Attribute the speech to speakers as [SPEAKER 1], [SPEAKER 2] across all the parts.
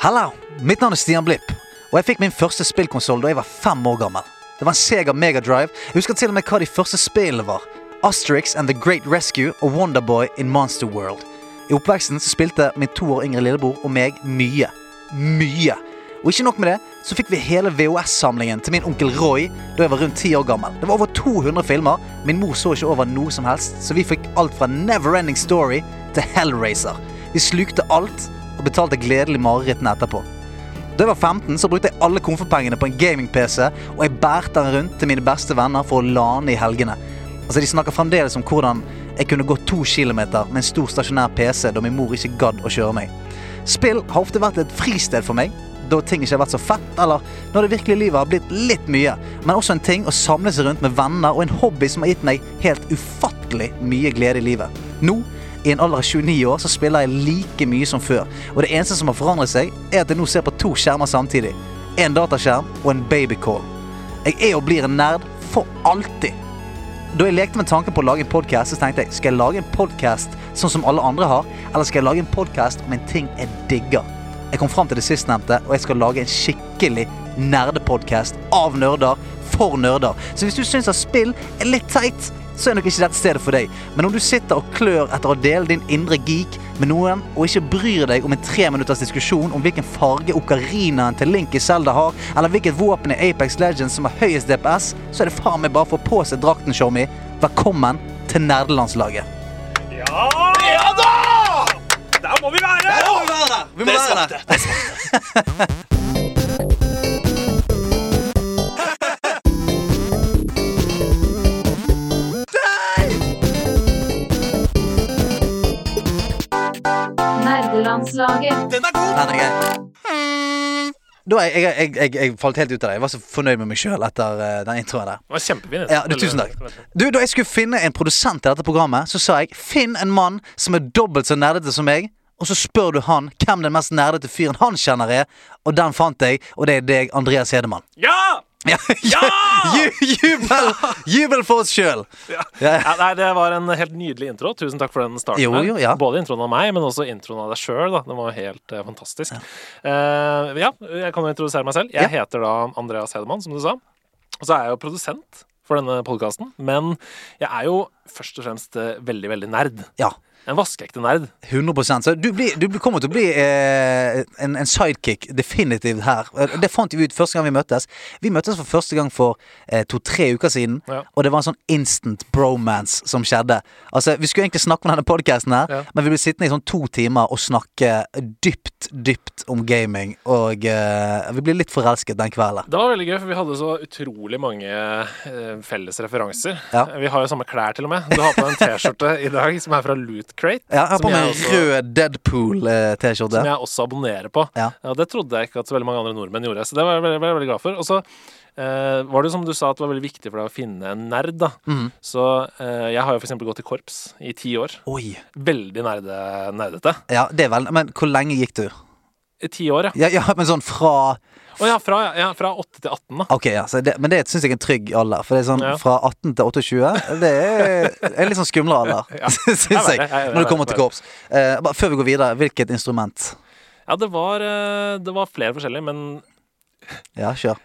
[SPEAKER 1] Hallo! Mitt navn er Stian Blipp, og jeg fikk min første spillkonsoll da jeg var fem år gammel. Det var en Sega Mega Drive. Jeg husker til og med hva de første spillene var. Asterix and The Great Rescue og Wonderboy in Monster World. I oppveksten så spilte min to år yngre lillebror og meg mye. Mye. Og ikke nok med det, så fikk vi hele VHS-samlingen til min onkel Roy da jeg var rundt ti år gammel. Det var over 200 filmer. Min mor så ikke over noe som helst, så vi fikk alt fra Neverending Story til Hellraiser. Vi slukte alt og betalte gledelig marerittene etterpå. Da jeg var 15, så brukte jeg alle komfepengene på en gaming-PC, og jeg bærte den rundt til mine beste venner for å lane i helgene. Altså, De snakker fremdeles om hvordan jeg kunne gå to kilometer med en stor stasjonær PC da min mor ikke gadd å kjøre meg. Spill har ofte vært et fristed for meg, da ting ikke har vært så fett, eller når det virkelige livet har blitt litt mye, men også en ting å samle seg rundt med venner og en hobby som har gitt meg helt ufattelig mye glede i livet. Nå, i en alder av 29 år, så spiller jeg like mye som før, og det eneste som har forandret seg, er at jeg nå ser på to skjermer samtidig. En dataskjerm og en babycall. Jeg er og blir en nerd for alltid. Da jeg lekte med tanken på å lage en podkast, tenkte jeg skal jeg lage en podcast sånn som alle andre har, eller skal jeg lage en podkast om en ting jeg digger. Jeg kom fram til det sistnevnte, og jeg skal lage en skikkelig nerdepodkast av nerder for nerder. Så hvis du syns at spill er litt teit, så er nok ikke dette stedet for deg. Men om du sitter og klør etter å dele din indre geek med noen, og ikke bryr deg om en tre minutters diskusjon om hvilken farge okarinaen til Link i Zelda har, eller hvilket våpen i Apex Legends som har høyest DPS, så er det faen meg bare å få på seg drakten, Shormy. Velkommen til nerdelandslaget.
[SPEAKER 2] Ja!
[SPEAKER 3] Ja da!
[SPEAKER 2] Der må vi være!
[SPEAKER 3] må vi være der!
[SPEAKER 1] må være der.
[SPEAKER 4] Nerdelandslaget.
[SPEAKER 3] Den er god!
[SPEAKER 1] Nei, det er greit. Da, jeg, jeg, jeg, jeg, jeg falt helt ut av det. Jeg var så fornøyd med meg sjøl etter eh, den introen der.
[SPEAKER 2] Det var kjempefint.
[SPEAKER 1] Ja, du, tusen takk. Du, Da jeg skulle finne en produsent til dette programmet, så sa jeg finn en mann som er dobbelt så nerdete som meg, og så spør du han hvem den mest nerdete fyren han kjenner er, og den fant jeg, og det er deg, Andreas Hedemann.
[SPEAKER 2] Ja!
[SPEAKER 1] Ja!
[SPEAKER 2] Ja!
[SPEAKER 1] Ju- jubel, jubel for oss sjøl! Ja.
[SPEAKER 2] ja! Nei, det var en helt nydelig intro. Tusen takk for den starten.
[SPEAKER 1] Jo,
[SPEAKER 2] her.
[SPEAKER 1] jo, ja.
[SPEAKER 2] Både introen av meg, men også introen av deg sjøl. Den var helt eh, fantastisk. Eh, ja, jeg kan jo introdusere meg selv. Jeg heter da Andreas Hedemann, som du sa. Og så er jeg jo produsent for denne podkasten. Men jeg er jo først og fremst eh, veldig, veldig nerd.
[SPEAKER 1] Ja,
[SPEAKER 2] En vaskeekte nerd.
[SPEAKER 1] 100 Så du, blir, du blir- kommer til å bli eh, en, en sidekick definitivt her. Eh, Det fant vi ut første gang vi møttes. Vi møttes for første gang for eh, to-tre uker siden,
[SPEAKER 2] Ja.
[SPEAKER 1] og det var en sånn instant bromance som skjedde. Altså, Vi skulle egentlig snakke om denne podkasten her,
[SPEAKER 2] Ja.
[SPEAKER 1] men vi ble sittende i sånn to timer og snakke dypt, dypt om gaming, og eh, vi ble litt forelsket den kvelden.
[SPEAKER 2] Det var veldig gøy, for vi hadde så utrolig mange eh, felles referanser.
[SPEAKER 1] Ja.
[SPEAKER 2] Vi har jo samme klær, til og med. Du har på deg en T-skjorte i dag som er fra Loot Crate.
[SPEAKER 1] Ja, jeg har
[SPEAKER 2] som
[SPEAKER 1] på meg en
[SPEAKER 2] også-
[SPEAKER 1] rød eh, Deadpool-T-skjorte.
[SPEAKER 2] Som jeg også abonnerer på.
[SPEAKER 1] Ja.
[SPEAKER 2] Ja, det trodde jeg ikke at så veldig mange andre nordmenn gjorde. Så det var jeg veldig, veldig, veldig glad for. Og så eh, var det jo som du sa, at det var veldig viktig for deg å finne en nerd. da.
[SPEAKER 1] Mm.
[SPEAKER 2] Så eh, jeg har jo f.eks. gått i korps i ti år.
[SPEAKER 1] Oi.
[SPEAKER 2] Veldig nerde, nerdete.
[SPEAKER 1] Ja, det er vel Men hvor lenge gikk du?
[SPEAKER 2] I ti år, ja.
[SPEAKER 1] Ja, ja men sånn fra
[SPEAKER 2] Å ja, fra, ja, fra 8 til 18, da.
[SPEAKER 1] Ok, ja, så det, Men det syns jeg er en trygg alder. For det er sånn
[SPEAKER 2] Ja.
[SPEAKER 1] Fra 18 til 28 Det er, er litt sånn skumlere alder,
[SPEAKER 2] Ja.
[SPEAKER 1] syns
[SPEAKER 2] Jeg
[SPEAKER 1] jeg.
[SPEAKER 2] vet det, jeg
[SPEAKER 1] Når
[SPEAKER 2] vet det,
[SPEAKER 1] det kommer til
[SPEAKER 2] jeg vet
[SPEAKER 1] korps. Eh, bare før vi går videre, hvilket instrument?
[SPEAKER 2] Ja, det var, eh, det var flere forskjellige, men
[SPEAKER 1] Ja, kjør.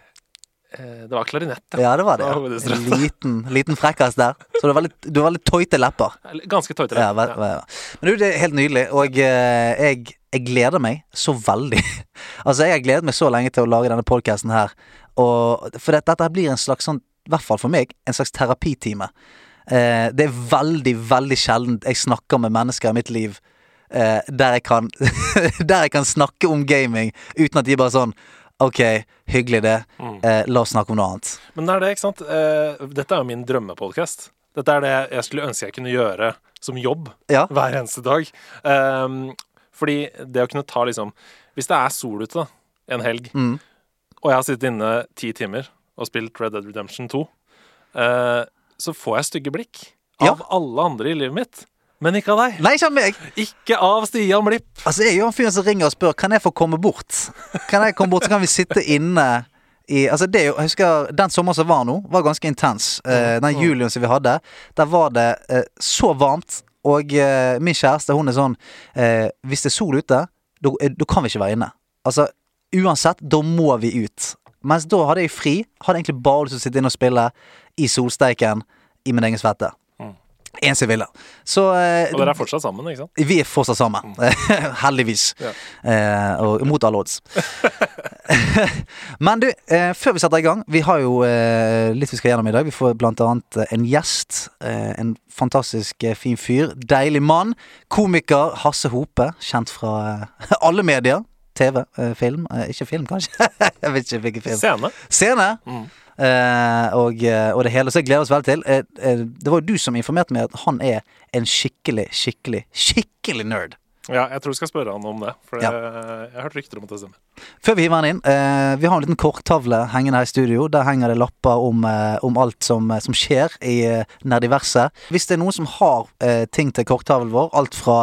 [SPEAKER 2] eh, det var klarinett. ja.
[SPEAKER 1] Ja, det var det.
[SPEAKER 2] Ja, men det
[SPEAKER 1] Ja.
[SPEAKER 2] er
[SPEAKER 1] En liten, liten frekkas der. Så du har veldig, du har veldig tøyte lepper.
[SPEAKER 2] Eller Ganske tøytere.
[SPEAKER 1] Ja, vel, vel, vel. Men du, det er helt nydelig, og eh, jeg, jeg gleder meg så veldig. altså, jeg har gledet meg så lenge til å lage denne podkasten her, og, for dette, dette her blir en slags sånn, i hvert fall for meg, en slags terapitime. Eh, det er veldig, veldig sjelden jeg snakker med mennesker i mitt liv eh, der, jeg kan, der jeg kan snakke om gaming uten at de bare sånn Ok, hyggelig det. Eh, la oss snakke om noe annet.
[SPEAKER 2] Men det er det, ikke sant? Eh, Dette er jo min drømmepodkast. Dette er det jeg skulle ønske jeg kunne gjøre som jobb
[SPEAKER 1] Ja.
[SPEAKER 2] hver eneste dag. Ehm, fordi det å kunne ta liksom Hvis det er sol ute da, en helg,
[SPEAKER 1] Mm.
[SPEAKER 2] og jeg har sittet inne ti timer og spilt Red Dead Redemption 2, eh, så får jeg stygge blikk
[SPEAKER 1] Ja.
[SPEAKER 2] av alle andre i livet mitt. Men ikke av deg.
[SPEAKER 1] Nei, ikke av meg!
[SPEAKER 2] Ikke av Stian Blipp.
[SPEAKER 1] Altså, jeg er jo han fyren som ringer og spør Kan jeg få komme bort. Kan jeg komme bort, så kan vi sitte inne i Altså, det er jo Jeg husker den sommeren som var nå, var ganske intens. Eh, den julien som vi hadde, der var det eh, så varmt, og eh, min kjæreste, hun er sånn eh, Hvis det er sol ute, da eh, da kan vi ikke være inne. Altså, uansett, da må vi ut. Mens da hadde jeg fri. Hadde egentlig bare lyst til å sitte inne og spille i solsteiken i min egen svette.
[SPEAKER 2] Mm.
[SPEAKER 1] Eneste jeg ville. Så eh,
[SPEAKER 2] Og dere er fortsatt sammen, ikke sant?
[SPEAKER 1] vi er fortsatt sammen. Heldigvis.
[SPEAKER 2] Ja.
[SPEAKER 1] Eh, og mot alle odds. Men du, eh, før vi setter i gang, vi har jo eh, litt vi skal gjennom i dag. Vi får blant annet eh, en gjest. Eh, en fantastisk eh, fin fyr. Deilig mann. Komiker Hasse Hope. Kjent fra eh, alle medier. TV, eh, film eh, Ikke film, kanskje? Jeg vet ikke hvilken film.
[SPEAKER 2] Scene.
[SPEAKER 1] Scene.
[SPEAKER 2] Mm.
[SPEAKER 1] Eh, og, eh, og det hele. Så jeg gleder oss veldig til. Eh, eh, det var jo du som informerte meg at han er en skikkelig, skikkelig, skikkelig nerd.
[SPEAKER 2] Ja, jeg tror vi skal spørre han om det. For
[SPEAKER 1] Ja.
[SPEAKER 2] eh, jeg har hørt rykter om at det stemmer.
[SPEAKER 1] Før vi hiver han inn, eh, vi har en liten korktavle hengende her i studio. Der henger det lapper om, eh, om alt som, eh, som skjer i eh, nerdiverset. Hvis det er noen som har eh, ting til korktavlen vår, alt fra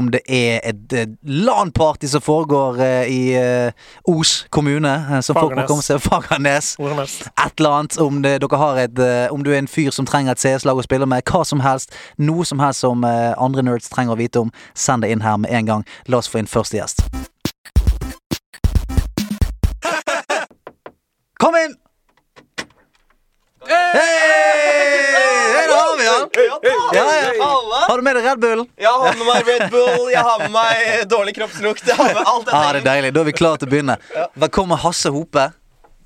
[SPEAKER 1] om det er et eh, LAN-party som foregår eh, i eh, Os kommune, eh, som folk må
[SPEAKER 2] Fagernes.
[SPEAKER 1] komme seg Fagernes
[SPEAKER 2] Hvor som helst.
[SPEAKER 1] et eller annet, om det, dere har et eh, Om du er en fyr som trenger et CS-lag å spille med, hva som helst, noe som helst som eh, andre nerds trenger å vite om, send det inn her med en gang. La oss få inn første gjest. Kom inn! Hei! Hei, da har vi han! Ja, ja. Har du med deg Red Bull?
[SPEAKER 3] Jeg har med meg Red Bull, jeg har med meg eh, dårlig kroppslukt. Jeg har med alt
[SPEAKER 1] Ja, Ah, det
[SPEAKER 3] dette.
[SPEAKER 1] er deilig. Da er vi klare til å begynne. Velkommen, Hasse Hope.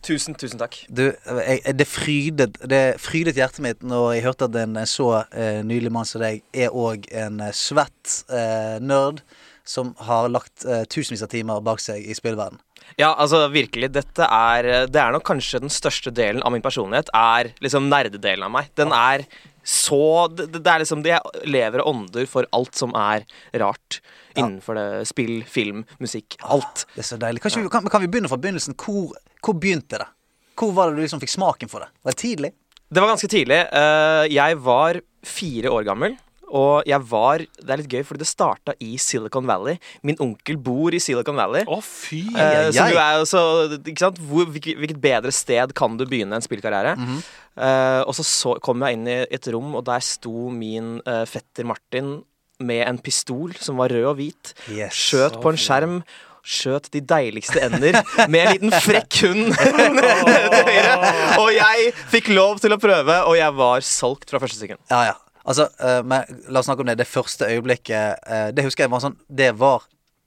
[SPEAKER 3] Tusen, tusen takk.
[SPEAKER 1] Du, jeg, jeg- det, frydet, det frydet hjertet mitt når jeg hørte at en så eh, nydelig mann som deg er òg en eh, svett eh, nerd som har lagt eh, tusenvis av timer bak seg i spillverden.
[SPEAKER 3] Ja, altså virkelig, dette er eh, Det er nok kanskje den største delen av min personlighet, er liksom nerdedelen av meg. Den er så Det, det er liksom det jeg lever og ånder for alt som er rart innenfor det spill, film, musikk. Alt.
[SPEAKER 1] Det er så deilig. Kan, ikke vi, kan, kan vi begynne fra begynnelsen? Hvor, hvor begynte det? Hvor var det du liksom fikk smaken for det? Var det tidlig?
[SPEAKER 3] Det var ganske tidlig. Eh, jeg var fire år gammel. Og jeg var Det er litt gøy, fordi det starta i Silicon Valley. Min onkel bor i Silicon Valley.
[SPEAKER 2] Å, fy!
[SPEAKER 1] Ai, ai,
[SPEAKER 3] Eh, Så
[SPEAKER 1] ai.
[SPEAKER 3] du er jo så ikke sant? Hvor, hvilket, hvilket bedre sted kan du begynne en spillkarriere? Eh, og så, så kom jeg inn i et rom, og der sto min eh, fetter Martin med en pistol som var rød og hvit.
[SPEAKER 1] Yes.
[SPEAKER 3] Skjøt på en skjerm. Skjøt de deiligste ender med en liten frekk hund til høyre. Og jeg fikk lov til å prøve, og jeg var solgt fra første sekund.
[SPEAKER 1] Ja, ja. Altså, eh, men la oss snakke om det. Det første øyeblikket eh, Det husker jeg var sånn Det var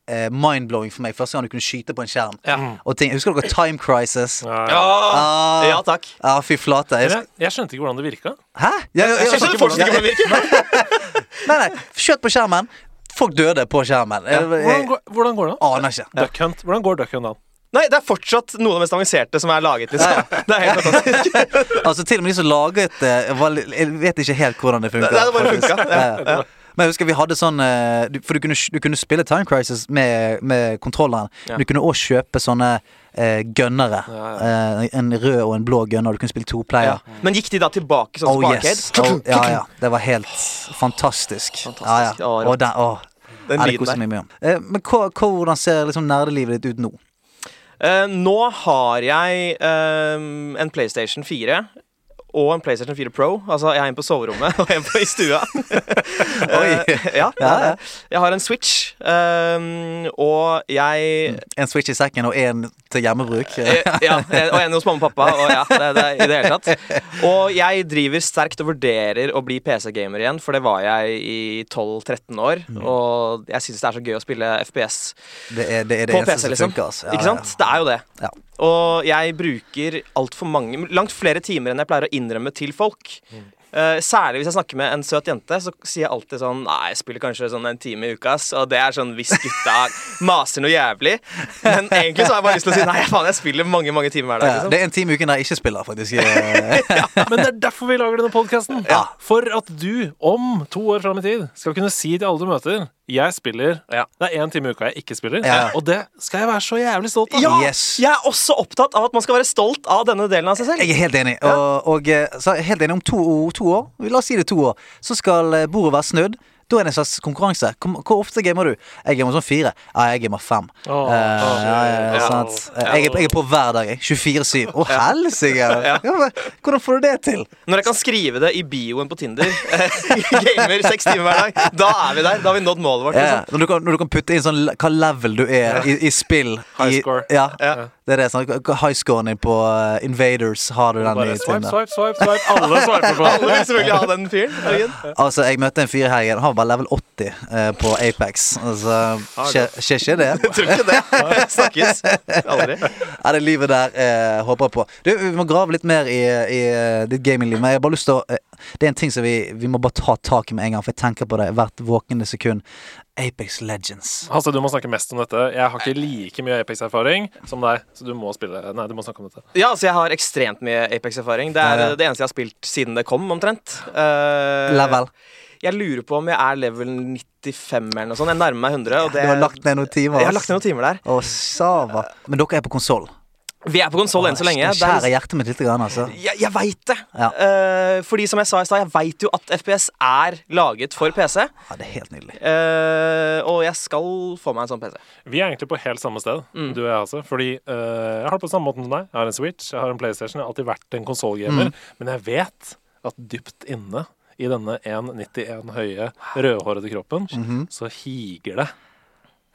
[SPEAKER 1] eh, mind-blowing for meg. Første gang du kunne skyte på en skjerm.
[SPEAKER 2] Ja.
[SPEAKER 1] Og ting, husker dere Time Crisis?
[SPEAKER 2] Ja, ja.
[SPEAKER 3] Ja,
[SPEAKER 1] Ah,
[SPEAKER 3] ja takk.
[SPEAKER 1] Ja, fy flate. Jeg,
[SPEAKER 2] Men Jeg, jeg skjønte ikke hvordan det virka.
[SPEAKER 1] hæ? Ja, ja, ja.
[SPEAKER 3] Jeg skjønner fortsatt ikke hvordan det virker.
[SPEAKER 1] Nei, nei. Kjøtt på skjermen. Folk døde på skjermen. Jeg,
[SPEAKER 2] Hvordan
[SPEAKER 1] jeg,
[SPEAKER 2] går, hvordan går det an?
[SPEAKER 1] aner ikke.
[SPEAKER 2] Duck Hunt. Hvordan går Duck Hunt an?
[SPEAKER 3] Nei, det er fortsatt noe av det mest avanserte som er laget. liksom Det er helt fantastisk.
[SPEAKER 1] Altså, til og med de som laget det, var li- jeg vet ikke helt hvordan det funka.
[SPEAKER 3] Nei, det bare funka, ja,
[SPEAKER 1] Men jeg husker vi hadde sånn eh, du- For du kunne, sk- du kunne spille Time Crisis med, med kontrolleren.
[SPEAKER 3] Ja.
[SPEAKER 1] Du kunne òg kjøpe sånne eh, gønnere.
[SPEAKER 2] Ja,
[SPEAKER 1] Eh, en rød og en blå gønner. Du kunne spille to player.
[SPEAKER 3] Men gikk de da tilbake sånn som på
[SPEAKER 1] Oh
[SPEAKER 3] Arcade?
[SPEAKER 1] yes. Oh, ja, ja. Det var helt fantastisk. Ja, ja.
[SPEAKER 3] Ja, ja.
[SPEAKER 1] Og den, åh.
[SPEAKER 3] Den
[SPEAKER 1] Ja, det
[SPEAKER 3] lyden
[SPEAKER 1] koser
[SPEAKER 3] der.
[SPEAKER 1] meg mye om. Eh, Men hva, hvordan ser liksom nerdelivet ditt ut nå?
[SPEAKER 3] Eh, nå har jeg ehm, en PlayStation 4 og en PlayStation 4 Pro. Altså, jeg har en på soverommet og en på i stua. Eh, ja, det er
[SPEAKER 1] Ja, ja.
[SPEAKER 3] det. Jeg har en Switch, ehm, og jeg
[SPEAKER 1] En Switch i sekken og en til hjemmebruk?
[SPEAKER 3] eh, Ja, eh, og en hos mamma og pappa. Og ja, det, det, i det hele tatt. Og jeg driver sterkt og vurderer å bli PC-gamer igjen, for det var jeg i 12-13 år.
[SPEAKER 1] Mm.
[SPEAKER 3] Og jeg syns det er så gøy å spille FPS.
[SPEAKER 1] Det er det, er det
[SPEAKER 3] På
[SPEAKER 1] eneste
[SPEAKER 3] PC,
[SPEAKER 1] som
[SPEAKER 3] liksom.
[SPEAKER 1] funker. Altså. Ja,
[SPEAKER 3] Ikke sant? Det er jo det.
[SPEAKER 1] Ja.
[SPEAKER 3] Og jeg bruker altfor mange Langt flere timer enn jeg pleier å innrømme til folk.
[SPEAKER 1] Mm.
[SPEAKER 3] Eh, særlig hvis jeg snakker med en søt jente, så sier jeg alltid sånn Nei, jeg spiller kanskje sånn en time i uka, ass. Og det er sånn hvis gutta maser noe jævlig. Men egentlig så har jeg bare lyst til å si nei, faen, jeg spiller mange, mange timer hver
[SPEAKER 1] Ja.
[SPEAKER 3] dag.
[SPEAKER 1] Ja,
[SPEAKER 3] Liksom.
[SPEAKER 1] det er en time i uken der jeg ikke spiller, faktisk. Eh,
[SPEAKER 2] Men det er derfor vi lager denne podkasten.
[SPEAKER 1] Ja.
[SPEAKER 2] For at du, om to år fram i tid, skal kunne si til alle du møter Jeg spiller
[SPEAKER 3] Ja.
[SPEAKER 2] Det er én time i uka jeg ikke spiller,
[SPEAKER 1] Ja.
[SPEAKER 2] og det skal jeg være så jævlig stolt av.
[SPEAKER 3] Ja!
[SPEAKER 1] Yes.
[SPEAKER 3] Jeg er også opptatt av at man skal være stolt av denne delen av seg selv.
[SPEAKER 1] Jeg er helt enig. Og, og eh, så er jeg helt enig om to, to år, la oss si det er to år, så skal eh, bordet være snudd. Da er det en slags konkurranse. Kom, hvor ofte gamer du? Jeg gamer sånn fire. Ja, jeg gamer fem.
[SPEAKER 2] Åh,
[SPEAKER 1] Eh, ja, ja, ja,
[SPEAKER 2] ja.
[SPEAKER 1] sant. Eh, Jeg, er- jeg er på hver dag, jeg. 24-7. Å, helsike! Ja, men Hvordan får du det til?
[SPEAKER 3] Når jeg kan skrive det i bioen på Tinder, eh, gamer seks timer hver dag, da er vi der. Da har vi nådd målet vårt.
[SPEAKER 1] Ja,
[SPEAKER 3] Liksom.
[SPEAKER 1] når, du kan, når du kan putte inn sånn le- hva level du er i, i spill.
[SPEAKER 2] High
[SPEAKER 1] i-
[SPEAKER 2] score.
[SPEAKER 1] Ja,
[SPEAKER 3] Ja.
[SPEAKER 1] det er det. Sånn. Highscoren din på eh, Invaders, har du den
[SPEAKER 2] Bare
[SPEAKER 1] i
[SPEAKER 2] swipe,
[SPEAKER 1] Tinder?
[SPEAKER 2] swipe, swipe, swipe. Alle swiper på
[SPEAKER 3] Alle vil selvfølgelig ha den fyren. Jørgen.
[SPEAKER 1] Altså, jeg møtte en fyr i helgen. Han var bare level 80 eh, på Apex. Altså, skjer skjer ikke det?
[SPEAKER 3] Tror ikke det. Snakkes. Aldri.
[SPEAKER 1] Ja, det livet der eh, håper jeg på. Du, vi må grave litt mer i, i eh, ditt gamingliv. Men jeg har bare lyst til å eh, Det er en ting som vi, vi må bare ta tak i med en gang, for jeg tenker på det hvert våkende sekund. Apex Legends.
[SPEAKER 2] Hasse, du må snakke mest om dette. Jeg har ikke like mye Apex-erfaring som deg, så du må spille Nei, du må snakke om dette.
[SPEAKER 3] Ja, altså jeg har ekstremt mye Apex-erfaring. Det er
[SPEAKER 1] Ja, ja.
[SPEAKER 3] eh, det eneste jeg har spilt siden det kom, omtrent. Eh,
[SPEAKER 1] Level.
[SPEAKER 3] Jeg lurer på om jeg er level 95 eller noe sånt. Jeg nærmer meg 100. Og det,
[SPEAKER 1] Du har lagt ned noen timer.
[SPEAKER 3] jeg har lagt ned noen timer der.
[SPEAKER 1] Å, sava. Men dere er på konsoll.
[SPEAKER 3] Vi er på konsoll enn så lenge. Det
[SPEAKER 1] Skjærer
[SPEAKER 3] er, liksom-
[SPEAKER 1] hjertet mitt litt, grann, altså.
[SPEAKER 3] jeg jeg veit det.
[SPEAKER 1] Ja.
[SPEAKER 3] Eh, fordi som jeg sa i stad, jeg veit jo at FPS er laget for PC.
[SPEAKER 1] Ja, det er helt nydelig.
[SPEAKER 3] Eh, og jeg skal få meg en sånn PC.
[SPEAKER 2] Vi er egentlig på helt samme sted,
[SPEAKER 1] Mm.
[SPEAKER 2] du og jeg, Hasse. Fordi eh, jeg har det på samme måten som deg. Jeg har en Switch, jeg har en PlayStation. Jeg har alltid vært en
[SPEAKER 1] Mm.
[SPEAKER 2] konsollgamer. Men jeg vet at dypt inne i denne 1,91 høye, rødhårede kroppen,
[SPEAKER 1] Mhm.
[SPEAKER 2] så higer det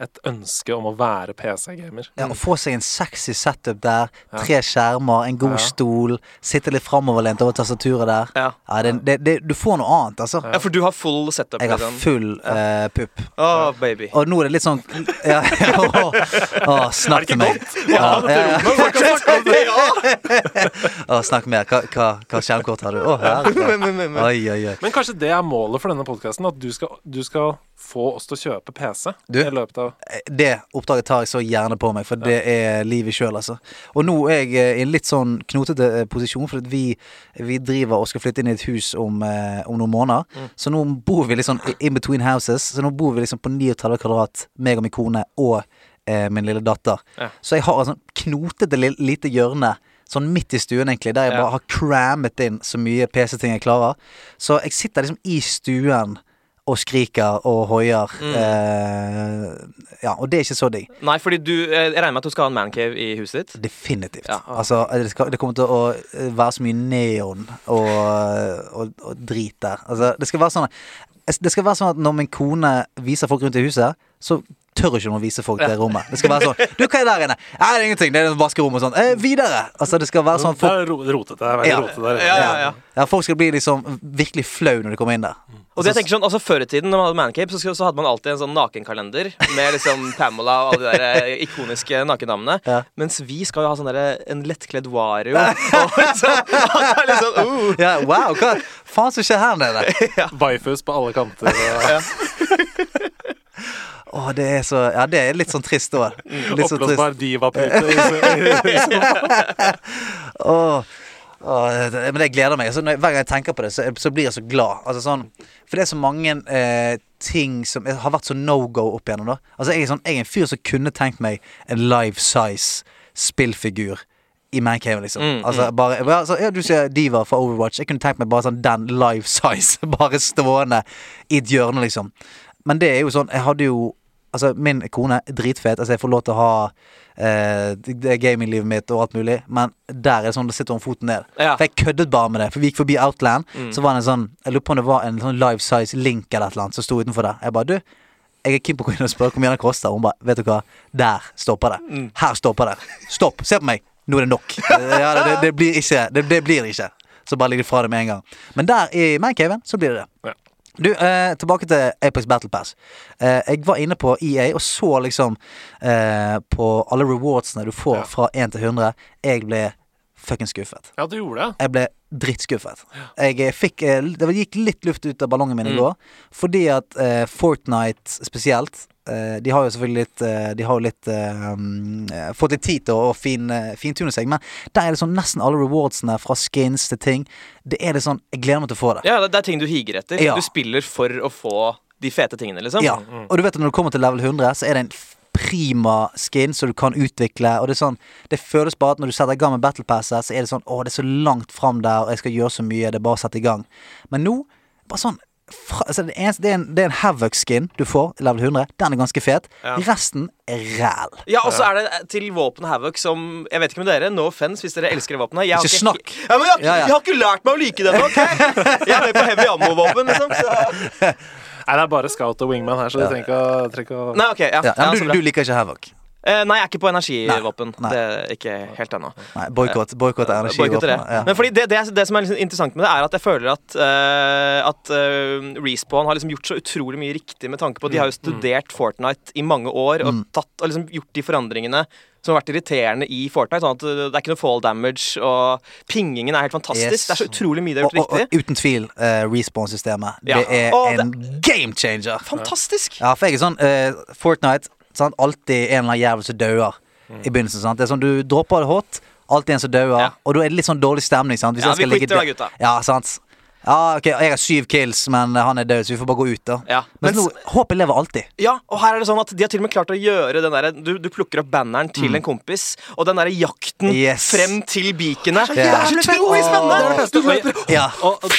[SPEAKER 2] et ønske om å være PC-gamer.
[SPEAKER 1] Ja, å få seg en sexy setup der, tre skjermer, en god
[SPEAKER 2] Ja.
[SPEAKER 1] stol, sitte litt framoverlent over tastaturet der.
[SPEAKER 3] Ja.
[SPEAKER 1] Ja, det, det, det, du får noe annet, altså.
[SPEAKER 3] Ja, For du har full setup?
[SPEAKER 1] Jeg har
[SPEAKER 3] liksom.
[SPEAKER 1] full eh, pupp.
[SPEAKER 3] Å, baby.
[SPEAKER 1] Og nå er det litt sånn ja, å, å, Snakk til meg. Ja, ja, ja. Å, snakk mer. Hva, hva, hva skjermkort har du? Å, herregud.
[SPEAKER 3] Men, men, men.
[SPEAKER 1] Oi, oi, oi.
[SPEAKER 2] Men kanskje det er målet for denne podkasten? At du skal, du skal få oss til å kjøpe PC?
[SPEAKER 1] Du?
[SPEAKER 2] i løpet av
[SPEAKER 1] Det oppdraget tar jeg så gjerne på meg, for det er livet sjøl, altså. Og nå er jeg eh, i en litt sånn knotete eh, posisjon, for at vi, vi driver og skal flytte inn i et hus om, eh, om noen
[SPEAKER 3] Mm.
[SPEAKER 1] måneder. Så nå bor vi liksom i- in between houses. Så nå bor vi liksom på 39 kvadrat, meg og min kone og eh, min lille datter.
[SPEAKER 3] Ja.
[SPEAKER 1] Så jeg har et sånn knotete li- lite hjørne. Sånn midt i stuen, egentlig, der jeg
[SPEAKER 3] Ja.
[SPEAKER 1] bare har crammet inn så mye PC-ting jeg klarer. Så jeg sitter liksom i stuen og skriker og hoier.
[SPEAKER 3] Mm.
[SPEAKER 1] Eh, ja, og det er ikke så digg.
[SPEAKER 3] Nei, fordi du, eh, jeg regner med at du skal ha en mancave i huset ditt.
[SPEAKER 1] Definitivt.
[SPEAKER 3] Ja.
[SPEAKER 1] Altså, det, skal, det kommer til å eh, være så mye neon og, og, og drit der. Altså, det skal være sånn at- Det skal være sånn at når min kone viser folk rundt i huset, så tør ikke hun å vise folk det rommet. Det skal være sånn 'Du, hva er der inne?' 'Nei, det er ingenting. Det er et vaskerom og sånn.' Eh, 'Videre!' Altså, det skal være sånn at
[SPEAKER 2] Det
[SPEAKER 1] folk,
[SPEAKER 2] er ro- rotete. Det er veldig
[SPEAKER 1] Ja.
[SPEAKER 2] rotete der.
[SPEAKER 3] Ja, ja, ja.
[SPEAKER 1] ja, folk skal bli liksom virkelig flau når de kommer inn der.
[SPEAKER 3] Og det jeg tenker sånn, altså Før i tiden når man hadde mancave, så, skulle- så hadde man alltid en sånn nakenkalender med liksom Pamela og alle de der eh, ikoniske nakendamene.
[SPEAKER 1] Ja.
[SPEAKER 3] Mens vi skal jo ha sånn derre en lettkledd Wario. Og så, det er litt sånn, uh.
[SPEAKER 1] Ja, wow, hva faen som skjer her nede?
[SPEAKER 2] Bifus på alle kanter. og-
[SPEAKER 1] Åh, det er så Ja, det er litt sånn trist òg.
[SPEAKER 2] mm.
[SPEAKER 1] Litt så trist.
[SPEAKER 2] Oppblåsbar divapute.
[SPEAKER 1] Åh, åh, det, men jeg gleder meg. Så når, jeg- hver gang jeg tenker på det, så, så blir jeg så glad. Altså, sånn, for det er så mange eh, ting som har vært så no go opp igjennom. Da. Altså, jeg, er sånn, jeg er en fyr som kunne tenkt meg en life size spillfigur. I Mancave, liksom. altså, bare, ja, så, ja, du sier Diva fra Overwatch. Jeg kunne tenkt meg bare sånn den life size, bare stående i et hjørne, liksom. Men det er jo sånn, jeg hadde jo Altså, min kone er dritfet. Altså, jeg får lov til å ha eh, det- det gaminglivet mitt og alt mulig, men der er det sånn, da sitter hun foten ned.
[SPEAKER 3] Ja.
[SPEAKER 1] For jeg køddet bare med det. For vi gikk forbi Outland, så var det en sånn Jeg lurer på om det var en sånn life size link eller et eller annet som sto utenfor der. Jeg bare Du, jeg er keen på å gå inn og spørre hvor mye det koster. Hun bare Vet du hva, der stopper det. Her stopper det. Stopp. Se på meg. Nå er det nok. Ja, det, det, det blir ikke det, det blir ikke. Så bare ligger det fra det med en gang. Men der i mancaven, så blir det det.
[SPEAKER 2] Ja.
[SPEAKER 1] Du, eh, tilbake til Apex Battle Pass. Eh, jeg var inne på EA og så liksom eh, på alle rewardsene du får
[SPEAKER 2] Ja.
[SPEAKER 1] fra 1 til 100. Jeg ble fuckings skuffet.
[SPEAKER 2] Ja, du gjorde det.
[SPEAKER 1] Jeg ble drittskuffet. Jeg eh, fikk, eh, det gikk litt luft ut av ballongen min i går. Fordi at eh, Fortnite spesielt eh, De har jo selvfølgelig litt eh, De har jo litt eh, um, eh, fått litt tid til å fin, eh, fintune seg, men der er det sånn nesten alle rewardsene, fra skins til ting Det er det sånn Jeg gleder meg til å få det.
[SPEAKER 3] Ja, det, det er ting du higer etter.
[SPEAKER 1] Ja.
[SPEAKER 3] Du spiller for å få de fete tingene, liksom.
[SPEAKER 1] Ja, og du vet at når du kommer til level 100 Så er det en f- prima skin Som du kan utvikle Og det er sånn Det føles bare at når du setter i gang med battle passer Så er det sånn Åh, det er så langt frem der Og jeg skal gjøre så mye Det er bare å sette i gang Men nå Bare sånn fra, altså det, eneste, det, er en, det er en Havoc-skin du får i level 100. Den er ganske fet.
[SPEAKER 3] Ja.
[SPEAKER 1] Resten er ræl.
[SPEAKER 3] Ja, og så er det eh, til våpenet Havoc som Jeg vet ikke med dere, no offense hvis dere elsker våpenet. Jeg har
[SPEAKER 1] Ikke snakk.
[SPEAKER 3] Ja, men jeg, har ikke-
[SPEAKER 1] Ja, ja.
[SPEAKER 3] jeg har ikke lært meg å like det nok. jeg. Jeg er med på heavy ammo-våpen, liksom. Så.
[SPEAKER 2] Nei, det er bare scout og wingman her, så du trenger ikke å, trenger ikke å
[SPEAKER 3] Nei, ok, ja. altså,
[SPEAKER 1] Ja,
[SPEAKER 3] ja,
[SPEAKER 1] men
[SPEAKER 3] så
[SPEAKER 1] du,
[SPEAKER 3] bra.
[SPEAKER 1] du liker ikke Havoc.
[SPEAKER 3] Eh, nei, jeg er ikke på energivåpen.
[SPEAKER 1] Nei, nei.
[SPEAKER 3] Det er ikke helt ennå.
[SPEAKER 1] Nei, Boikott boikott er
[SPEAKER 3] Boykotter det.
[SPEAKER 1] energivåpen. Ja.
[SPEAKER 3] Men fordi det, det, det som er liksom interessant med det, er at jeg føler at, eh, at eh, Respawn har liksom gjort så utrolig mye riktig med tanke på at de har jo studert Fortnite i mange år
[SPEAKER 1] Mm.
[SPEAKER 3] og, tatt, og liksom gjort de forandringene som har vært irriterende i Fortnite. Sånn at eh, det er ikke noe fall damage, og pingingen er helt fantastisk.
[SPEAKER 1] Yes.
[SPEAKER 3] Det er så utrolig mye de har
[SPEAKER 1] Og,
[SPEAKER 3] gjort
[SPEAKER 1] og, og
[SPEAKER 3] riktig.
[SPEAKER 1] uten tvil eh, respawn-systemet.
[SPEAKER 3] Ja.
[SPEAKER 1] Det er
[SPEAKER 3] Å, det-
[SPEAKER 1] en game changer.
[SPEAKER 3] Fantastisk!
[SPEAKER 1] Ja, for jeg er sånn eh, Fortnite sant? Alltid en eller annen jævel som dauer i begynnelsen. Sant? Det er sånn, Du dropper det hot, alltid en som dauer,
[SPEAKER 3] Mm. Ja.
[SPEAKER 1] og da er det litt sånn dårlig stemning. Sant?
[SPEAKER 3] Ja,
[SPEAKER 1] jeg skal
[SPEAKER 3] vi
[SPEAKER 1] ligge
[SPEAKER 3] quitter da,
[SPEAKER 1] der-
[SPEAKER 3] gutta.
[SPEAKER 1] Ja, sant? Ja, ok, Jeg har syv kills, men han er død, så vi får bare gå ut, da.
[SPEAKER 3] Ja,
[SPEAKER 1] Men
[SPEAKER 3] mens-
[SPEAKER 1] nå, håpet lever alltid.
[SPEAKER 3] Ja, og her er det sånn at De har til og med klart å gjøre den der, du, du plukker opp banneren til en kompis, og den der jakten
[SPEAKER 1] Mm. Yes.
[SPEAKER 3] frem til beakenet. Det
[SPEAKER 1] Ja.
[SPEAKER 3] er så utrolig spennende! Du løper
[SPEAKER 1] Ja.
[SPEAKER 2] Og, og,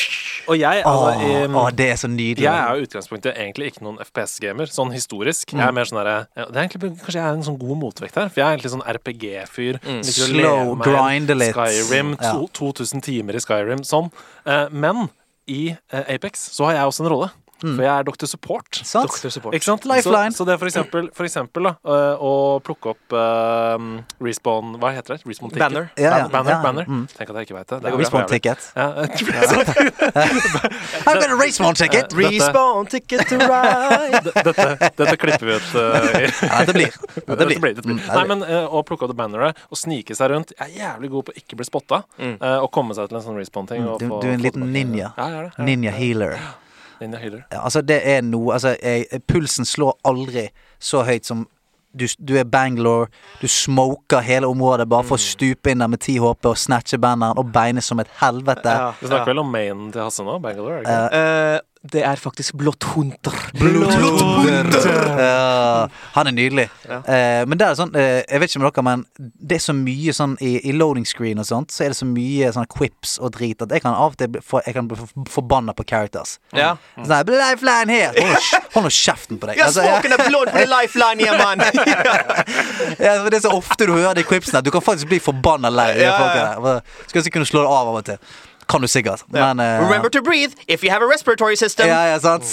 [SPEAKER 2] og jeg, altså
[SPEAKER 1] Åh,
[SPEAKER 2] i-
[SPEAKER 1] åh, det er så nydelig.
[SPEAKER 2] Jeg er jo i utgangspunktet egentlig ikke noen FPS-gamer, sånn historisk.
[SPEAKER 1] Mm.
[SPEAKER 2] Jeg er mer sånn der, ja, det er egentlig, Kanskje jeg er en sånn god motvekt her, for jeg er egentlig sånn RPG-fyr. liker å
[SPEAKER 1] Mm. Slow,
[SPEAKER 2] leve meg inn.
[SPEAKER 1] grind litt.
[SPEAKER 2] Skyrim,
[SPEAKER 1] Ja.
[SPEAKER 2] to, 2000 timer i Skyrim, sånn. Eh, men i eh, Apex så har jeg også en rolle,
[SPEAKER 1] Mm.
[SPEAKER 2] for jeg er Dr. Support.
[SPEAKER 1] Sant?
[SPEAKER 3] Dr. Support.
[SPEAKER 2] Ikke sant?
[SPEAKER 1] Lifeline.
[SPEAKER 2] Så, så det er for eksempel, for eksempel da, eh, å plukke opp eh, respawn Hva heter det? Respawn ticket?
[SPEAKER 3] Banner.
[SPEAKER 1] Ja, ja.
[SPEAKER 2] Banner,
[SPEAKER 1] Ja, ja.
[SPEAKER 2] banner.
[SPEAKER 1] Mm.
[SPEAKER 2] Tenk at jeg ikke veit det. det. er jo
[SPEAKER 1] Respawn
[SPEAKER 2] jævlig.
[SPEAKER 1] ticket.
[SPEAKER 2] Ja,
[SPEAKER 1] I'm gonna respawn ticket!
[SPEAKER 2] Dette-
[SPEAKER 3] Respawn, ticket to ride.
[SPEAKER 2] dette, dette klipper vi ut. eh, i-
[SPEAKER 1] Ja, dette blir. Dette blir.
[SPEAKER 2] Dette blir.
[SPEAKER 1] Mm,
[SPEAKER 2] Nei, men eh, Å plukke opp det banneret og snike seg rundt Jeg er jævlig god på å ikke bli spotta.
[SPEAKER 3] Mm.
[SPEAKER 2] eh, og komme seg til en sånn respawn-ting. og
[SPEAKER 1] Mm, Du,
[SPEAKER 2] få-
[SPEAKER 1] du er en
[SPEAKER 2] få
[SPEAKER 1] liten
[SPEAKER 2] tilbake-
[SPEAKER 1] ninja.
[SPEAKER 2] Ja, jeg er det.
[SPEAKER 1] Ninja healer.
[SPEAKER 2] Ninja healer.
[SPEAKER 1] Ja, altså, det er noe Altså, jeg, pulsen slår aldri så høyt som du, du er Bangalore, du smoker hele området bare
[SPEAKER 3] Mm.
[SPEAKER 1] for å stupe inn der med 10 HP og snatche banneren og beine som et helvete.
[SPEAKER 3] Ja.
[SPEAKER 2] Du snakker vel om mainen til Hasse nå? Bangalore? er det
[SPEAKER 1] Eh,
[SPEAKER 2] Ikke?
[SPEAKER 3] Eh, det er faktisk Blåthunder.
[SPEAKER 1] Ja, han er nydelig.
[SPEAKER 3] Ja.
[SPEAKER 1] Eh, men det er sånn eh, Jeg vet ikke med dere, men det er så mye sånn i, i loading screen og sånt, så er det så mye sånn quips og drit at jeg kan av og til bli, for, jeg kan bli for- forbanna på characters.
[SPEAKER 3] Ja.
[SPEAKER 1] Sånn her, Lifeline her! Hold nå kj- Hold nå kjeften på deg.
[SPEAKER 3] Jeg
[SPEAKER 1] Altså, jeg-
[SPEAKER 3] smaken er blond for the lifeline, ja, mann!
[SPEAKER 1] Ja, for det er så ofte du hører de quipsene. at Du kan faktisk bli forbanna lei av de
[SPEAKER 3] Ja,
[SPEAKER 1] folka
[SPEAKER 3] ja,
[SPEAKER 1] der. Bare- Skulle ønske jeg kunne slå det av av og til. Kan du sikkert. Men eh,
[SPEAKER 3] Remember to breathe if you have a respiratory system.
[SPEAKER 1] Ja, ja, sant?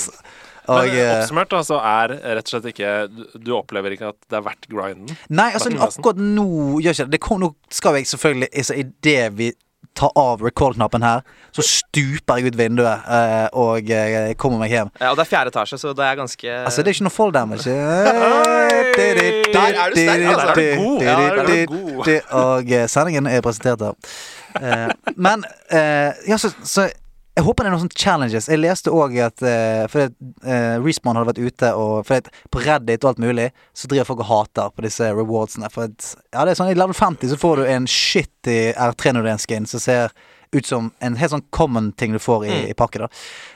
[SPEAKER 1] Og,
[SPEAKER 2] Men eh,
[SPEAKER 1] eh,
[SPEAKER 2] oppsummert da, så er rett og slett ikke du- Du opplever ikke at det er verdt grinden.
[SPEAKER 1] Nei, altså
[SPEAKER 2] Martin Larsen.
[SPEAKER 1] akkurat nå gjør ikke det. det kom, nå skal jeg selvfølgelig altså, Idet vi tar av record-knappen her, så stuper jeg ut vinduet eh, og eh, kommer meg hjem.
[SPEAKER 3] Ja, og det er fjerde etasje, så det er ganske
[SPEAKER 1] Altså, det er ikke noe fall damage.
[SPEAKER 3] Der er du sterk, altså. Der er
[SPEAKER 2] du god.
[SPEAKER 1] Ja, der
[SPEAKER 2] er du
[SPEAKER 1] Og eh, sendingen er presentert av Eh, Men eh, ja, så, så jeg håper det er noen sånne challenges. Jeg leste òg at eh, For uh, Respawn hadde vært ute og For at på Reddit og alt mulig så driver folk og hater på disse rewardsene. For at, ja, det er sånn I level 50 så får du en shitty R301-skin som ser ut som en helt sånn common ting du får i,
[SPEAKER 2] Mm.
[SPEAKER 1] i pakke. da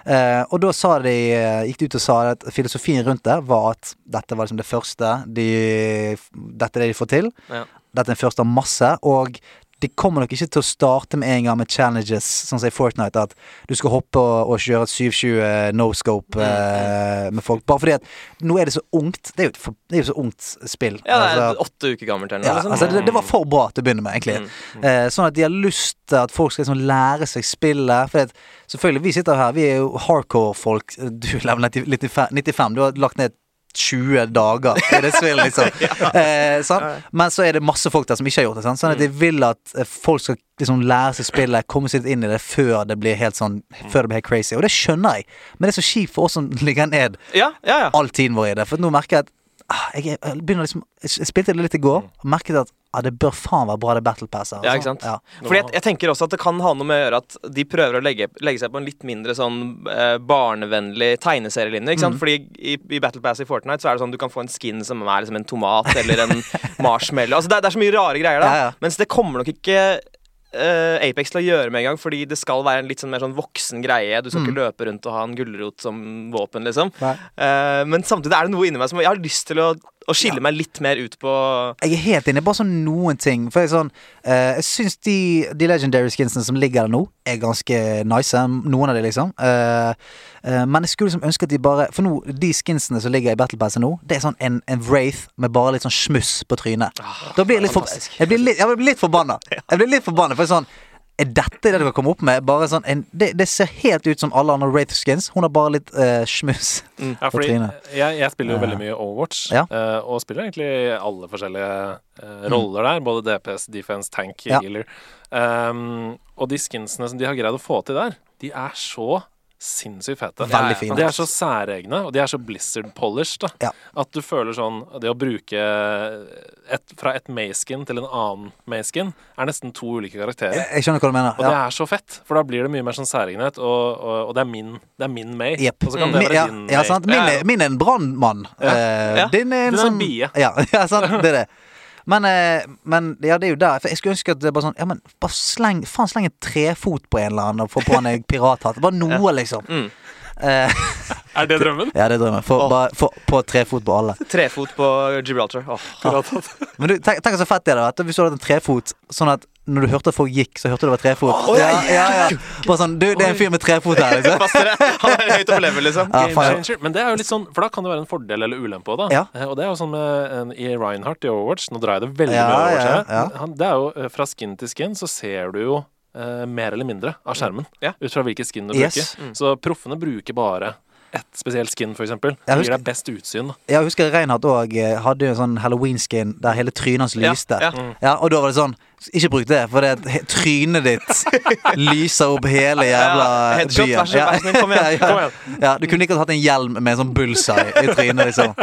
[SPEAKER 1] Eh, Og da sa de eh, gikk de ut og sa at filosofien rundt det var at dette var liksom det første de, Dette er det de får til.
[SPEAKER 3] Ja.
[SPEAKER 1] Dette er en første av masse, og de kommer nok ikke til å starte med en gang med challenges, sånn som i Fortnite, at du skal hoppe og, og kjøre et 720 eh, no scope eh, med folk. Bare fordi at nå er det så ungt. Det er jo et, for, det er jo så ungt spill.
[SPEAKER 3] Ja, det
[SPEAKER 1] Altså-
[SPEAKER 3] er åtte uker gammelt eller sånn.
[SPEAKER 1] ja,
[SPEAKER 3] noe.
[SPEAKER 1] altså det, det var for bra til å begynne med, egentlig. Eh, sånn at de har lyst til at folk skal liksom lære seg spillet. For at, selvfølgelig, vi sitter her, vi er jo hardcore folk. Du er level 90 95, 95, du har lagt ned 20 dager i det spillet, liksom. eh, sant? Men så er det masse folk der som ikke har gjort det. Sant? Sånn at de vil at eh, folk skal liksom lære seg spillet, komme seg litt inn i det før det blir helt sånn Før det blir helt crazy. Og det skjønner jeg, men det er så kjipt for oss som ligger ned
[SPEAKER 3] Ja, ja, ja.
[SPEAKER 1] all tiden vår i det. For nå merker jeg at ah, jeg, er- jeg begynner liksom Jeg spilte det litt i går og merket at ah, det bør faen være bra, det Battle Pass her.
[SPEAKER 3] Mm. Ja,
[SPEAKER 1] altså.
[SPEAKER 3] ikke sant?
[SPEAKER 1] Ja.
[SPEAKER 3] Fordi jeg, jeg tenker også at det kan ha noe med å gjøre at de prøver å legge, legge seg på en litt mindre sånn eh, barnevennlig tegneserielinje.
[SPEAKER 1] Mm.
[SPEAKER 3] Ikke sant? Fordi i, i Battle Pass i Fortnite så er det sånn du kan få en skin som er liksom en tomat eller en marshmallow. Altså det, er- det er så mye rare greier da.
[SPEAKER 1] Ja, ja.
[SPEAKER 3] Mens det kommer nok ikke eh, Apex til å gjøre med en gang, fordi det skal være en litt sånn mer sånn voksen greie. Du skal ikke løpe rundt og ha en gulrot som våpen, liksom.
[SPEAKER 1] Mm. Nei.
[SPEAKER 3] Eh, men samtidig er det noe inni meg som jeg har lyst til å og skille meg litt mer ut på
[SPEAKER 1] Jeg er helt enig. Bare sånn noen ting. For jeg, er sånn, eh, jeg syns de, de legendary skinsene som ligger der nå, er ganske nice. Noen av de, liksom. Eh, eh, men jeg skulle liksom ønske at de bare For nå, de skinsene som ligger i Battle Passet nå, det er sånn en, en Wraith med bare litt sånn smuss på trynet.
[SPEAKER 2] Ah,
[SPEAKER 1] da blir jeg litt, for,
[SPEAKER 3] fantastisk.
[SPEAKER 1] jeg blir litt, jeg blir litt forbanna. Jeg blir litt forbanna, for jeg er sånn er dette det du kan komme opp med? Bare sånn en, det, det ser helt ut som alle andre Wraith skins. Hun har bare litt eh, smuss.
[SPEAKER 2] Ja, fordi
[SPEAKER 1] Katrine.
[SPEAKER 2] jeg, jeg spiller jo veldig mye Overwatch,
[SPEAKER 1] Ja. Mm.
[SPEAKER 2] eh, og spiller egentlig alle forskjellige eh, roller der. Både DPS, defense, tank,
[SPEAKER 1] Ja.
[SPEAKER 2] healer. Um, og de skinsene som de har greid å få til der, de er så sinnssykt fete.
[SPEAKER 1] Veldig
[SPEAKER 2] Ja, ja.
[SPEAKER 1] fine.
[SPEAKER 2] De er så særegne, og de er så blizzard polished. Da.
[SPEAKER 1] Ja.
[SPEAKER 2] At du føler sånn Det å bruke et, fra et Mayskin til en annen Mayskin er nesten to ulike karakterer.
[SPEAKER 1] Jeg, jeg skjønner hva du mener.
[SPEAKER 2] Og det er så fett, for da blir det mye mer sånn særegenhet, og, og, og det er min, det er min May.
[SPEAKER 1] Jepp.
[SPEAKER 2] Og så kan det
[SPEAKER 1] Min-
[SPEAKER 2] være
[SPEAKER 1] Mm. ja,
[SPEAKER 2] din
[SPEAKER 1] ja,
[SPEAKER 2] May.
[SPEAKER 1] sant? Min,
[SPEAKER 2] Ja, ja.
[SPEAKER 1] er, min er en brannmann. Eh,
[SPEAKER 3] Ja.
[SPEAKER 1] Din er en
[SPEAKER 2] Den er
[SPEAKER 1] sånn
[SPEAKER 2] en bie.
[SPEAKER 1] Ja, ja, sant? Det er det. Men, eh, men ja, det er jo der. For jeg skulle ønske at det bare sånn Ja, men bare sleng Faen, sleng en trefot på en eller annen og få på han en eh, pirathatt. Bare noe, liksom.
[SPEAKER 3] Mm.
[SPEAKER 1] Eh,
[SPEAKER 2] Er det drømmen?
[SPEAKER 1] ja, det er drømmen. Få
[SPEAKER 3] Åh.
[SPEAKER 1] bare få på trefot på alle.
[SPEAKER 3] trefot på Gibraltar. Åh. altså.
[SPEAKER 1] Men du, tenk, tenk så fett det er, da. at Hvis du hadde en trefot, sånn at når du hørte at folk gikk, så hørte du det var trefot. ja, ja, ja. Bare sånn Du, det er en fyr med trefot her, liksom.
[SPEAKER 3] Fastere. Han er høyt oppe på level, liksom.
[SPEAKER 1] Ja,
[SPEAKER 2] Game
[SPEAKER 1] faen, ja.
[SPEAKER 2] changer. Men det er jo litt sånn, for da kan det være en fordel eller ulempe òg, da.
[SPEAKER 1] Ja.
[SPEAKER 2] Eh, Og det er jo sånn med en, i Reinhardt i Overwatch, nå drar jeg det veldig
[SPEAKER 1] Ja,
[SPEAKER 2] mye Overwatch
[SPEAKER 1] ja,
[SPEAKER 2] her,
[SPEAKER 1] ja.
[SPEAKER 2] Men Han, det er jo eh, fra skin til skin så ser du jo eh, mer eller mindre av skjermen.
[SPEAKER 3] Ja.
[SPEAKER 2] Ut fra hvilket skin du
[SPEAKER 1] Yes.
[SPEAKER 2] bruker. Så proffene bruker bare ett spesielt skin, for eksempel.
[SPEAKER 1] Jeg
[SPEAKER 2] Det
[SPEAKER 1] husker-
[SPEAKER 2] gir deg best utsyn. da.
[SPEAKER 1] Ja, jeg husker Reinhardt òg hadde jo en sånn halloween-skin der hele trynet hans
[SPEAKER 3] Ja, Mm.
[SPEAKER 1] lyste.
[SPEAKER 3] ja.
[SPEAKER 1] Ja, og da var det sånn Ikke bruk det, for det he- trynet ditt lyser opp hele jævla
[SPEAKER 3] Ja, headshot,
[SPEAKER 1] byen.
[SPEAKER 3] vær så snill, vær så snill, kom igjen,
[SPEAKER 1] ja,
[SPEAKER 2] kom
[SPEAKER 1] ja. ja, Du kunne ikke hatt en hjelm med en sånn bullseye i trynet, liksom.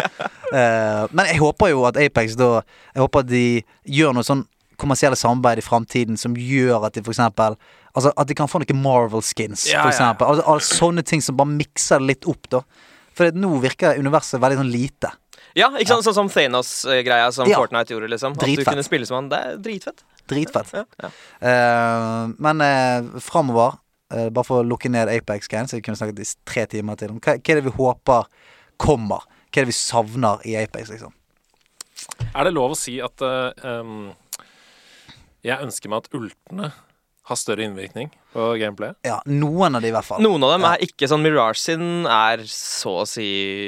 [SPEAKER 1] Eh, men jeg håper jo at Apex da Jeg håper at de gjør noe sånn kommersielle samarbeid i framtiden som gjør at de for eksempel Altså at de kan få noen Marvel-skins,
[SPEAKER 2] Ja,
[SPEAKER 1] for
[SPEAKER 2] ja.
[SPEAKER 1] eksempel. Altså, altså, sånne ting som bare mikser det litt opp, da. For det- nå virker universet veldig sånn lite.
[SPEAKER 3] Ja, ikke sant? Sånn som Thanos-greia som
[SPEAKER 1] Ja.
[SPEAKER 3] Fortnite gjorde. liksom At
[SPEAKER 1] Dritfett.
[SPEAKER 3] du kunne spille som han. Det er dritfett.
[SPEAKER 1] Dritfett.
[SPEAKER 3] Ja. Ja.
[SPEAKER 1] Eh, men uh, framover, eh, bare for å lukke ned Apex Games, så vi kunne snakket i s- tre timer til om hva, hva er det vi håper kommer? Hva er det vi savner i Apex, liksom?
[SPEAKER 2] Er det lov å si at eh, em, jeg ønsker meg at ultene har større innvirkning på gameplayet?
[SPEAKER 1] Ja, noen av de i hvert fall.
[SPEAKER 3] Noen av dem
[SPEAKER 1] Ja.
[SPEAKER 3] er ikke sånn Mirage sin er så å si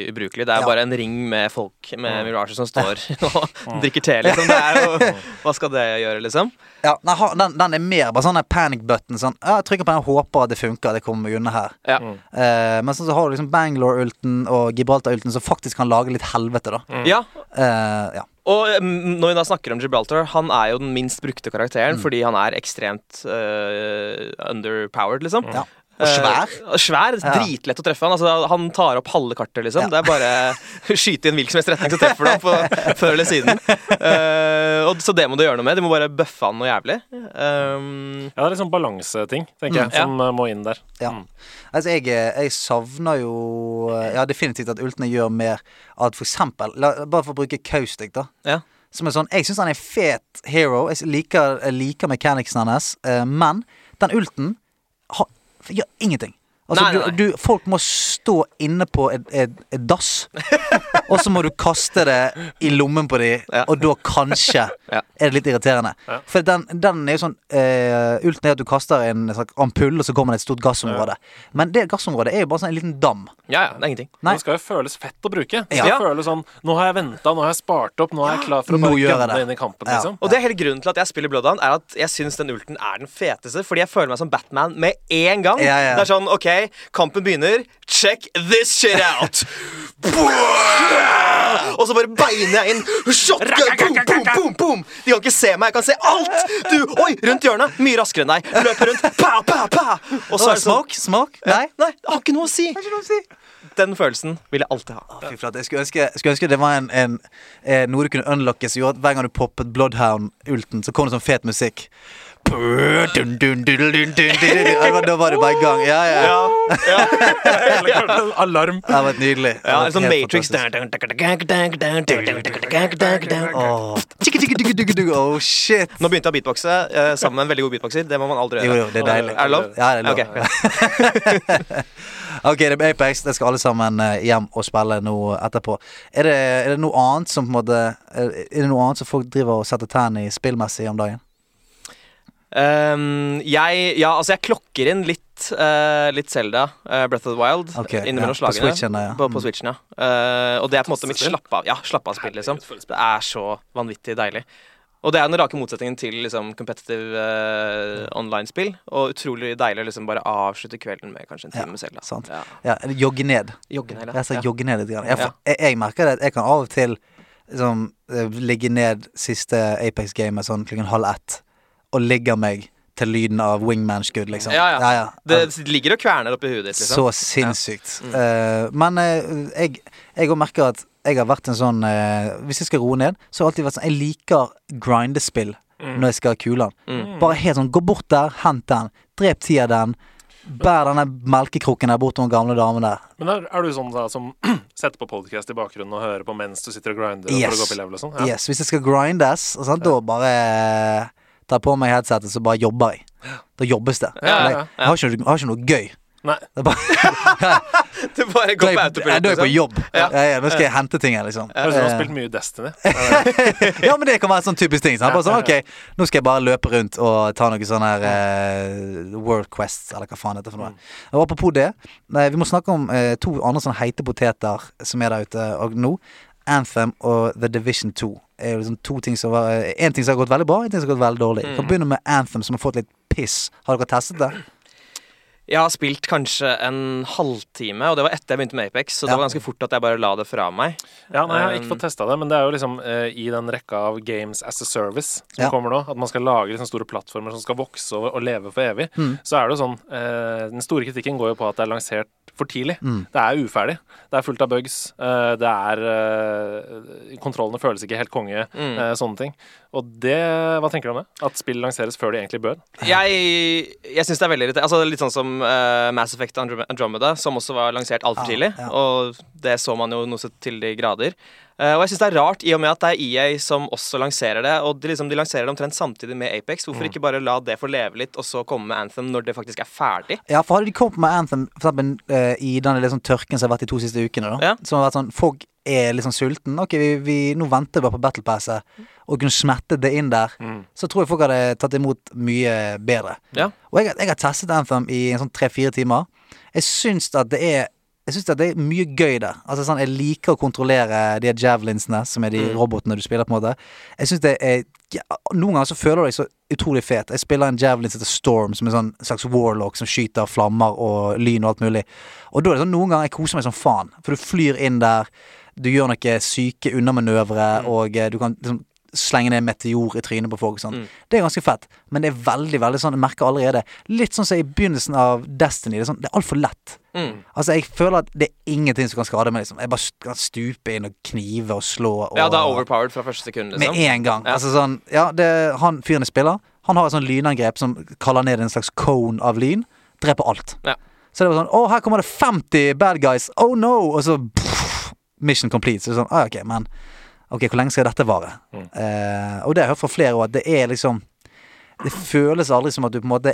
[SPEAKER 3] ubrukelig. Det er
[SPEAKER 1] Ja.
[SPEAKER 3] bare en ring med folk med Mirage som står og drikker te, liksom. Det er jo, hva skal det gjøre, liksom?
[SPEAKER 1] Ja, nei, ha- den, den er mer bare sånn der panic button. Sånn, ja, jeg trykker på den og håper at det funker, at jeg kommer meg unna her.
[SPEAKER 3] Ja.
[SPEAKER 1] Eh, men sånn så har du liksom Bangalore-ulten og Gibraltar-ulten som faktisk kan lage litt helvete, da.
[SPEAKER 3] ja.
[SPEAKER 1] Eh, ja.
[SPEAKER 3] Og mm, når vi da snakker om Gibraltar, han er jo den minst brukte
[SPEAKER 1] Mm.
[SPEAKER 3] karakteren fordi han er ekstremt øh, underpowered, liksom.
[SPEAKER 1] Ja. Og svær.
[SPEAKER 3] Eh, og svær. Dritlett å treffe han. Altså, han tar opp halve kartet, liksom.
[SPEAKER 1] Ja.
[SPEAKER 3] Det er bare skyte i en hvilken som helst retning, så treffer du ham på- før eller siden. Eh, og, så det må du gjøre noe med. Du må bare bøffe han noe jævlig. Um,
[SPEAKER 2] Ja, det er liksom balanseting, tenker jeg,
[SPEAKER 3] Mm, ja.
[SPEAKER 2] som eh, må inn der.
[SPEAKER 1] Ja.
[SPEAKER 2] Mm.
[SPEAKER 1] Altså, jeg, jeg savner jo eh, Ja, definitivt at ultene gjør mer at for eksempel la, Bare for å bruke Kaustik, da.
[SPEAKER 3] ja.
[SPEAKER 1] Som er sånn Jeg syns han er en fet hero. Jeg liker, jeg liker mechanicsen hennes. eh, men den ulten har, gjør ingenting. Altså,
[SPEAKER 3] Nei, nei, nei.
[SPEAKER 1] Du, du, folk må stå inne på et, et, et dass, og så må du kaste det i lommen på dem,
[SPEAKER 3] Ja.
[SPEAKER 1] og da kanskje
[SPEAKER 3] Ja.
[SPEAKER 1] er det litt irriterende.
[SPEAKER 2] Ja.
[SPEAKER 1] For den, den er jo sånn eh, Ulten er at du kaster en slags ampull, og så kommer det et stort gassområde. Men det gassområdet er jo bare sånn en liten dam.
[SPEAKER 3] ja, ja. Det er ingenting.
[SPEAKER 1] Nei.
[SPEAKER 2] Det skal jo føles fett å bruke. Det
[SPEAKER 1] Ja.
[SPEAKER 2] skal føles sånn Nå har jeg venta, nå har jeg spart opp, nå er jeg klar for å
[SPEAKER 1] Nå
[SPEAKER 2] bare
[SPEAKER 1] gjør jeg
[SPEAKER 2] gønne
[SPEAKER 1] det.
[SPEAKER 2] inn i kampen,
[SPEAKER 1] Ja.
[SPEAKER 2] liksom.
[SPEAKER 3] Og det er hele grunnen til at jeg spiller Bloodhound, er at jeg syns den ulten er den feteste. Fordi jeg føler meg som Batman med en gang.
[SPEAKER 1] Ja, ja.
[SPEAKER 3] Det er sånn, OK, kampen begynner. Check this shit out! Og så bare beiner jeg inn. Shotgun! Boom, boom, boom, boom! De kan ikke se meg. Jeg kan se alt! Du, oi, rundt hjørnet. Mye raskere enn deg. Løper rundt. Pa, pa, pa! Og så er det sånn
[SPEAKER 1] smak, smak. Nei.
[SPEAKER 3] Nei, det har ikke noe å si.
[SPEAKER 1] Hva er det du sier?
[SPEAKER 3] Den følelsen vil jeg alltid ha.
[SPEAKER 1] Fy flate, jeg skulle ønske, jeg skulle ønske det var en, en, eh, noe du kunne unlocke som gjorde at hver gang du poppet Bloodhound-ulten, så kom det sånn fet musikk. Dun, dun, dun, dun, dun, dun, dun, dun. Ja, det var- Da var det bare i gang. Ja, ja. ja.
[SPEAKER 3] Ja, ja.
[SPEAKER 2] Alarm.
[SPEAKER 1] Det var nydelig. Det
[SPEAKER 3] ja
[SPEAKER 1] var
[SPEAKER 3] en sånn
[SPEAKER 1] helt
[SPEAKER 3] Matrix
[SPEAKER 1] fantastisk. Åh. Tikki, tikki, tikki, tikki, tikki. Oh, shit.
[SPEAKER 3] Nå begynte jeg å beatboxe eh, sammen med en veldig god beatboxer. Det må man aldri
[SPEAKER 1] Jo,
[SPEAKER 3] gjøre.
[SPEAKER 1] jo, det er deilig.
[SPEAKER 3] Er det lov?
[SPEAKER 1] Ja, det er lov.
[SPEAKER 3] Ok.
[SPEAKER 1] Ok, det blir Apex. Det skal alle sammen eh, hjem og spille nå etterpå. Er det, er det noe annet som på en måte Er er det noe annet som folk driver og setter tærne i spillmessig om dagen?
[SPEAKER 3] Ehm, jeg, ja, altså jeg klokker inn litt uh, Litt Zelda, eh, Breath of the Wild,
[SPEAKER 1] Ok, ja,
[SPEAKER 3] innimellom
[SPEAKER 1] på
[SPEAKER 3] slagene.
[SPEAKER 1] Switchen, ja.
[SPEAKER 3] På,
[SPEAKER 1] Mm.
[SPEAKER 3] på Switchen, ja. Eh, og det er på en måte mitt
[SPEAKER 2] Fantastisk spill.
[SPEAKER 3] slapp av, ja, slapp av spill, liksom.
[SPEAKER 2] Herregud, for et spill.
[SPEAKER 3] Det er så vanvittig deilig. Og det er den rake motsetningen til liksom, competitive eh, online-spill. Og utrolig deilig å liksom bare avslutte kvelden med kanskje en time
[SPEAKER 1] Ja,
[SPEAKER 3] med Zelda.
[SPEAKER 1] sant.
[SPEAKER 3] Ja.
[SPEAKER 1] Ja, eller jogge ned.
[SPEAKER 3] Jogge ned,
[SPEAKER 1] Rett og slett
[SPEAKER 3] ja.
[SPEAKER 1] jogge ned litt. Grann. Jeg,
[SPEAKER 3] Ja.
[SPEAKER 1] jeg, jeg merker det at jeg kan av og til liksom, eh, ligge ned siste Apex-gamet sånn klokken halv ett, og ligge meg til lyden av wingman-skudd, liksom.
[SPEAKER 3] Ja, ja.
[SPEAKER 1] ja,
[SPEAKER 3] Det ligger og kverner oppi huet ditt, liksom. Mm.
[SPEAKER 1] Så sinnssykt. Eh, men eh, jeg, jeg også merker at jeg har vært en sånn eh, Hvis jeg skal roe ned, så har jeg alltid vært sånn Jeg liker grindespill
[SPEAKER 3] Mm.
[SPEAKER 1] når jeg skal ha kulen. Bare helt sånn Gå bort der, hent den. Drep ti av den. Bær denne melkekrukken der bort til den gamle damen der.
[SPEAKER 2] Men er, er du sånn da, som setter på podcast i bakgrunnen og hører på mens du sitter og grinder? For å gå
[SPEAKER 1] Yes.
[SPEAKER 2] opp i level og sånn? Ja.
[SPEAKER 1] yes. Hvis jeg skal grindes, og sånn, da bare eh, tar jeg på meg headsetet, så bare jobber jeg. Da jobbes det.
[SPEAKER 2] Ja, ja, ja.
[SPEAKER 1] Jeg, jeg, har ikke, noe- jeg har ikke noe gøy.
[SPEAKER 2] Nei.
[SPEAKER 1] Det er bare,
[SPEAKER 3] Det bare
[SPEAKER 1] da
[SPEAKER 3] går
[SPEAKER 1] er
[SPEAKER 3] på
[SPEAKER 1] jeg, da
[SPEAKER 3] autopilot.
[SPEAKER 1] er jeg på
[SPEAKER 3] liksom.
[SPEAKER 1] jobb. Ja, ja, nå skal jeg hente ting her, liksom.
[SPEAKER 2] Høres ut som du har
[SPEAKER 1] Eh,
[SPEAKER 2] spilt mye Destiny.
[SPEAKER 1] Ja, men det kan være en sånn typisk ting. Sant? Bare sånn,
[SPEAKER 2] Ja, ja,
[SPEAKER 1] ok, nå skal jeg bare løpe rundt og ta noen sånne her eh, World Quests, eller hva faen det er for noe. Og apropos det, eh, vi må snakke om eh, to andre sånne heite poteter som er der ute og nå. Anthem og The Division 2. Er jo liksom to ting som var, eh, en ting som har gått veldig bra, en ting som har gått veldig dårlig. Vi kan begynne med Anthem, som har fått litt piss. Har dere testet det?
[SPEAKER 3] Jeg har spilt kanskje en halvtime, og det var etter jeg begynte med Apex. Så
[SPEAKER 1] Ja.
[SPEAKER 3] det var ganske fort at jeg bare la det fra meg.
[SPEAKER 2] Ja, nei, Jeg har ikke
[SPEAKER 3] Um,
[SPEAKER 2] fått testa det, men det er jo liksom eh, i den rekka av games as a service som
[SPEAKER 1] Ja.
[SPEAKER 2] kommer nå, at man skal lage liksom store plattformer som skal vokse og, og leve for evig,
[SPEAKER 1] Mm.
[SPEAKER 2] så er det jo sånn eh, Den store kritikken går jo på at det er lansert for tidlig.
[SPEAKER 1] Mm.
[SPEAKER 2] Det er uferdig. Det er fullt av bugs. eh, det er eh, Kontrollene føles ikke helt konge.
[SPEAKER 3] Mm.
[SPEAKER 2] eh, sånne ting. Og det Hva tenker du om det? At spill lanseres før de egentlig bør?
[SPEAKER 3] Jeg, jeg syns det er veldig irriterende. Altså, litt sånn som eh, Mass Effect Androm- Andromeda, som også var lansert altfor
[SPEAKER 1] Ja,
[SPEAKER 3] tidlig.
[SPEAKER 1] Ah, ja.
[SPEAKER 3] Og det så man jo noe så til de grader. Eh, og jeg syns det er rart, i og med at det er EA som også lanserer det. Og de, liksom, de lanserer det omtrent samtidig med Apex.
[SPEAKER 1] Mm.
[SPEAKER 3] Hvorfor ikke bare la det få leve litt, og så komme med Anthem når det faktisk er ferdig?
[SPEAKER 1] Ja, for hadde de kommet med Anthem for eksempel, eh, i den liksom tørken som har vært de to siste ukene, da,
[SPEAKER 3] Ja.
[SPEAKER 1] som har vært sånn Folk er liksom sulten. Ok, vi, vi, nå venter vi bare på Battle Passet, og kunne smettet det inn der. Så tror jeg folk hadde tatt imot mye bedre.
[SPEAKER 3] Ja.
[SPEAKER 1] Og jeg, jeg har testet Anthem i en sånn tre-fire timer. Jeg syns at det er jeg syns at det er mye gøy der. Altså sånn, Jeg liker å kontrollere de javelinsene, som er de robotene du spiller. på en måte Jeg synes det er ja, Noen ganger så føler du deg så utrolig fet. Jeg spiller en javelin som heter Storm, som er en sånn slags warlock som skyter flammer og lyn og alt mulig. Og da er det sånn noen ganger jeg koser meg som faen, for du flyr inn der, du gjør noen syke unnamanøvre, og eh, du kan liksom slenge ned meteor i trynet på folk. og Sånn. Det er ganske fett, men det er veldig veldig sånn, jeg merker allerede Litt sånn som i begynnelsen av Destiny. Det er, sånn, det er altfor lett.
[SPEAKER 3] Mm.
[SPEAKER 1] Altså Jeg føler at det er ingenting som kan skade meg. Liksom. Jeg bare st- kan stupe inn og knive og slå. Og,
[SPEAKER 3] Ja, det er overpowered fra første sekund,
[SPEAKER 1] med
[SPEAKER 3] liksom.
[SPEAKER 1] en gang.
[SPEAKER 3] Ja.
[SPEAKER 1] Altså sånn, ja, det, han fyren jeg spiller, han har et sånn lynangrep som kaller ned en slags cone av lyn. Dreper alt.
[SPEAKER 3] Ja.
[SPEAKER 1] Så det var sånn Å, her kommer det 50 bad guys! Oh no! Og så pff, Mission complete. Så det er sånn, ah, ok, men Ok, hvor lenge skal dette vare?
[SPEAKER 3] Mm.
[SPEAKER 1] Eh, og det har jeg hørt fra flere òg, at det er liksom Det føles aldri som at du på en måte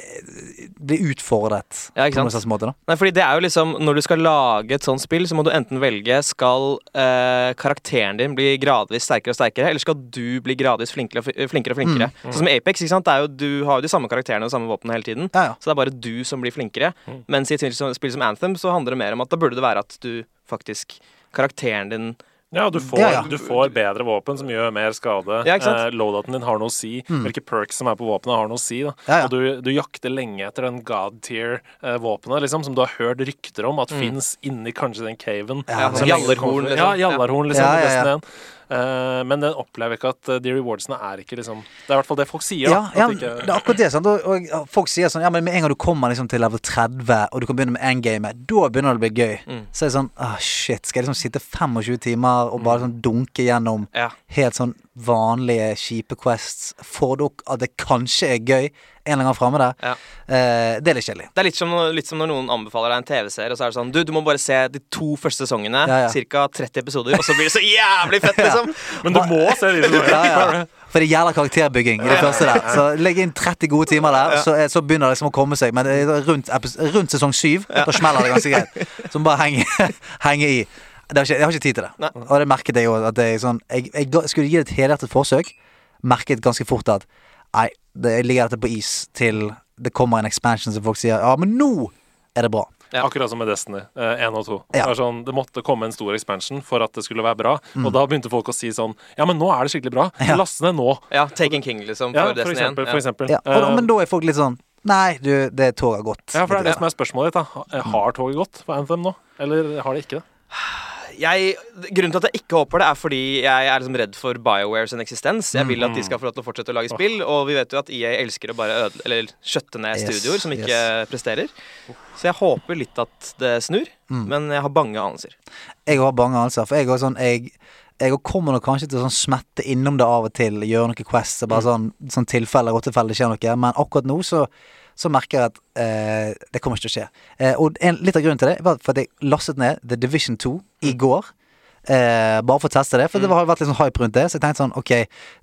[SPEAKER 1] blir utfordret.
[SPEAKER 3] Ja,
[SPEAKER 1] på
[SPEAKER 3] ikke
[SPEAKER 1] noen
[SPEAKER 3] sant?
[SPEAKER 1] slags måte da
[SPEAKER 3] Nei, fordi det er jo liksom Når du skal lage et sånt spill, så må du enten velge Skal eh, karakteren din bli gradvis sterkere og sterkere, eller skal du bli gradvis flinkere og fl- flinkere? og flinkere
[SPEAKER 1] Mm.
[SPEAKER 3] Sånn som i Apex, ikke sant? Det er jo, du har jo de samme karakterene og de samme våpnene hele tiden.
[SPEAKER 1] Ja, ja.
[SPEAKER 3] Så det er bare du som blir flinkere.
[SPEAKER 1] Mm.
[SPEAKER 3] Mens i et spill som- spill som Anthem så handler det mer om at da burde det være at du faktisk Karakteren din
[SPEAKER 2] Ja, du får,
[SPEAKER 1] Ja, ja.
[SPEAKER 2] du får bedre våpen som gjør mer skade.
[SPEAKER 3] Ja, ikke sant? Mm.
[SPEAKER 2] Eh, Loadouten din har noe å si. Hvilke perks som er på våpenet, har noe å si. Da.
[SPEAKER 1] Ja, ja.
[SPEAKER 2] Og du, du jakter lenge etter den god tier-våpenet liksom, som du har hørt rykter om at finnes inni kanskje den caven.
[SPEAKER 1] Ja,
[SPEAKER 2] Så
[SPEAKER 3] sånn
[SPEAKER 2] lenge-
[SPEAKER 3] jallarhorn, liksom.
[SPEAKER 2] Ja, jallarhorn, liksom.
[SPEAKER 1] Ja,
[SPEAKER 2] i
[SPEAKER 1] ja, ja.
[SPEAKER 2] Destiny 1. Eh, men den opplever ikke at eh, de rewardsene er ikke liksom Det er i hvert fall det folk sier.
[SPEAKER 1] Ja,
[SPEAKER 2] da,
[SPEAKER 1] ja,
[SPEAKER 2] at
[SPEAKER 1] men
[SPEAKER 2] det
[SPEAKER 1] det
[SPEAKER 2] ikke,
[SPEAKER 1] er akkurat det. Sant? Og, og og folk sier sånn Ja, men med en gang du kommer liksom til level 30, og du kan begynne med endgamet, da begynner det å bli gøy.
[SPEAKER 2] Mm.
[SPEAKER 1] Så er det sånn ah, Shit, skal jeg liksom sitte 25 timer og
[SPEAKER 2] Mm.
[SPEAKER 1] bare sånn dunke gjennom
[SPEAKER 3] Ja.
[SPEAKER 1] helt sånn vanlige kjipe quests? Får dere at det kanskje er gøy en eller annen gang framme der?
[SPEAKER 3] Ja.
[SPEAKER 1] Eh, det er litt kjedelig.
[SPEAKER 3] Det er litt som, litt som når noen anbefaler deg en TV-serie, og så er det sånn Du, du må bare se de to første sesongene,
[SPEAKER 1] Ja, ja.
[SPEAKER 3] ca. 30 episoder, og så blir det så jævlig fett, liksom!
[SPEAKER 2] Men du må se de som er
[SPEAKER 1] Ja, ja. For det gjelder karakterbygging i det første der. Så legg inn 30 gode timer der, så, er- så begynner det liksom å komme seg. Men det er rundt, epis- rundt sesong 7, da smeller det ganske greit. Så må bare henge, henge i. Det har ikke, jeg har ikke tid til det.
[SPEAKER 3] Nei.
[SPEAKER 1] Og det merket jeg jo. At det er sånn, jeg, jeg ga- skulle gi det et helhjertet forsøk. Merket ganske fort at nei, det ligger dette på is til det kommer en expansion som folk sier ja, men nå er det bra.
[SPEAKER 3] Ja.
[SPEAKER 2] Akkurat som med Destiny eh, 1 og 2.
[SPEAKER 1] Ja.
[SPEAKER 2] Det, var sånn, det måtte komme en stor expansion for at det skulle være bra. Og da begynte folk å si sånn Ja, men nå er det skikkelig bra.
[SPEAKER 1] Ja.
[SPEAKER 2] Last ned nå.
[SPEAKER 3] Ja, Taken King, liksom.
[SPEAKER 2] Ja,
[SPEAKER 3] For
[SPEAKER 2] for
[SPEAKER 3] Destiny 1.
[SPEAKER 2] eksempel. For eksempel.
[SPEAKER 1] Ja. Og, da-
[SPEAKER 2] Eh,
[SPEAKER 1] men da er folk litt sånn Nei, du, det toget har gått.
[SPEAKER 2] ja, for det er det
[SPEAKER 1] litt
[SPEAKER 2] som er spørsmålet ditt. da Har toget gått for Anthem nå? Eller har det ikke det?
[SPEAKER 3] jeg, grunnen til at jeg ikke håper det, er fordi jeg er liksom redd for Bioware sin eksistens. Jeg vil at
[SPEAKER 2] Mm.
[SPEAKER 3] de skal få lov til å fortsette å lage spill, og vi vet jo at EA elsker å bare øde, eller skjøtte ned
[SPEAKER 1] Yes,
[SPEAKER 3] studioer som ikke
[SPEAKER 1] yes.
[SPEAKER 3] presterer. Så jeg håper litt at det snur,
[SPEAKER 1] Mm.
[SPEAKER 3] men jeg har bange anelser.
[SPEAKER 1] Jeg har bange anelser. For jeg, har sånn, jeg, jeg kommer nok kanskje til å sånn smette innom det av og til. Gjøre noen quests. og Bare sånn, sånn tilfelle rottefeller skjer noe. Men akkurat nå så, så merker jeg at eh, det kommer ikke til å skje. Eh, og en, litt av grunnen til det var for at jeg lastet ned The Division 2 i går. Eh, bare for å teste det, for det har vært litt sånn hype rundt det. Så jeg tenkte sånn, ok,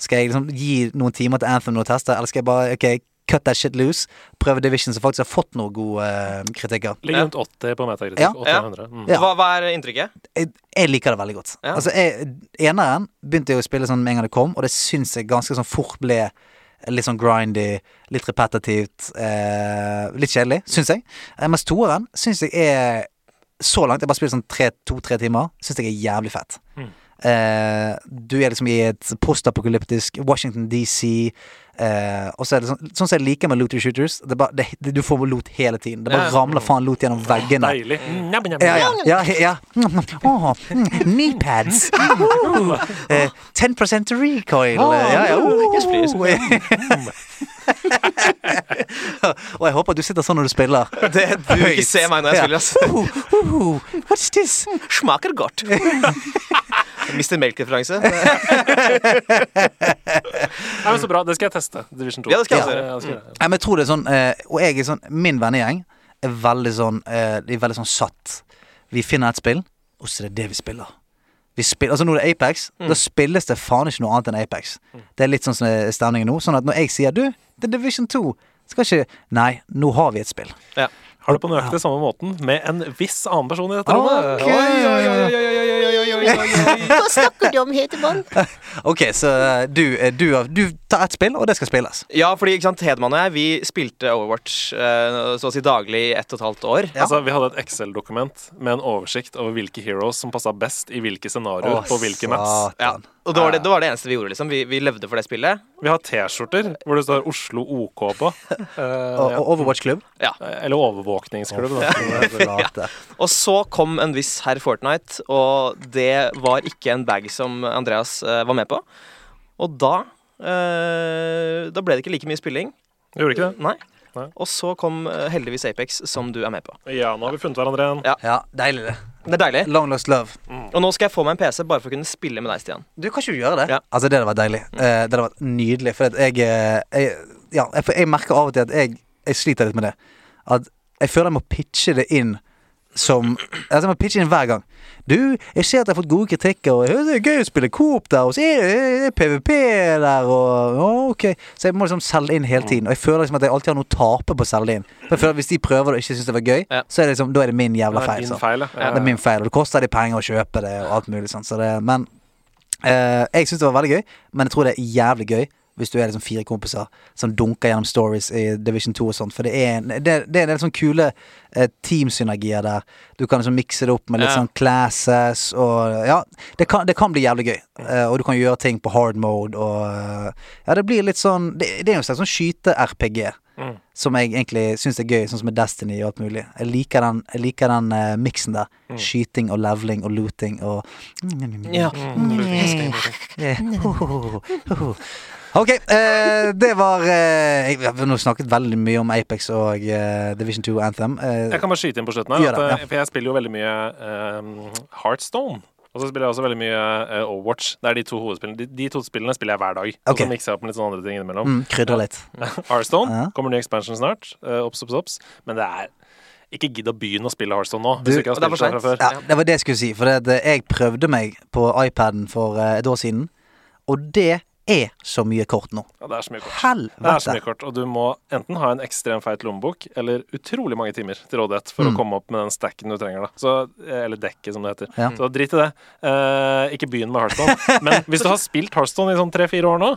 [SPEAKER 1] skal jeg liksom gi noen timer til Anthem nå å teste, eller skal jeg bare ok, cut that shit loose? Prøve Division, som faktisk har fått noen gode eh, kritikker.
[SPEAKER 2] Ligger rundt 80 på metakritikk.
[SPEAKER 1] Ja.
[SPEAKER 2] 800. Mm.
[SPEAKER 1] Ja.
[SPEAKER 3] Hva, hva er inntrykket?
[SPEAKER 1] jeg, jeg liker det veldig godt.
[SPEAKER 3] Ja.
[SPEAKER 1] Altså, jeg, eneren begynte jeg å spille sånn med en gang det kom, og det syns jeg ganske sånn fort ble litt sånn grindy, litt repetitivt, eh, litt kjedelig, syns jeg. Eh, Mens toeren syns jeg er så langt, jeg bare spiller sånn tre- to-tre timer, syns jeg er jævlig fett.
[SPEAKER 2] Mm.
[SPEAKER 1] Eh, du er liksom i et postapokalyptisk Washington DC. Eh, og så er det sånn, sånn som jeg liker med looter shooters. Det er bare, det, du får lot hele tiden. Det bare
[SPEAKER 3] Ja.
[SPEAKER 1] ramler faen lot gjennom veggene.
[SPEAKER 2] Deilig. Mm. Njam, njam,
[SPEAKER 1] Ja, ja.
[SPEAKER 2] njam.
[SPEAKER 1] ja, he- ja. Åh, mm, knee pads. Oh, eh, 10 recoil. eh, Ja, ja. Oh,
[SPEAKER 3] Yes, please. Mm.
[SPEAKER 1] Og jeg håper du sitter sånn når du spiller.
[SPEAKER 3] Det, du vil ikke se meg når jeg spiller, altså. ass.
[SPEAKER 1] Oh, oh, what's this?
[SPEAKER 3] Smaker godt. Mr. Melk-referanse.
[SPEAKER 2] Nei, men så bra. Det skal jeg teste. Division 2.
[SPEAKER 3] Ja, det skal jeg også gjøre.
[SPEAKER 2] det skal jeg gjøre.
[SPEAKER 1] Nei, men jeg tror det er sånn eh, Og jeg er sånn Min vennegjeng er veldig sånn eh, De er veldig sånn satt Vi finner et spill Og så er det det vi spiller vi spiller, altså når det er Apex,
[SPEAKER 2] Mm.
[SPEAKER 1] da spilles det faen ikke noe annet enn Apex. Det er litt sånn som er stemningen nå. Sånn at når jeg sier 'du, det er Division 2', skal ikke Nei, nå har vi et spill.
[SPEAKER 3] Ja.
[SPEAKER 2] Mm. Har du på nøyaktig samme måten med en viss annen person i dette rommet?
[SPEAKER 1] Ah, Ok.
[SPEAKER 4] Hva snakker du om, Hedemann?
[SPEAKER 1] Ok, så eh, du, eh, du, har- du tar ett spill, og det skal spilles.
[SPEAKER 3] Ja, fordi ikke sant, Hedman og jeg vi spilte Overwatch eh, så å si daglig i ett og et halvt år.
[SPEAKER 2] Altså, vi hadde et Excel-dokument med en oversikt over hvilke heroes som passa best i hvilke scenarioer
[SPEAKER 1] Å,
[SPEAKER 2] på hvilke maps.
[SPEAKER 3] Ja.
[SPEAKER 1] satan.
[SPEAKER 3] Og det var det, det var det eneste vi gjorde. liksom Vi, vi levde for det spillet.
[SPEAKER 2] Vi har T-skjorter hvor det står Oslo OK på.
[SPEAKER 1] Og,
[SPEAKER 2] Eh, ja.
[SPEAKER 1] og Overwatch-klubb.
[SPEAKER 3] Ja.
[SPEAKER 2] Eller overvåkningsklubb. da.
[SPEAKER 1] Flate.
[SPEAKER 3] Og så kom en viss herr Fortnite, og det var ikke en bag som Andreas eh, var med på. Og da eh, Da ble det ikke like mye spilling.
[SPEAKER 2] Gjorde ikke det?
[SPEAKER 3] Nei.
[SPEAKER 2] Nei.
[SPEAKER 3] Og så kom eh, heldigvis Apex, som du er med på.
[SPEAKER 2] Ja, nå har vi funnet hverandre igjen.
[SPEAKER 3] Ja.
[SPEAKER 1] Ja, deilig det.
[SPEAKER 3] Det er deilig.
[SPEAKER 1] Long lost love.
[SPEAKER 2] Mm.
[SPEAKER 3] Og nå skal jeg få meg en PC bare for å kunne spille med deg, Stian.
[SPEAKER 1] Du, kan ikke du gjøre det?
[SPEAKER 3] Ja.
[SPEAKER 1] Altså, det hadde vært deilig. Eh, det hadde vært nydelig. For at jeg, eh, jeg Ja, jeg, for jeg merker av og til at jeg, jeg sliter litt med det. At jeg føler jeg må pitche det inn som Altså, jeg må pitche inn hver gang. Du, jeg ser at jeg har fått gode kritikker, og jeg- det er gøy å spille Coop der, og så er det- det er PVP der, og å, OK. Så jeg må liksom selge inn hele tiden. Og jeg føler liksom at jeg alltid har noe å tape på å selge det inn. For jeg føler at Hvis de prøver det og ikke syns det var gøy,
[SPEAKER 3] Ja.
[SPEAKER 1] så er det liksom, da er det min jævla
[SPEAKER 2] Det
[SPEAKER 1] feil.
[SPEAKER 2] er din
[SPEAKER 1] sant?
[SPEAKER 2] feil, ja.
[SPEAKER 1] Det er min feil, og det koster de penger å kjøpe det og alt mulig sånn. Så det, men eh, jeg syns det var veldig gøy, men jeg tror det er jævlig gøy hvis du er liksom fire kompiser som dunker gjennom stories i Division 2 og sånt. For det er en, det, det er en del sånn kule eh, teamsynergier der. Du kan liksom mikse det opp med litt
[SPEAKER 3] Ja.
[SPEAKER 1] sånn classes og Ja, det kan, det kan bli jævlig gøy. Eh, og du kan gjøre ting på hard mode og eh, Ja, det blir litt sånn Det, det er jo en slags sånn skyte-RPG.
[SPEAKER 2] Mm.
[SPEAKER 1] som jeg egentlig syns er gøy, sånn som med Destiny og alt mulig. Jeg liker den, jeg liker den eh, miksen der.
[SPEAKER 2] Mm.
[SPEAKER 1] Skyting og leveling og looting og
[SPEAKER 3] Ja.
[SPEAKER 2] Mm.
[SPEAKER 1] Eh, ho, ho, ho, ho, ho. Ok, eh, det var eh, jeg, Vi har nå snakket veldig mye om Apex og eh, Division 2 Anthem. Eh,
[SPEAKER 2] Jeg kan bare skyte inn på slutten her,
[SPEAKER 1] Gjør det,
[SPEAKER 2] at, eh, for jeg spiller jo veldig mye eh, Heartstone. Og så spiller jeg også veldig mye eh, Overwatch. Det er de to hovedspillene. De, de to spillene spiller jeg hver dag. Og
[SPEAKER 1] Ok.
[SPEAKER 2] så mikser jeg opp med litt sånne andre ting innimellom.
[SPEAKER 1] mm, krydrer litt.
[SPEAKER 2] Hearthstone.
[SPEAKER 1] Ja.
[SPEAKER 2] Kommer ny expansion snart. Eh, Ops, ops, ops. Men det er ikke gidd å begynne å spille Hearthstone nå. Hvis
[SPEAKER 1] Du-
[SPEAKER 2] du ikke har
[SPEAKER 3] Og det er
[SPEAKER 2] spilt det
[SPEAKER 3] for
[SPEAKER 2] fra før.
[SPEAKER 1] Ja, det var det jeg skulle si. For det, at, eh, jeg prøvde meg på iPaden for eh, et år siden, og det er så mye kort nå.
[SPEAKER 2] Ja, det er så mye kort. Det er så
[SPEAKER 1] Helvete.
[SPEAKER 2] mye kort, og du må enten ha en ekstremt feit lommebok eller utrolig mange timer til rådighet for å komme opp med den stacken du trenger, da. Så, eller dekket, som det heter.
[SPEAKER 1] Ja.
[SPEAKER 2] Så drit i det. Eh, ikke begynn med Hearthstone. Men hvis du har spilt Hearthstone i sånn tre-fire år nå,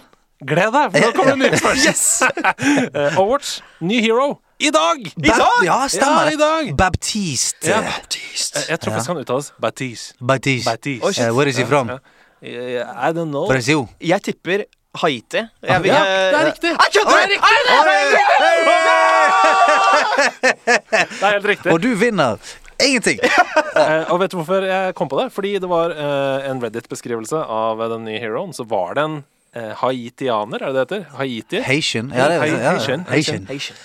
[SPEAKER 2] gled deg, for nå kommer det en ny expansion. Eh, Overwatch, ny hero, i dag! I
[SPEAKER 1] Bap-
[SPEAKER 2] dag!
[SPEAKER 1] Ja, stemmer
[SPEAKER 2] Ja, i dag!
[SPEAKER 1] det. Baptiste.
[SPEAKER 2] Ja.
[SPEAKER 1] Baptiste.
[SPEAKER 2] Jeg tror faktisk han uttales Baptiste.
[SPEAKER 1] Baptiste.
[SPEAKER 2] Baptiste.
[SPEAKER 3] Oi, shit.
[SPEAKER 1] Eh, where is he from?
[SPEAKER 2] Ja. I don't know.
[SPEAKER 1] Brasil.
[SPEAKER 3] Jeg tipper Haiti. Jeg,
[SPEAKER 2] Ja, det er riktig.
[SPEAKER 3] Jeg kødder!
[SPEAKER 2] Det er
[SPEAKER 3] Nei, nei, nei, nei, nei.
[SPEAKER 2] Det er helt riktig.
[SPEAKER 1] Og du vinner ingenting.
[SPEAKER 2] Eh, og vet du hvorfor jeg kom på det? Fordi det var eh, en Reddit-beskrivelse av eh, den nye heroen. Så var det en eh, haitianer, er det det heter? Haitier.
[SPEAKER 1] Haitian. Ja, det er, ja,
[SPEAKER 2] Haitian.
[SPEAKER 1] Haitian.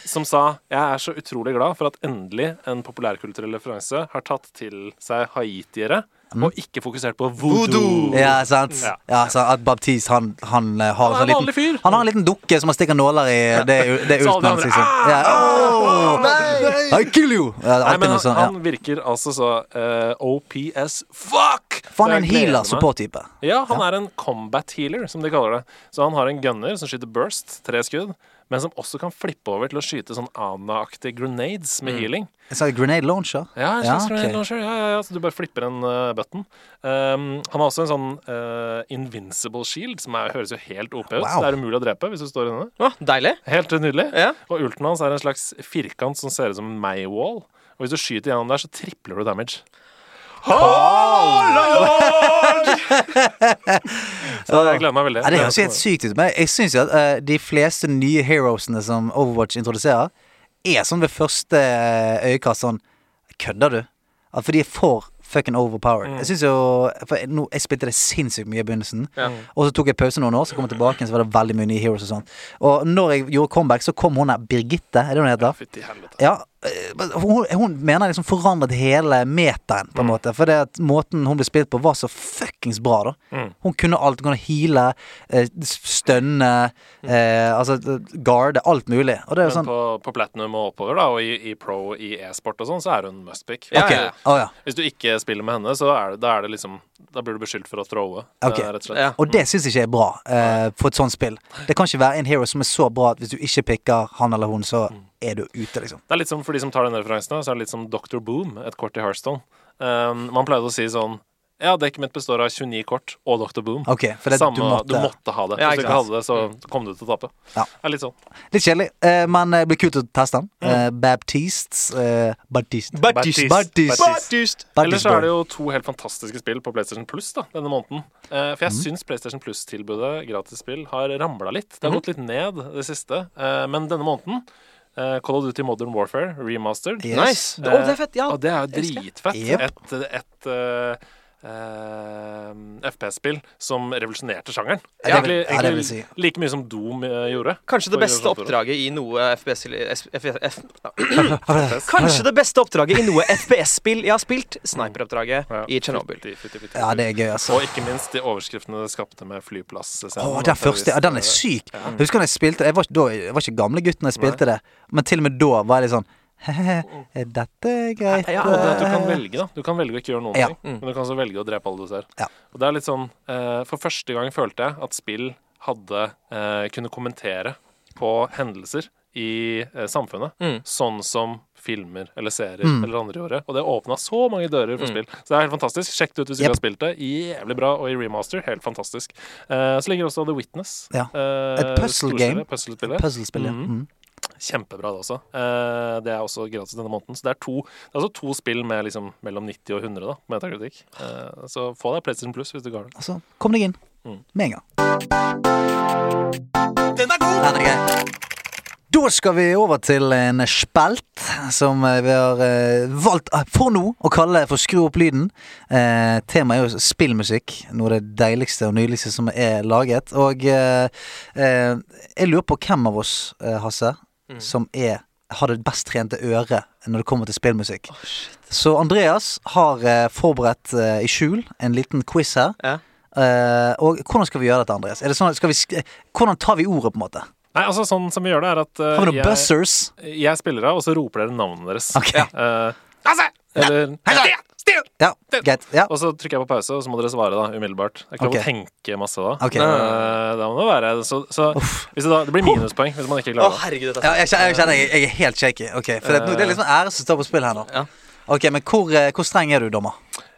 [SPEAKER 2] Som sa Jeg er så utrolig glad for at endelig en populærkulturell referanse har tatt til seg haitiere, og ikke fokusert på voodoo.
[SPEAKER 1] Mm. Ja, sant.
[SPEAKER 2] Ja.
[SPEAKER 1] Ja, så at Baptiste, han, han eh, har en sånn
[SPEAKER 2] Han er en
[SPEAKER 1] liten
[SPEAKER 2] vanlig fyr.
[SPEAKER 1] Han har en liten dukke som han stikker nåler i. eh, Det er, det er
[SPEAKER 2] Så alle
[SPEAKER 1] ulten
[SPEAKER 2] de
[SPEAKER 1] hans,
[SPEAKER 2] andre,
[SPEAKER 1] liksom. Ja. Oh, I kill you! Ja,
[SPEAKER 2] Nei,
[SPEAKER 1] alltid
[SPEAKER 2] men
[SPEAKER 1] noe
[SPEAKER 2] han,
[SPEAKER 1] sånt. Ja.
[SPEAKER 2] han virker altså så eh, OPS fuck!
[SPEAKER 1] For han er en altså,
[SPEAKER 2] Så jeg gleder
[SPEAKER 1] healer
[SPEAKER 2] meg.
[SPEAKER 1] support-type.
[SPEAKER 2] Ja, han er en combat healer, som de kaller det. Så han har en gunner som skyter burst, tre skudd, men som også kan flippe over til å skyte sånn Ana-aktige grenades med healing.
[SPEAKER 1] En slags grenade launcher?
[SPEAKER 2] Mm. Ja, en slags
[SPEAKER 1] ok.
[SPEAKER 2] grenade launcher. Ja, ja, ja, så du bare flipper en eh, button. Um, han har også en sånn eh, invincible shield, som er, høres jo helt OP ut.
[SPEAKER 1] Wow.
[SPEAKER 2] Det er umulig å drepe hvis du står inni det.
[SPEAKER 3] Å, deilig.
[SPEAKER 2] Helt nydelig.
[SPEAKER 3] Ja.
[SPEAKER 2] Og ulten hans er en slags firkant som ser ut som en Maywall. Og hvis du skyter gjennom der, så tripler du damage.
[SPEAKER 1] Så,
[SPEAKER 2] Jeg gleder meg veldig.
[SPEAKER 1] ja, det høres jo helt sykt ut. Men jeg syns jo at eh, de fleste nye heroesene som Overwatch introduserer, er sånn ved første eh, øyekast sånn Kødder du? Ja, For de er for fucking overpowered. Jeg syns jo For jeg, nå, jeg spilte det sinnssykt mye i begynnelsen. Og så tok jeg pause noen år, så kom jeg tilbake, igjen, så var det veldig mye nye heroes og sånn. Og når jeg gjorde comeback, så kom hun der Birgitte, er det hun heter?
[SPEAKER 2] Fytti helvete.
[SPEAKER 1] Ja, eh, men hun, hun mener liksom forandret hele metaen,
[SPEAKER 2] Mm.
[SPEAKER 1] på en måte. For det at måten hun ble spilt på, var så fuckings bra, da.
[SPEAKER 2] Mm.
[SPEAKER 1] Hun kunne alt. Hun kunne heale, eh, stønne, eh, altså eh, guarde, alt mulig. Og det er jo
[SPEAKER 2] Mm. Men
[SPEAKER 1] sånn
[SPEAKER 2] på, på platinum og oppover, da, og i, i pro i e-sport og sånn, så er hun mustpick.
[SPEAKER 3] Ja,
[SPEAKER 1] Ok,
[SPEAKER 3] ja, ja.
[SPEAKER 1] å ja.
[SPEAKER 2] Hvis du ikke spiller med henne, så er det, da er det liksom Da blir du beskyldt for å trolle. eh,
[SPEAKER 1] Ok.
[SPEAKER 2] Rett og slett.
[SPEAKER 3] Ja.
[SPEAKER 1] Og det syns jeg ikke er bra eh, for et sånt spill. Det kan ikke være en hero som er så bra at hvis du ikke picker han eller hun, så
[SPEAKER 2] Mm.
[SPEAKER 1] er du ute, liksom.
[SPEAKER 2] Det er litt som for de som tar den referansen, så er det litt som Dr. Boom, et kort i Hearthstone. Um, man pleide å si sånn Ja, dekket mitt består av 29 kort og Dr. Boom.
[SPEAKER 1] Ok, for det,
[SPEAKER 2] Samme,
[SPEAKER 1] du måtte,
[SPEAKER 2] du måtte ha det. Hvis
[SPEAKER 3] Ja,
[SPEAKER 2] du
[SPEAKER 3] ikke
[SPEAKER 2] ikke
[SPEAKER 3] sant.
[SPEAKER 2] hadde det, så kom du til å tape.
[SPEAKER 1] Ja.
[SPEAKER 2] Det er litt sånn.
[SPEAKER 1] Litt kjedelig, eh, men det blir kult å teste den.
[SPEAKER 2] Mm.
[SPEAKER 1] Eh, Baptiste eh, Baptiste.
[SPEAKER 3] Baptist.
[SPEAKER 1] Baptist.
[SPEAKER 3] Baptist.
[SPEAKER 2] Ellers så er det jo to helt fantastiske spill på PlayStation Plus da, denne måneden. Eh, for jeg
[SPEAKER 1] Mhm.
[SPEAKER 2] syns PlayStation Plus-tilbudet, gratis spill, har ramla litt.
[SPEAKER 1] Mhm.
[SPEAKER 2] Det har gått litt ned det siste. Eh, men denne måneden eh, Call of Duty Modern Warfare remastered.
[SPEAKER 1] Yes.
[SPEAKER 3] Nice. Å, det er fett. Ja.
[SPEAKER 2] Og det er jo dritfett.
[SPEAKER 1] Jep.
[SPEAKER 2] Et, et eh, eh, FPS-spill som revolusjonerte sjangeren.
[SPEAKER 1] Ja, det vil-
[SPEAKER 2] Egentlig-
[SPEAKER 1] ja, det vil
[SPEAKER 2] egentlig Like mye som Doom eh, gjorde.
[SPEAKER 3] Kanskje det
[SPEAKER 2] For
[SPEAKER 3] beste
[SPEAKER 2] generasjoner.
[SPEAKER 3] oppdraget i noe FPS S- F- F- Kanskje det beste oppdraget i noe FPS-spill jeg har spilt. Sniperoppdraget
[SPEAKER 2] Ja.
[SPEAKER 3] i Tsjernobyl.
[SPEAKER 2] Fytti, fytti, fytti,
[SPEAKER 1] Ja,
[SPEAKER 2] fytti.
[SPEAKER 1] det er gøy, altså.
[SPEAKER 2] Og ikke minst de overskriftene det skapte med flyplass-scenen.
[SPEAKER 1] Åh, den første, ja, den er syk. Jeg husker når jeg spilte Jeg var, ikke- da, jeg var ikke gamle gutten da jeg spilte det, men til og med da var jeg litt sånn er dette greit?
[SPEAKER 2] Ja, og det at du kan velge, da. Du kan velge å ikke gjøre noen
[SPEAKER 1] Ja. Mm.
[SPEAKER 2] ting, men du kan også velge å drepe alle du ser.
[SPEAKER 1] Ja.
[SPEAKER 2] Og det er litt sånn eh, For første gang følte jeg at spill hadde eh, kunne kommentere på hendelser i eh, samfunnet,
[SPEAKER 3] Mm.
[SPEAKER 2] sånn som filmer eller serier
[SPEAKER 1] Mm.
[SPEAKER 2] eller andre gjorde. Og det åpna så mange dører for spill. Så det er helt fantastisk. Sjekk det ut hvis du
[SPEAKER 1] Jep.
[SPEAKER 2] ikke har spilt det. Jævlig bra. Og i remaster, helt fantastisk. Eh, så ligger også The Witness.
[SPEAKER 1] Ja.
[SPEAKER 2] Eh,
[SPEAKER 1] Et puzzle
[SPEAKER 2] storspillet,
[SPEAKER 1] game.
[SPEAKER 2] puzzlespillet.
[SPEAKER 1] Puzzlespill, ja.
[SPEAKER 2] Mhm.
[SPEAKER 1] Mm.
[SPEAKER 2] Kjempebra, det også. Eh, det er også gratis denne måneden. Så det er to, det er altså to spill med liksom mellom 90 og 100 da, på metakritikk. Eh, så få deg PlayStation Plus hvis du ikke har det.
[SPEAKER 1] Altså, kom deg inn.
[SPEAKER 2] Mm.
[SPEAKER 1] Med en gang. Den er god! Da skal vi over til en spelt som eh, vi har eh, valgt eh, for nå å kalle for Skru opp lyden. Eh, temaet er jo spillmusikk. Noe av det deiligste og nydeligste som er laget. Og eh, eh, jeg lurer på hvem av oss, eh, Hasse, som er har det best trente øret når det kommer til spillmusikk. Så Andreas har eh, forberedt eh, i skjul en liten quiz her.
[SPEAKER 3] Ja.
[SPEAKER 1] Eh, og hvordan skal vi gjøre dette, Andreas? Er det sånn, at- skal vi sk hvordan tar vi ordet, på en måte?
[SPEAKER 2] Nei, altså sånn som vi gjør det, er at eh,
[SPEAKER 1] Har vi noen
[SPEAKER 2] jeg,
[SPEAKER 1] buzzers?
[SPEAKER 2] jeg spiller av, og så roper dere navnene deres.
[SPEAKER 1] Ok.
[SPEAKER 2] Ja. Eh, Lasse! Eller Stian! Stian!
[SPEAKER 1] Ja, greit. Ja.
[SPEAKER 2] Og så trykker jeg på pause, og så må dere svare da, umiddelbart. Det er ikke lov
[SPEAKER 1] Ok.
[SPEAKER 2] å tenke masse da.
[SPEAKER 1] Ok.
[SPEAKER 2] Eh, da må det være Så, så
[SPEAKER 1] Uff.
[SPEAKER 2] hvis det, da, det blir minuspoeng hvis man ikke
[SPEAKER 3] Å,
[SPEAKER 2] klarer det.
[SPEAKER 3] herregud, dette er
[SPEAKER 1] Ja, jeg kjenner, jeg, kjenner jeg, jeg er helt shaky. Ok, for det, nå- det er liksom ære som står på spill her nå.
[SPEAKER 3] Ja.
[SPEAKER 1] Ok, Men hvor, eh, hvor streng er du, dommer?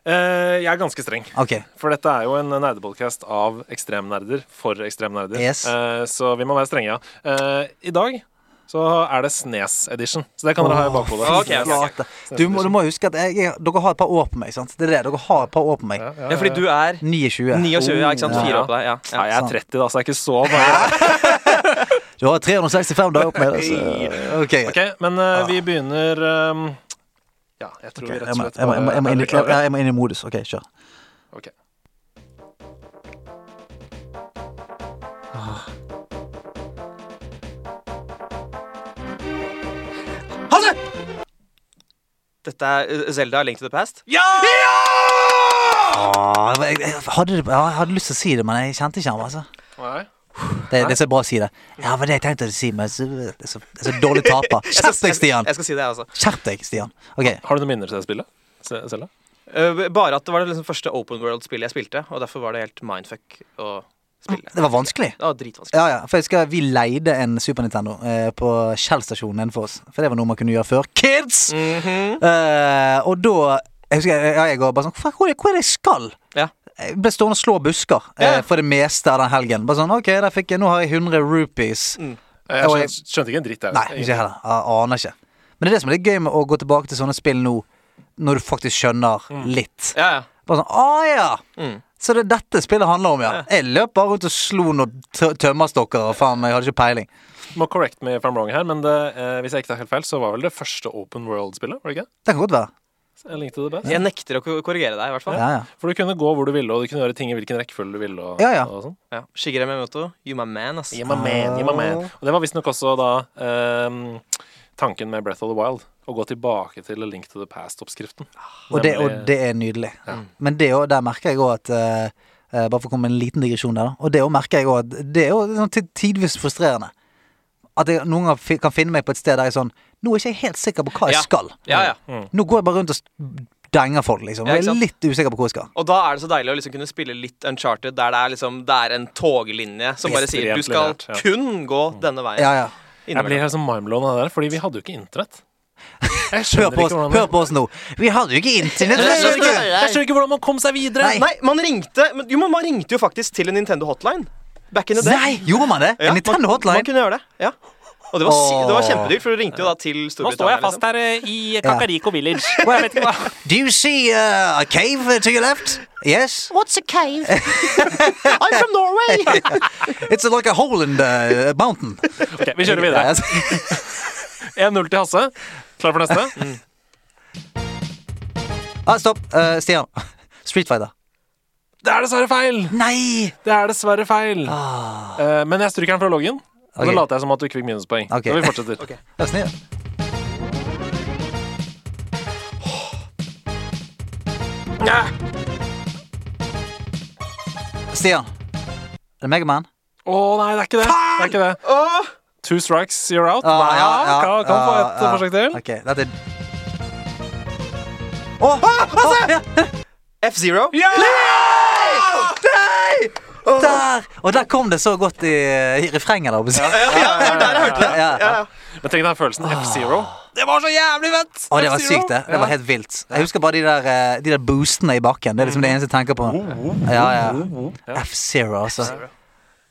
[SPEAKER 2] Eh, jeg er ganske streng,
[SPEAKER 1] Ok,
[SPEAKER 2] for dette er jo en nerdepodcast av ekstremnerder for ekstremnerder.
[SPEAKER 1] Yes.
[SPEAKER 2] Eh, så vi må være strenge, ja. Eh, I dag så er det Snes-edition, så det kan dere ha i bakhodet.
[SPEAKER 3] Åh, fy Ok, ok, ok.
[SPEAKER 1] Flate. Du, må, du må huske at jeg, jeg, dere har et par år på meg. sant? Det er det, Dere har et par år på meg.
[SPEAKER 2] Ja, ja,
[SPEAKER 3] Ja, fordi du er
[SPEAKER 1] 29.
[SPEAKER 3] 29, ja, ikke sant?
[SPEAKER 1] Ja.
[SPEAKER 3] Fire år på deg. Ja.
[SPEAKER 2] Nei,
[SPEAKER 3] ja.
[SPEAKER 2] jeg
[SPEAKER 1] Sånn.
[SPEAKER 2] er 30, da, så det er ikke så bare.
[SPEAKER 1] Du har 365 dager på meg. Så. Ok, greit.
[SPEAKER 2] Ok, Men eh, vi begynner eh, Ja, jeg tror
[SPEAKER 1] Ah. Ok,
[SPEAKER 2] vi
[SPEAKER 1] jeg,
[SPEAKER 2] rett og
[SPEAKER 1] må,
[SPEAKER 2] slett
[SPEAKER 1] jeg, må, jeg, må, jeg, må inn, i-
[SPEAKER 2] bare-
[SPEAKER 1] jeg, jeg må inn i modus. Ok, kjør.
[SPEAKER 2] Ok.
[SPEAKER 3] Hasse! Dette er uh, Zelda Link to the Past. Ja!
[SPEAKER 2] Ah.
[SPEAKER 1] Åh, Ah, jeg, jeg, hadde, det- ja, jeg hadde lyst til å si det, men jeg kjente ikke ham. Altså.
[SPEAKER 2] Nei.
[SPEAKER 1] Det, det er så bra å si det. Ja, men det jeg tenkte å si, men så, det, er så, det er så dårlig taper. Skjerp deg, Stian!
[SPEAKER 3] Jeg skal si det, altså. jeg også.
[SPEAKER 1] Skjerp deg, Stian. Ok,
[SPEAKER 2] Har du noen minner til det spillet? Se- Selda?
[SPEAKER 3] Eh, Bare at det var det liksom første open world-spillet jeg spilte, og derfor var det helt mindfuck å spille.
[SPEAKER 1] Det var vanskelig.
[SPEAKER 3] Det var dritvanskelig.
[SPEAKER 1] Ja, ja, for jeg husker Vi leide en Super Nintendo eh, på Shell-stasjonen innenfor oss. For det var noe man kunne gjøre før. Kids!
[SPEAKER 3] Mhm.
[SPEAKER 1] eh, og da Jeg husker jeg, jeg var bare sånn "Fuck, Hvor er hvor er det jeg skal?
[SPEAKER 3] Ja.
[SPEAKER 1] Jeg ble stående og slå busker eh,
[SPEAKER 3] Ja.
[SPEAKER 1] for det meste av den helgen. Bare sånn, ok, der fikk jeg, Nå har jeg 100 rupees.
[SPEAKER 2] Jeg
[SPEAKER 1] Og jeg-
[SPEAKER 2] skjønte, skjønte ikke en dritt. Jeg.
[SPEAKER 1] Nei, ikke jeg heller. Jeg aner ikke. Men det er det som er litt gøy med å gå tilbake til sånne spill nå, når du faktisk skjønner litt.
[SPEAKER 3] Ja, ja.
[SPEAKER 1] Bare sånn, ah ja
[SPEAKER 3] Mm.
[SPEAKER 1] Så det er dette spillet handler om, ja. Jeg løp bare rundt og slo noen tø- tømmerstokker, og faen meg, jeg hadde ikke peiling.
[SPEAKER 2] Må correct me if I'm wrong her, men det, eh, hvis jeg ikke tar helt feil, så var vel det første open world-spillet? var det ikke?
[SPEAKER 1] Det kan godt være.
[SPEAKER 2] Jeg linkte det best.
[SPEAKER 3] Jeg nekter å ko- korrigere deg, i hvert fall.
[SPEAKER 1] Ja, ja.
[SPEAKER 2] For du kunne gå hvor du ville, og du kunne gjøre ting i hvilken rekkefølge du ville. Og,
[SPEAKER 1] Ja, ja.
[SPEAKER 2] og sånn.
[SPEAKER 3] Ja. Shigeru Miyamoto, you my man, ass.
[SPEAKER 2] You're my man, you're my man. Og det var visstnok også da ehm, tanken med Breath of the Wild. Å gå tilbake til A Link to the Past-oppskriften.
[SPEAKER 1] Og det, og
[SPEAKER 2] Nemlig-
[SPEAKER 1] det er nydelig. Men det òg, der merker jeg òg at eh, eh, Bare for å komme med en liten digresjon der, da. Og det òg merker jeg òg at det er jo sånn tid- tidvis frustrerende. At jeg noen ganger fi- kan finne meg på et sted der jeg er sånn Nå er ikke jeg helt sikker på hva jeg
[SPEAKER 3] Ja.
[SPEAKER 1] skal.
[SPEAKER 3] Ja, ja.
[SPEAKER 2] Mm.
[SPEAKER 1] Nå går jeg bare rundt og s- denger folk, liksom.
[SPEAKER 3] Ja,
[SPEAKER 1] Og jeg
[SPEAKER 3] ikke
[SPEAKER 1] er
[SPEAKER 3] sant?
[SPEAKER 1] litt usikker på hvor jeg skal.
[SPEAKER 3] Og da er det så deilig å liksom kunne spille litt Uncharted, der det er, liksom, det er en toglinje som bare sier du skal
[SPEAKER 2] Ekstremt lineært, ja.
[SPEAKER 3] kun gå denne veien.
[SPEAKER 1] Ja, ja.
[SPEAKER 2] Jeg
[SPEAKER 3] Innimellom.
[SPEAKER 2] blir helt sånn mindblown av det der, fordi vi hadde jo ikke internett. Jeg
[SPEAKER 1] Hør på,
[SPEAKER 2] skjønner ikke
[SPEAKER 1] oss,
[SPEAKER 2] hvordan
[SPEAKER 1] hør på oss nå. Vi hadde jo ikke internett.
[SPEAKER 2] Jeg
[SPEAKER 1] vet
[SPEAKER 2] skjønner
[SPEAKER 1] du.
[SPEAKER 2] ikke, jeg skjønner ikke hvordan man kom seg videre!
[SPEAKER 1] Nei.
[SPEAKER 3] Nei, man ringte men, Jo, men man ringte jo faktisk til en Nintendo hotline back in the day.
[SPEAKER 1] Nei, gjorde man det?
[SPEAKER 3] Ja,
[SPEAKER 1] En Nintendo
[SPEAKER 3] man, Man
[SPEAKER 1] hotline?
[SPEAKER 3] kunne gjøre det. Ja. Og det var, si- det var
[SPEAKER 1] Åh.
[SPEAKER 3] kjempedyrt, for du ringte jo da til liksom.
[SPEAKER 2] Nå står
[SPEAKER 3] Storbritannia.
[SPEAKER 2] jeg fast her eh, i Kakariko Village.
[SPEAKER 1] Well,
[SPEAKER 2] Jeg vet ikke hva
[SPEAKER 1] Do you see uh, a cave to your left? Yes?
[SPEAKER 4] What's a cave?
[SPEAKER 3] liksom. I'm from Norway!
[SPEAKER 1] It's like a hole in the uh, mountain.
[SPEAKER 2] Ok, vi kjører videre. 1-0 til Hasse. Klar for neste?
[SPEAKER 1] Mm. Ah, stopp. Eh, Stian. Street Fighter.
[SPEAKER 2] Det er dessverre feil!
[SPEAKER 1] Nei!
[SPEAKER 2] Det er dessverre feil. Eh, men jeg stryker den fra loggen. Og
[SPEAKER 1] Ah. Ok.
[SPEAKER 2] så later jeg som at du ikke fikk minuspoeng.
[SPEAKER 1] Ok.
[SPEAKER 2] Så vi fortsetter.
[SPEAKER 1] Vær snill. Stian. Er det Megaman?
[SPEAKER 2] Å nei, det er ikke det. det, er ikke det.
[SPEAKER 3] Åh,
[SPEAKER 2] Two strikes, you're out.
[SPEAKER 1] Ah,
[SPEAKER 2] nei, kan, kan få
[SPEAKER 1] ah,
[SPEAKER 2] et
[SPEAKER 1] ja.
[SPEAKER 2] forsøk til.
[SPEAKER 1] Ok, dette er Å! å, Ah, ja.
[SPEAKER 3] F-Zero.
[SPEAKER 2] Ja!
[SPEAKER 1] Nei! Der! Og der kom det så godt i, i refrenget. da, Ja,
[SPEAKER 3] Ja, ja, det var der jeg hørte det.
[SPEAKER 1] ja, ja.
[SPEAKER 2] Men tenk deg følelsen.
[SPEAKER 1] Ah.
[SPEAKER 2] F-Zero. Det var så jævlig fett!
[SPEAKER 1] Å, det var
[SPEAKER 2] F-Zero.
[SPEAKER 1] sykt, det. Det var helt vilt. Jeg husker bare de der, eh, de der boostene i bakken. Det er liksom det eneste jeg tenker på. Ja, ja. F-Zero, altså.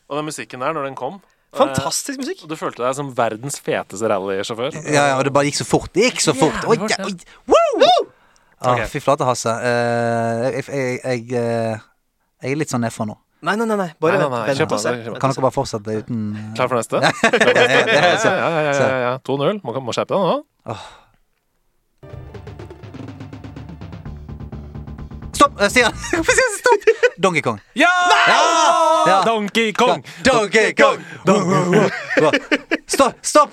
[SPEAKER 2] Og den musikken der, når den kom
[SPEAKER 3] Fantastisk musikk.
[SPEAKER 2] eh, Du følte deg som verdens feteste rallysjåfør.
[SPEAKER 1] Ja, ja, og det bare gikk så fort. Det gikk så fort. Oi,
[SPEAKER 2] fort,
[SPEAKER 1] det,
[SPEAKER 2] ja.
[SPEAKER 1] oi. Woo! Å,
[SPEAKER 2] Ok.
[SPEAKER 1] fy flate, Hasse. Eh, jeg, jeg, jeg, eh, jeg er litt sånn nedfor nå.
[SPEAKER 3] Nei, nei, nei. nei. Bare
[SPEAKER 2] Nei, nei, nei,
[SPEAKER 3] vent-
[SPEAKER 2] kjør på,
[SPEAKER 3] vent og se.
[SPEAKER 2] kjør på.
[SPEAKER 3] Vent
[SPEAKER 1] altså. Kan
[SPEAKER 3] og se.
[SPEAKER 1] dere bare fortsette uten
[SPEAKER 2] Klar for neste? Klar for neste?
[SPEAKER 1] ja, ja, så-
[SPEAKER 2] Ja, ja, ja, ja, ja. 2-0. Må, må skjerpe deg nå.
[SPEAKER 1] Stopp! eh, Stian! Hvorfor sier du stopp? Donkey Kong.
[SPEAKER 2] Ja!
[SPEAKER 1] Ja.
[SPEAKER 2] Donkey Kong!
[SPEAKER 1] Donkey Kong! Donkey Kong. Stopp! Stopp!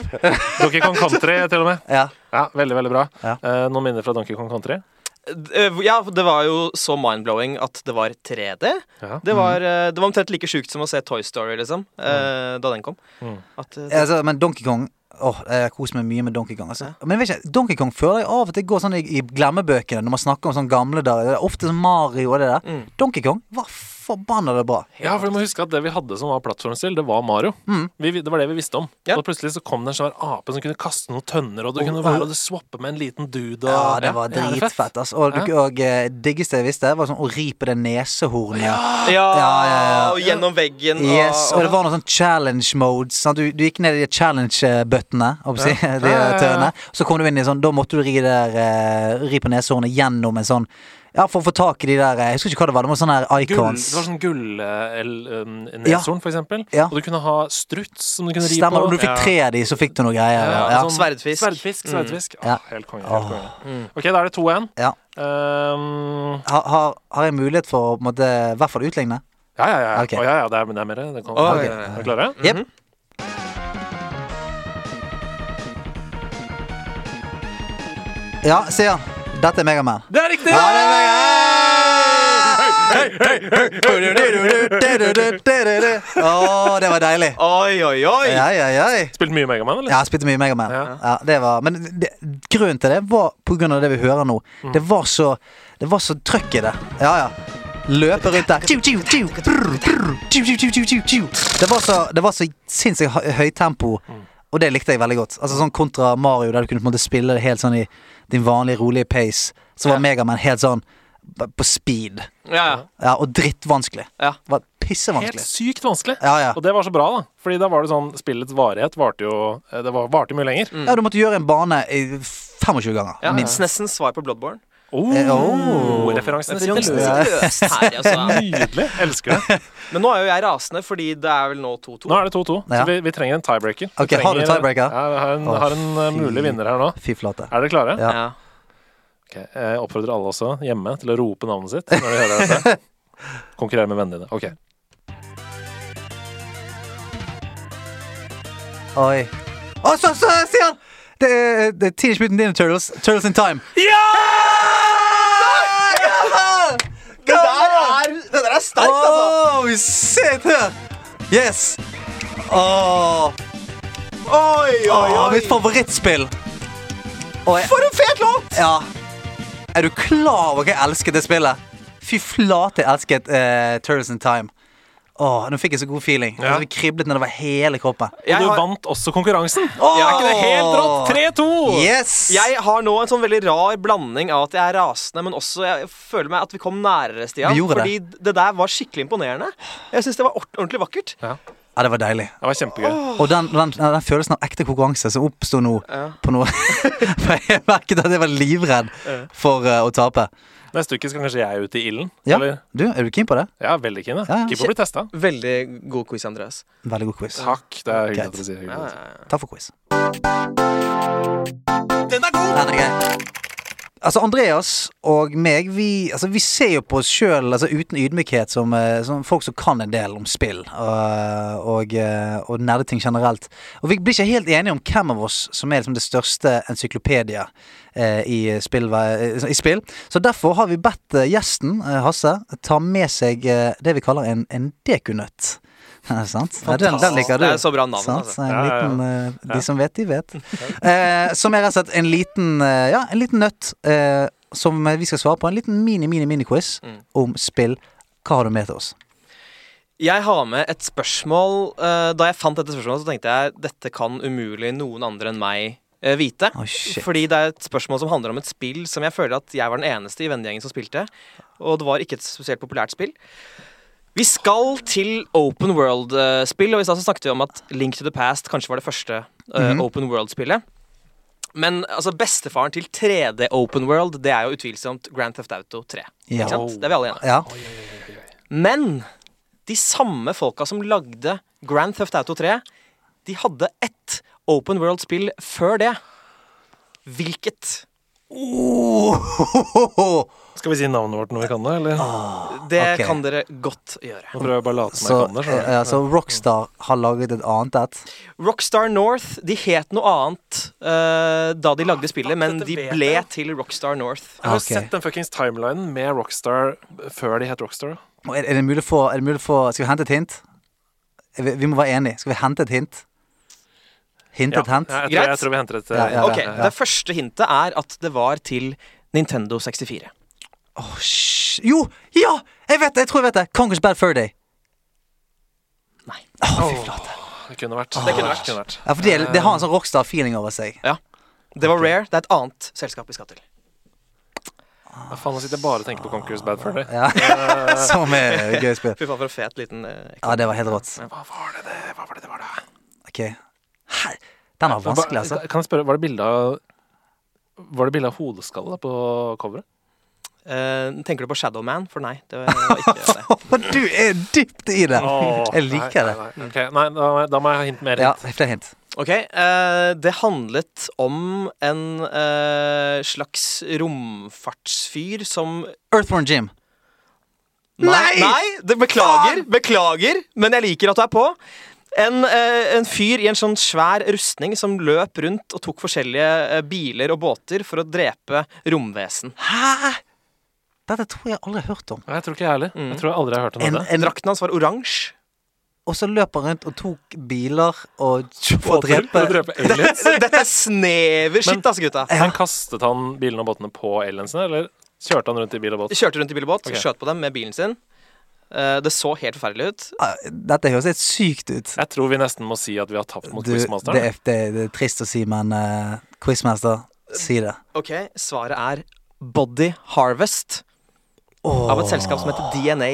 [SPEAKER 2] Donkey Kong Country, til og med.
[SPEAKER 1] Ja.
[SPEAKER 2] Ja, Veldig, veldig bra.
[SPEAKER 1] Ja.
[SPEAKER 2] Eh, noen minner fra Donkey Kong Country?
[SPEAKER 3] D- eh, Ja, det var jo så mind-blowing at det var 3D.
[SPEAKER 2] Ja.
[SPEAKER 3] Det var, eh, det var omtrent like sjukt som å se Toy Story, liksom, eh, da den kom.
[SPEAKER 2] Mm.
[SPEAKER 3] At, eh, det-
[SPEAKER 1] Altså, men Donkey Kong Åh, Jeg koser meg mye med Donkey Kong. Altså. Men jeg vet ikke, Donkey Kong føler jeg av og til går sånn i, i glemmebøkene når man snakker om sånn gamle dager. Det er ofte sånn Mario og det der.
[SPEAKER 3] Mm.
[SPEAKER 1] Donkey Kong var forbanna det bra.
[SPEAKER 2] Ja, for du må huske at Det vi hadde som var plattformstill, det var Mario.
[SPEAKER 1] Mm.
[SPEAKER 2] Vi, vi- det var det vi visste om.
[SPEAKER 3] Ja.
[SPEAKER 2] Og plutselig så kom det en svær ape som kunne kaste noen tønner, og du kunne være og du swappe med en liten dude. Og,
[SPEAKER 1] Ja, det var
[SPEAKER 2] Ja, er fett.
[SPEAKER 1] dritfett. Altså. Og, du, og eh, diggeste jeg visste, var sånn å ri på det nesehornet.
[SPEAKER 3] ja,
[SPEAKER 1] ja, ja, ja.
[SPEAKER 3] Og gjennom veggen
[SPEAKER 1] Yes,
[SPEAKER 3] og,
[SPEAKER 1] og det var noen sånn challenge modes. Sant? Du, du gikk ned i de challenge-bøttene. holdt på å si, de
[SPEAKER 2] Ja, ja, ja.
[SPEAKER 1] tøene. Så kom du inn i sånn, da måtte du ri, der, eh, ri på neshornet gjennom en sånn Ja, for å få tak i de der eh, Jeg husker ikke hva det var. Det var sånne her
[SPEAKER 2] Gull,
[SPEAKER 1] icons.
[SPEAKER 2] det var sånn gullneshorn,
[SPEAKER 1] Ja.
[SPEAKER 2] for eksempel.
[SPEAKER 1] Ja.
[SPEAKER 2] Og du kunne ha struts som du kunne ri
[SPEAKER 1] Stemmer.
[SPEAKER 2] på.
[SPEAKER 1] Om du fikk tre av de, så fikk du noe greier.
[SPEAKER 2] Ja,
[SPEAKER 1] Ja, Mm.
[SPEAKER 2] og sånn
[SPEAKER 3] Sverdfisk.
[SPEAKER 2] Sverdfisk, sverdfisk.
[SPEAKER 1] Ja.
[SPEAKER 2] Ah, helt konge. Helt konge. Ok, da er det 2-1.
[SPEAKER 1] Ja.
[SPEAKER 2] Ehm,
[SPEAKER 1] Har, har, har jeg mulighet for å på en måte, i hvert fall utligne?
[SPEAKER 2] ja, ja, ja.
[SPEAKER 1] Ok.
[SPEAKER 2] Å, ja, ja. Det er, men det er mer. Det kan,
[SPEAKER 3] Å,
[SPEAKER 2] Ok.
[SPEAKER 3] ja, ja, ja.
[SPEAKER 2] Er du klare?
[SPEAKER 1] Jepp. Ja, Stian. Dette er Megaman.
[SPEAKER 2] Det er riktig!
[SPEAKER 1] Ja, det er Megaman! Å, det var deilig.
[SPEAKER 3] Oi, oi, oi!
[SPEAKER 1] Oi, oi, oi.
[SPEAKER 2] Spilt mye Megaman, eller?
[SPEAKER 1] Ja, jeg spilte mye Megaman.
[SPEAKER 2] Ja.
[SPEAKER 1] Ja. det var, men det, grunnen til det var på grunn av det vi hører nå. Det var så Det var så trøkk i det. Ja, ja. Løpe rundt der. Tju, tju, tju, brr, brr, tju, tju, tju, tju, tju, tju. Det var så, det var så sinnssykt hø- høyt tempo, og det likte jeg veldig godt. Altså Sånn kontra Mario, der du kunne på en måte spille det helt sånn i din vanlige, rolige pace, så var Megaman helt sånn b- på speed.
[SPEAKER 3] Ja, ja.
[SPEAKER 1] Ja, Og drittvanskelig.
[SPEAKER 3] Ja.
[SPEAKER 1] Det var
[SPEAKER 2] Helt
[SPEAKER 1] pissevanskelig.
[SPEAKER 2] sykt vanskelig.
[SPEAKER 1] Ja, ja.
[SPEAKER 2] Og det var så bra, da. Fordi da var det sånn Spillets varighet varte jo eh, Det var, varte jo mye lenger.
[SPEAKER 1] ja, du måtte gjøre en bane i 25 ganger.
[SPEAKER 3] ja.
[SPEAKER 1] minst.
[SPEAKER 3] Nesten svar på Bloodborne.
[SPEAKER 2] Oh,
[SPEAKER 1] Eh, oh.
[SPEAKER 2] Referansene sitter
[SPEAKER 3] Men det
[SPEAKER 2] løst.
[SPEAKER 3] er løst her, altså.
[SPEAKER 2] Nydelig. Elsker det.
[SPEAKER 3] Men nå er jo jeg rasende, fordi det er vel nå 2-2.
[SPEAKER 2] Nå er det 2-2, så
[SPEAKER 1] Ja.
[SPEAKER 2] vi, vi trenger en tiebreaker. Vi
[SPEAKER 1] Ok, har du
[SPEAKER 2] trenger-
[SPEAKER 1] tiebreaker?
[SPEAKER 2] Ja, vi har en,
[SPEAKER 1] Å,
[SPEAKER 2] har en eh, mulig
[SPEAKER 1] fy.
[SPEAKER 2] vinner her nå.
[SPEAKER 1] Fy flate.
[SPEAKER 2] Er dere klare?
[SPEAKER 1] Ja.
[SPEAKER 3] Ja.
[SPEAKER 2] Ok, Jeg oppfordrer alle også hjemme til å rope navnet sitt når de hører dette. Konkurrere med vennene dine. Ok.
[SPEAKER 1] Oi. Å, så, så, Stian! Det er, det er Teenage Mutant Ninja Turtles. Turtles in Time.
[SPEAKER 2] Ja!
[SPEAKER 1] Det
[SPEAKER 3] er, altså. det der er sterkt,
[SPEAKER 1] Oh, shit! Yes. Åh,
[SPEAKER 3] Oi, oi,
[SPEAKER 1] åh,
[SPEAKER 3] oi.
[SPEAKER 1] mitt favorittspill. Og jeg-
[SPEAKER 3] For en fet låt!
[SPEAKER 1] ja. Er du klar over hva jeg elsket det spillet? Fy flate, jeg elsket eh, Turtles in Time. Åh, Nå fikk jeg så god feeling.
[SPEAKER 2] Ja.
[SPEAKER 1] Altså, det kriblet nedover hele kroppen.
[SPEAKER 2] Og
[SPEAKER 3] Jeg
[SPEAKER 2] du
[SPEAKER 3] har-
[SPEAKER 2] vant også konkurransen.
[SPEAKER 1] Åh!
[SPEAKER 2] Er ikke det helt rått? 3-2!
[SPEAKER 1] Yes!
[SPEAKER 3] Jeg har nå en sånn veldig rar blanding av at jeg er rasende, men også jeg føler meg at vi kom nærere, Stian.
[SPEAKER 1] Vi gjorde
[SPEAKER 3] fordi det. der var skikkelig imponerende. Jeg syns det var ord- ordentlig vakkert.
[SPEAKER 1] Ja, det var deilig.
[SPEAKER 2] Det var kjempegøy.
[SPEAKER 1] Og den, den, den følelsen av ekte konkurranse som oppsto nå på noe For jeg merket at jeg var livredd for eh, å tape.
[SPEAKER 2] Neste uke skal kanskje jeg ut i ilden.
[SPEAKER 1] Ja,
[SPEAKER 2] Eller?
[SPEAKER 1] du, er du keen på det?
[SPEAKER 2] Ja, veldig keen.
[SPEAKER 1] Ja, ja.
[SPEAKER 2] Ja. Keen på å bli testa.
[SPEAKER 3] Veldig god quiz, Andreas.
[SPEAKER 1] Veldig god quiz.
[SPEAKER 2] Takk. Det er hyggelig
[SPEAKER 1] Greit.
[SPEAKER 2] at dere sier hyggelig. at dere sier.
[SPEAKER 1] Takk for quiz. Den er grei. Altså, Andreas og meg, vi, altså, vi ser jo på oss sjøl altså, uten ydmykhet som, eh, som folk som kan en del om spill øh, og, eh, og nerdeting generelt. Og vi blir ikke helt enige om hvem av oss som er liksom, det største encyklopedia eh, i, spill, eh, i spill. Så derfor har vi bedt eh, gjesten, eh, Hasse, ta med seg eh, det vi kaller en, en dekunøtt. Sant? Ja, den, den liker du.
[SPEAKER 3] Det er så bra navn,
[SPEAKER 1] Sant?
[SPEAKER 3] altså.
[SPEAKER 1] En
[SPEAKER 2] Ja, ja, ja.
[SPEAKER 1] liten, eh, de som vet, de vet. Eh, som er rett og slett en liten, eh, ja, en liten nøtt eh, som vi skal svare på. En liten mini-mini-mini-quiz
[SPEAKER 2] Mm.
[SPEAKER 1] om spill. Hva har du med til oss?
[SPEAKER 3] Jeg har med et spørsmål. eh, Da jeg fant dette spørsmålet, så tenkte jeg dette kan umulig noen andre enn meg eh, vite.
[SPEAKER 1] Å, shit.
[SPEAKER 3] Fordi det er et spørsmål som handler om et spill som jeg føler at jeg var den eneste i vennegjengen som spilte. Og det var ikke et spesielt populært spill. Vi skal til open world-spill, og i stad så snakket vi om at Link to the Past kanskje var det første
[SPEAKER 1] Mhm.
[SPEAKER 3] eh, open world-spillet. Men altså, bestefaren til 3D open world, det er jo utvilsomt Grand Theft Auto 3.
[SPEAKER 1] Ja.
[SPEAKER 3] Ikke sant? Det er vi alle enige om.
[SPEAKER 1] Ja.
[SPEAKER 3] Men de samme folka som lagde Grand Theft Auto 3, de hadde ett Open World-spill før det. Hvilket?
[SPEAKER 1] Oh!
[SPEAKER 2] Skal vi si navnet vårt når vi kan det, eller?
[SPEAKER 3] Det
[SPEAKER 1] Ok.
[SPEAKER 3] kan dere godt gjøre.
[SPEAKER 2] Nå prøver jeg bare å late som
[SPEAKER 1] Ah. Så, eh,
[SPEAKER 2] jeg kan det. skjønner du. Mm.
[SPEAKER 1] ja, så Rockstar har laget et annet et.
[SPEAKER 3] Rockstar North de het noe annet eh, da de lagde spillet, men
[SPEAKER 2] Dette
[SPEAKER 3] de
[SPEAKER 2] vet
[SPEAKER 3] ble
[SPEAKER 2] jeg.
[SPEAKER 3] til Rockstar North.
[SPEAKER 2] Jeg har
[SPEAKER 1] Ok.
[SPEAKER 2] jo sett den fuckings timelinen med Rockstar før de het Rockstar.
[SPEAKER 1] Og Er, er, det mulig å få- er det mulig å få Skal vi hente et hint? Vi, vi må være enige. Skal vi hente et hint? Hint et hint?
[SPEAKER 2] jeg, tror,
[SPEAKER 3] Greit.
[SPEAKER 2] jeg tror vi henter et eh,
[SPEAKER 1] Ja, ja,
[SPEAKER 3] Ok,
[SPEAKER 1] ja, ja.
[SPEAKER 3] Det første hintet er at det var til Nintendo 64.
[SPEAKER 1] Åh, sj- jo! Ja! Jeg vet det! Jeg tror jeg vet det. Conquers Bad Fur Day.
[SPEAKER 3] Nei.
[SPEAKER 1] Åh, fy flate.
[SPEAKER 2] Det kunne vært.
[SPEAKER 3] Det kunne vært.
[SPEAKER 1] Ja, for det, det har en
[SPEAKER 2] Eh.
[SPEAKER 1] sånn Rockstar-feeling over seg.
[SPEAKER 3] Ja. Det var Rare. Det er et annet selskap vi skal til.
[SPEAKER 2] Ja, faen, nå sitter jeg bare og tenker på Conquerors Bad Fur Day.
[SPEAKER 1] Ja.
[SPEAKER 2] Eh.
[SPEAKER 1] Som er gøy spill.
[SPEAKER 3] Fy faen, for en fet liten eh,
[SPEAKER 1] Ja, det var helt rått.
[SPEAKER 2] Hva var det det hva var? Det, det var det?
[SPEAKER 1] Ok. Her. Den var vanskelig, altså.
[SPEAKER 2] Kan jeg spørre, var det bilde av var det bilde av hodeskallet på coveret?
[SPEAKER 3] eh, Tenker du på Shadowman? For nei, det var ikke det.
[SPEAKER 1] Men du er dypt i det! Jeg liker det.
[SPEAKER 2] Nei, nei, nei. Ok, nei da, må jeg- da må jeg ha hint mer.
[SPEAKER 1] Ja,
[SPEAKER 2] hint.
[SPEAKER 1] flere hint.
[SPEAKER 3] Ok, eh, Det handlet om en eh, slags romfartsfyr som
[SPEAKER 1] Earthworm Jim. Nei!
[SPEAKER 3] nei det, beklager, beklager, men jeg liker at du er på. En, eh, en fyr i en sånn svær rustning som løp rundt og tok forskjellige eh, biler og båter for å drepe romvesen.
[SPEAKER 1] Hæ? Dette tror jeg aldri har hørt om.
[SPEAKER 2] Nei, Jeg tror ikke jeg heller. Jeg tror jeg aldri har hørt om
[SPEAKER 1] En,
[SPEAKER 2] det.
[SPEAKER 1] en,
[SPEAKER 3] Drakten hans var oransje.
[SPEAKER 1] og så løp han rundt og tok biler og for å drepe
[SPEAKER 2] For å drepe aliens.
[SPEAKER 3] Dette er snever
[SPEAKER 2] Men-
[SPEAKER 3] shit, altså, gutta.
[SPEAKER 2] Men kastet han bilene og båtene på aliensene, eller kjørte han rundt i bil og båt?
[SPEAKER 3] Kjørte rundt i bil og båt,
[SPEAKER 2] Ok.
[SPEAKER 3] skjøt på dem med bilen sin. Eh, det så helt forferdelig ut.
[SPEAKER 1] Ah, Dette høres helt sykt ut.
[SPEAKER 2] Jeg tror vi nesten må si at vi har tapt mot
[SPEAKER 1] Du, det,
[SPEAKER 2] Quizmasteren.
[SPEAKER 1] er, det, er, det er trist å si, men eh, quizmaster, si det.
[SPEAKER 3] Ok, Svaret er Body Harvest av et selskap som heter DNA.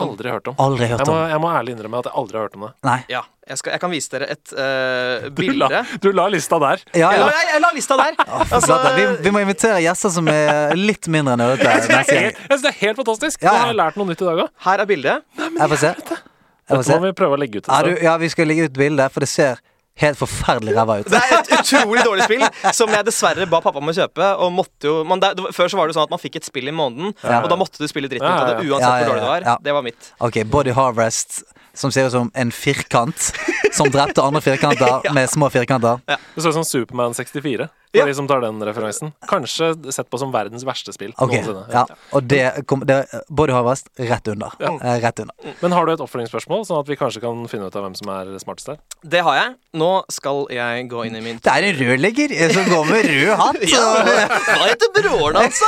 [SPEAKER 2] Aldri hørt om.
[SPEAKER 1] Aldri
[SPEAKER 2] Jeg
[SPEAKER 1] hørt
[SPEAKER 2] må,
[SPEAKER 1] om.
[SPEAKER 2] jeg må ærlig innrømme at jeg aldri har hørt om det.
[SPEAKER 1] Nei.
[SPEAKER 3] Ja, Jeg, skal, jeg kan vise dere et eh,
[SPEAKER 2] Du la,
[SPEAKER 3] bilde.
[SPEAKER 2] du la lista der.
[SPEAKER 1] Ja,
[SPEAKER 3] Jeg
[SPEAKER 1] ja.
[SPEAKER 3] la, jeg, jeg la lista der. Altså,
[SPEAKER 1] Flate, vi, vi må invitere gjester som er litt mindre nerdete.
[SPEAKER 2] Jeg synes
[SPEAKER 1] neste
[SPEAKER 2] det er
[SPEAKER 1] gang.
[SPEAKER 2] helt, jeg synes det er helt fantastisk.
[SPEAKER 1] Ja,
[SPEAKER 2] Nå
[SPEAKER 1] ja.
[SPEAKER 2] har jeg lært noe nytt i dag òg.
[SPEAKER 3] her er bildet.
[SPEAKER 1] Jeg får se. Jeg får
[SPEAKER 2] Dette
[SPEAKER 1] se.
[SPEAKER 2] må vi prøve å legge ut. et
[SPEAKER 1] Ja, du,
[SPEAKER 2] sted.
[SPEAKER 1] ja, vi skal legge ut bilde, for det ser helt forferdelig ræva ut.
[SPEAKER 3] Det er et utrolig dårlig spill som jeg dessverre ba pappa om å kjøpe. Og måtte jo, man, det, det var- før så var det sånn at man fikk et spill i måneden, og da måtte du spille dritten ut av det
[SPEAKER 2] Ja,
[SPEAKER 3] uansett
[SPEAKER 1] ja, ja.
[SPEAKER 3] hvor dårlig det var.
[SPEAKER 1] Ja.
[SPEAKER 3] Det var mitt.
[SPEAKER 1] Ok, Body Harvest, som ser ut som en firkant som drepte andre firkanter med små firkanter.
[SPEAKER 2] Det så ut som Superman 64.
[SPEAKER 3] Ja.
[SPEAKER 2] For de som tar den referansen. Kanskje sett på som verdens verste spill
[SPEAKER 1] Ok,
[SPEAKER 2] noensinne.
[SPEAKER 1] ja, Og det kom det, Body Harvest rett under. Eh, Rett under.
[SPEAKER 2] Men har du et oppfølgingsspørsmål, sånn at vi kanskje kan finne ut av hvem som er smartest her?
[SPEAKER 3] Det har jeg. Nå skal jeg gå inn i min
[SPEAKER 1] Det er en rørlegger eh, som går med rød hatt. og-
[SPEAKER 3] Hva heter broren hans,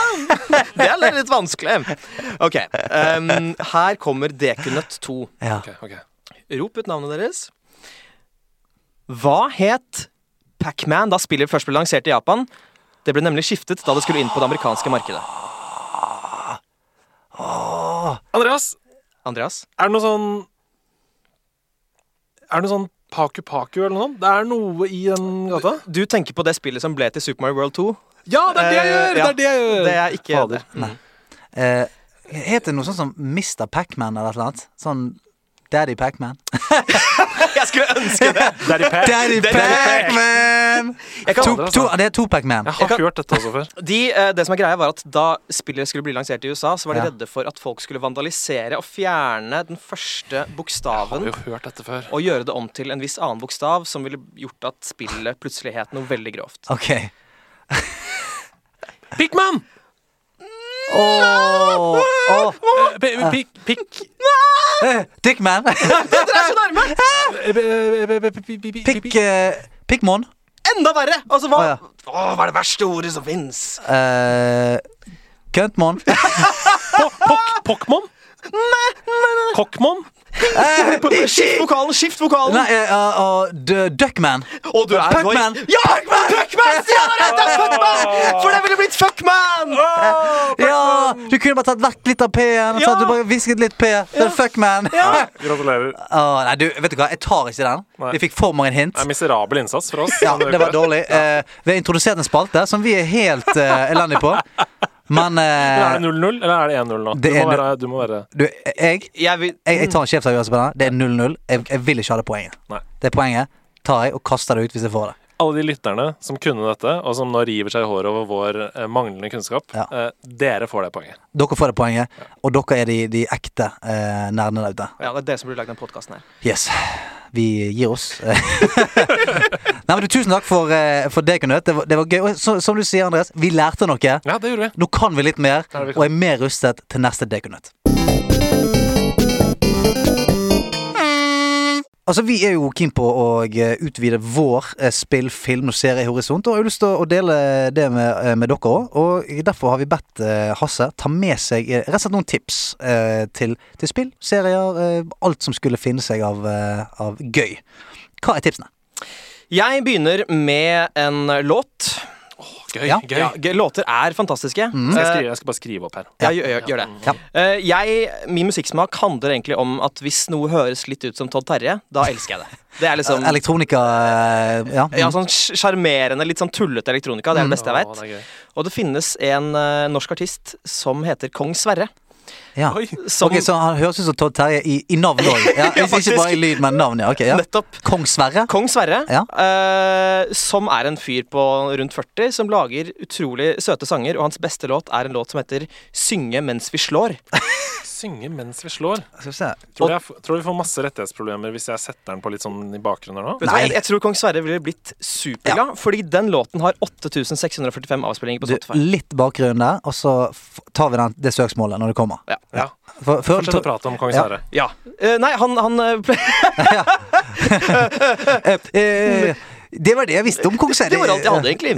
[SPEAKER 3] da? Det er litt vanskelig. Ok, ehm, Her kommer Dekunøtt 2.
[SPEAKER 1] Ja.
[SPEAKER 2] Ok, ok.
[SPEAKER 3] Rop ut navnet deres. Hva het Pacman da spillet først ble lansert i Japan? Det ble nemlig skiftet da det skulle inn på det amerikanske markedet.
[SPEAKER 2] Andreas,
[SPEAKER 3] Andreas?
[SPEAKER 2] er det noe sånn Er det noe sånn Paku Paku eller noe sånt? Det er noe i den gata?
[SPEAKER 3] Du tenker på det spillet som ble til Super Mario World 2?
[SPEAKER 2] Ja, det er det jeg
[SPEAKER 3] Eh,
[SPEAKER 2] gjør!
[SPEAKER 3] ja.
[SPEAKER 2] Det er det jeg gjør!
[SPEAKER 3] Det er ikke
[SPEAKER 2] Fader.
[SPEAKER 3] det.
[SPEAKER 1] Eh, heter det noe sånt som Mr. Pacman eller et eller annet? Sånn Daddy Pacman.
[SPEAKER 3] Jeg skulle ønske det!
[SPEAKER 2] Daddy Pack.
[SPEAKER 1] Daddy Pacman!
[SPEAKER 3] Jeg kan,
[SPEAKER 1] To, to, det er to Pacman.
[SPEAKER 2] Jeg har ikke hørt dette også før.
[SPEAKER 3] de, eh, det som er greia var at Da spillet skulle bli lansert i USA, så var de
[SPEAKER 1] Ja.
[SPEAKER 3] redde for at folk skulle vandalisere og fjerne den første bokstaven
[SPEAKER 2] Jeg har jo hørt dette før.
[SPEAKER 3] og gjøre det om til en viss annen bokstav, som ville gjort at spillet plutselig het noe veldig grovt.
[SPEAKER 1] Ok.
[SPEAKER 2] Pikman!
[SPEAKER 1] Åh, åh.
[SPEAKER 2] Eh, Pikk... Pikk...
[SPEAKER 1] Eh, Dickman. Pick,
[SPEAKER 2] Pikk
[SPEAKER 1] eh, Pickmon.
[SPEAKER 3] Enda verre! Altså, hva,
[SPEAKER 1] Å,
[SPEAKER 3] Åh, hva er det verste ordet som fins?
[SPEAKER 1] Eh, Køntmon.
[SPEAKER 2] Ah! Pokkmon? Kokkmon?
[SPEAKER 3] Skift vokalen! Skift vokalen!
[SPEAKER 1] Nei, eh, eh, og D- Duckman.
[SPEAKER 3] Og du er
[SPEAKER 1] Puckman!
[SPEAKER 3] Ja, Puckman! Puckman! Stian har rett! det er Puckman! For det ville blitt Fuckman!
[SPEAKER 1] Ja, du kunne bare tatt vekk litt av P-en. Ja. Du bare hvisket litt P. Det er Fuckman.
[SPEAKER 2] Gratulerer.
[SPEAKER 1] Åh, nei, du, vet du hva, jeg tar ikke den.
[SPEAKER 2] Nei.
[SPEAKER 1] Vi fikk for mange hint.
[SPEAKER 2] Det er miserabel innsats fra oss.
[SPEAKER 1] Ja, det var dårlig. Eh, vi har introdusert en spalte som vi er helt eh, elendige på. Men
[SPEAKER 2] Men er
[SPEAKER 1] eh,
[SPEAKER 2] det 0-0, eller er det 1-0 nå?
[SPEAKER 1] Det
[SPEAKER 2] du,
[SPEAKER 1] er
[SPEAKER 2] må være, du må være
[SPEAKER 1] du, jeg,
[SPEAKER 3] Jeg vil
[SPEAKER 1] jeg, jeg tar en sjefsavgjørelse på denne. Det er 0-0. Jeg, jeg vil ikke ha det poenget.
[SPEAKER 2] Nei.
[SPEAKER 1] Det poenget tar jeg og kaster det ut hvis jeg får det.
[SPEAKER 2] Alle de lytterne som kunne dette, og som nå river seg i håret over vår eh, manglende kunnskap,
[SPEAKER 1] Ja.
[SPEAKER 2] eh, dere får det poenget.
[SPEAKER 1] Dere får det poenget, og dere er de, de ekte eh, nerdene der ute.
[SPEAKER 3] Ja, det er dere som burde lagd den podkasten her.
[SPEAKER 1] Yes. Vi gir oss. Nei, men du, Tusen takk for, eh, for det, Knut. Det, var- det var gøy. Og så, som du sier, Andreas, vi lærte noe.
[SPEAKER 2] Ja, det gjorde vi.
[SPEAKER 1] Nå kan vi litt mer,
[SPEAKER 2] Ja, vi kan.
[SPEAKER 1] og er mer rustet til neste Dekonøtt. Altså, Vi er jo keen på å eh, utvide vår eh, spill-, film- og seriehorisont. Og jeg har lyst til å dele det med, eh, med dere òg. Og derfor har vi bedt eh, Hasse ta med seg eh, rett og slett noen tips eh, til, til spill, serier, eh, alt som skulle finne seg av, eh, av gøy. Hva er tipsene?
[SPEAKER 3] Jeg begynner med en låt.
[SPEAKER 2] Gøy.
[SPEAKER 1] Ja.
[SPEAKER 2] gøy. Mm.
[SPEAKER 3] Ja, g- låter er fantastiske.
[SPEAKER 2] Skal jeg,
[SPEAKER 3] Eh,
[SPEAKER 2] skrive, jeg skal bare skrive opp her.
[SPEAKER 3] Ja, gjør, gjør, gjør det.
[SPEAKER 1] Ja.
[SPEAKER 3] Eh, jeg, min musikksmak handler egentlig om at hvis noe høres litt ut som Todd Terje, da elsker jeg det. Det er liksom
[SPEAKER 1] Elektronika eh, Ja.
[SPEAKER 3] ja, sånn sj- sjarmerende, litt sånn tullete elektronika. Det er det beste jeg
[SPEAKER 2] Mm. Å,
[SPEAKER 3] vet.
[SPEAKER 2] det er gøy.
[SPEAKER 3] Og det finnes en eh, norsk artist som heter Kong Sverre.
[SPEAKER 1] ja.
[SPEAKER 3] Som
[SPEAKER 1] Ok, Så han høres ut som Todd Terje i, i navn òg. Ja,
[SPEAKER 3] Ja,
[SPEAKER 1] ikke- ikke
[SPEAKER 3] faktisk.
[SPEAKER 1] bare i lyd, men navn. Ja. Ok, ja.
[SPEAKER 3] nettopp
[SPEAKER 1] Kong Sverre.
[SPEAKER 3] Kong Sverre,
[SPEAKER 1] Ja.
[SPEAKER 3] eh, som er en fyr på rundt 40, som lager utrolig søte sanger, og hans beste låt er en låt som heter 'Synge mens vi slår'.
[SPEAKER 2] Synge mens vi slår.
[SPEAKER 1] Skal vi se.
[SPEAKER 2] Tror, du jeg, f- tror du vi får masse rettighetsproblemer hvis jeg setter den på litt sånn i bakgrunnen her nå?
[SPEAKER 3] Vet du hva,
[SPEAKER 1] Nei.
[SPEAKER 3] jeg, jeg tror Kong Sverre ville blitt superglad, fordi den låten har 8645 avspillinger på
[SPEAKER 1] Du,
[SPEAKER 3] Spotify.
[SPEAKER 1] litt bakgrunn der, og så f- tar vi den, det søksmålet når det kommer.
[SPEAKER 3] Ja.
[SPEAKER 2] Ja.
[SPEAKER 1] For, før-
[SPEAKER 2] Fortsett å prate om Kong
[SPEAKER 1] Ja.
[SPEAKER 2] Sverre.
[SPEAKER 3] ja. Eh, nei, han, han eh, ble-
[SPEAKER 1] eh, det var det jeg visste om kong Sverre.
[SPEAKER 3] Det var alt jeg hadde, egentlig.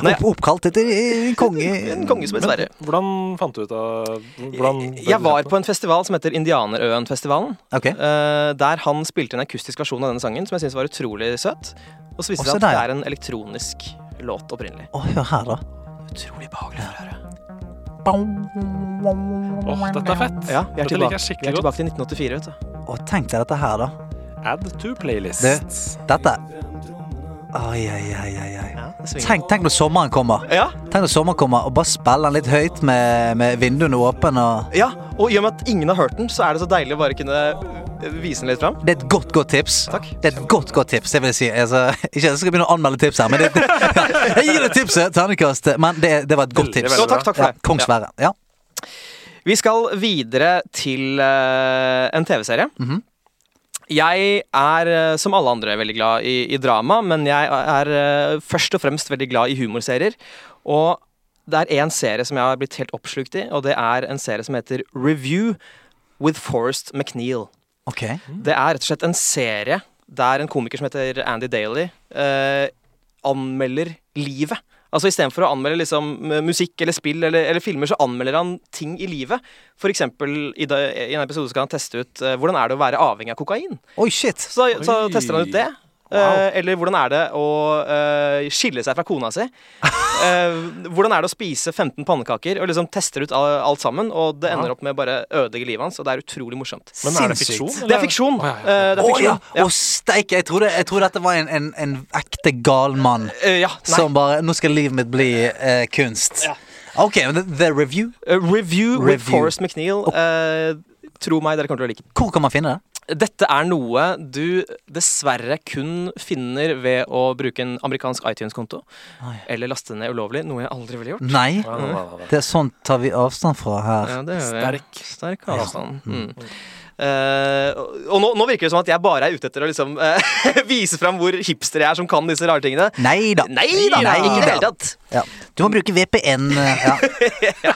[SPEAKER 3] Nei,
[SPEAKER 1] Opp, oppkalt etter eh, en konge.
[SPEAKER 3] En konge som het Sverre.
[SPEAKER 2] Hvordan fant du ut av hvordan
[SPEAKER 3] Jeg var på en festival som heter Indianerøen-festivalen.
[SPEAKER 1] Ok.
[SPEAKER 3] eh, der han spilte en akustisk versjon av denne sangen, som jeg syns var utrolig søt. Og så viste det
[SPEAKER 1] Og se
[SPEAKER 3] seg at det
[SPEAKER 1] der.
[SPEAKER 3] er en elektronisk låt opprinnelig.
[SPEAKER 1] Å, hør her, da.
[SPEAKER 3] Utrolig behagelig å høre.
[SPEAKER 2] Åh, dette er fett.
[SPEAKER 3] Ja, vi
[SPEAKER 2] Dette liker
[SPEAKER 3] er tilbake,
[SPEAKER 2] jeg
[SPEAKER 3] vi er
[SPEAKER 2] skikkelig godt.
[SPEAKER 3] tilbake til 1984, vet du.
[SPEAKER 1] Og tenk deg dette her, da.
[SPEAKER 2] Add to playlist.
[SPEAKER 1] Det- Dette Oi, oi, oi, oi, oi.
[SPEAKER 3] Ja, det svinger.
[SPEAKER 1] Tenk, tenk når sommeren kommer.
[SPEAKER 3] Ja,
[SPEAKER 1] Tenk når sommeren kommer, og bare spille den litt høyt med, med vinduene åpne. Og...
[SPEAKER 3] ja, og i og med at ingen har hørt den, så er det så deilig å bare kunne øh, vise den litt fram.
[SPEAKER 1] Det er et godt, godt tips.
[SPEAKER 3] Takk.
[SPEAKER 1] Det er et godt, godt tips, det vil jeg si. Altså, ikke at jeg skal begynne å anmelde tips her, men det, jeg gir deg tipset! Ternekast. Men det, det var et godt
[SPEAKER 2] Veldig,
[SPEAKER 1] tips.
[SPEAKER 2] veldig
[SPEAKER 3] Så takk, takk for
[SPEAKER 1] Ja,
[SPEAKER 3] det.
[SPEAKER 1] Kong Sverre. Ja.
[SPEAKER 3] Vi skal videre til eh, en TV-serie. Jeg er, eh, som alle andre, veldig glad i, i drama, men jeg er eh, først og fremst veldig glad i humorserier. Og det er én serie som jeg har blitt helt oppslukt i, og det er en serie som heter Review with Forrest McNeil.
[SPEAKER 1] Ok.
[SPEAKER 3] Det er rett og slett en serie der en komiker som heter Andy Daly, eh, anmelder livet. Altså Istedenfor å anmelde liksom, eh, musikk eller spill eller, eller filmer, så anmelder han ting i livet. For eksempel, i, da- I en episode skal han teste ut eh, hvordan er det å være avhengig av kokain.
[SPEAKER 1] Oi, shit.
[SPEAKER 3] Så, så
[SPEAKER 2] Oi.
[SPEAKER 3] tester han ut det. Eh,
[SPEAKER 2] Wow.
[SPEAKER 3] eller hvordan er det å eh, skille seg fra kona si? Eh, hvordan er det å spise 15 pannekaker? Og liksom tester ut al- alt sammen. Og det ender
[SPEAKER 2] Ja.
[SPEAKER 3] opp med bare ødelegge livet hans, og det er utrolig morsomt.
[SPEAKER 2] Men er det
[SPEAKER 1] Sinnssykt.
[SPEAKER 2] fiksjon?
[SPEAKER 3] Det er
[SPEAKER 2] eller?
[SPEAKER 3] fiksjon.
[SPEAKER 2] Å, ja, ja.
[SPEAKER 3] Eh, det
[SPEAKER 1] Å
[SPEAKER 3] er
[SPEAKER 1] ja!
[SPEAKER 3] fiksjon.
[SPEAKER 1] Å steike! Jeg trodde, jeg trodde dette var en, en, en ekte gal mann
[SPEAKER 3] Eh, ja, nei.
[SPEAKER 1] som bare Nå skal livet mitt bli eh, kunst. Ok, men the, the Review.
[SPEAKER 3] Eh, review, with
[SPEAKER 1] Review.
[SPEAKER 3] Forrest McNeil. Eh, tro meg, dere kommer til å like den.
[SPEAKER 1] Hvor kan man finne det?
[SPEAKER 3] Dette er noe du dessverre kun finner ved å bruke en amerikansk iTunes-konto.
[SPEAKER 1] Nei.
[SPEAKER 3] Eller laste ned ulovlig, noe jeg aldri ville gjort.
[SPEAKER 1] Nei.
[SPEAKER 2] Nei, nei, nei, nei.
[SPEAKER 1] Det er sånt tar vi avstand fra her.
[SPEAKER 3] Ja, det gjør jeg.
[SPEAKER 2] Sterk.
[SPEAKER 3] Sterk avstand. Mm. Eh, og- og nå, nå virker det som at jeg bare er ute etter å liksom, eh, vise fram hvor hipster jeg er som kan disse rare tingene.
[SPEAKER 1] Nei da.
[SPEAKER 3] Nei da!
[SPEAKER 1] Nei
[SPEAKER 3] Ikke i det hele
[SPEAKER 1] da.
[SPEAKER 3] tatt.
[SPEAKER 1] Ja. Du må bruke VPN. eh, Ja.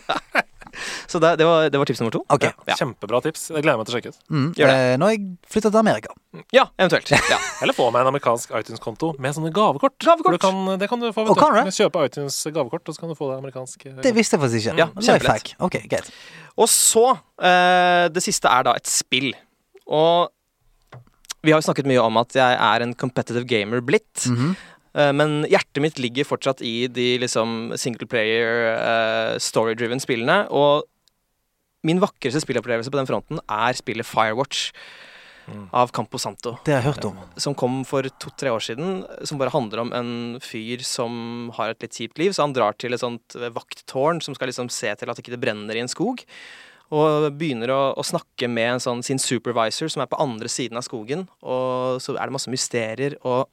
[SPEAKER 3] Så det, det, var, det var tips nummer to.
[SPEAKER 1] Ok.
[SPEAKER 3] Ja.
[SPEAKER 2] Kjempebra tips. Jeg gleder meg til å sjekke ut.
[SPEAKER 1] Mm.
[SPEAKER 3] Gjør det.
[SPEAKER 1] eh, Nå har jeg flytta til Amerika.
[SPEAKER 3] ja, eventuelt. Ja.
[SPEAKER 2] Eller få meg en amerikansk iTunes-konto med sånne gavekort.
[SPEAKER 3] Gavekort.
[SPEAKER 2] For Du kan, det kan du få.
[SPEAKER 1] Å,
[SPEAKER 2] Vet
[SPEAKER 1] kan
[SPEAKER 2] du.
[SPEAKER 1] du det?
[SPEAKER 2] Kjøpe iTunes gavekort, og så kan du få det amerikansk. eh,
[SPEAKER 1] Det visste jeg faktisk ikke.
[SPEAKER 3] Ja,
[SPEAKER 1] Lifehack. Ok, greit.
[SPEAKER 3] Og så eh, Det siste er da et spill. Og vi har jo snakket mye om at jeg er en competitive gamer blitt. eh, Men hjertet mitt ligger fortsatt i de liksom singleplayer, story-driven spillene. Og min vakreste spillopplevelse på den fronten er spillet Firewatch. av Campo Santo.
[SPEAKER 1] Det har jeg hørt om.
[SPEAKER 3] Som kom for to-tre år siden. Som bare handler om en fyr som har et litt kjipt liv. Så han drar til et sånt eh, vakttårn som skal liksom se til at ikke det brenner i en skog. Og begynner å, å snakke med en sånn, sin supervisor som er på andre siden av skogen. Og så er det masse mysterier, og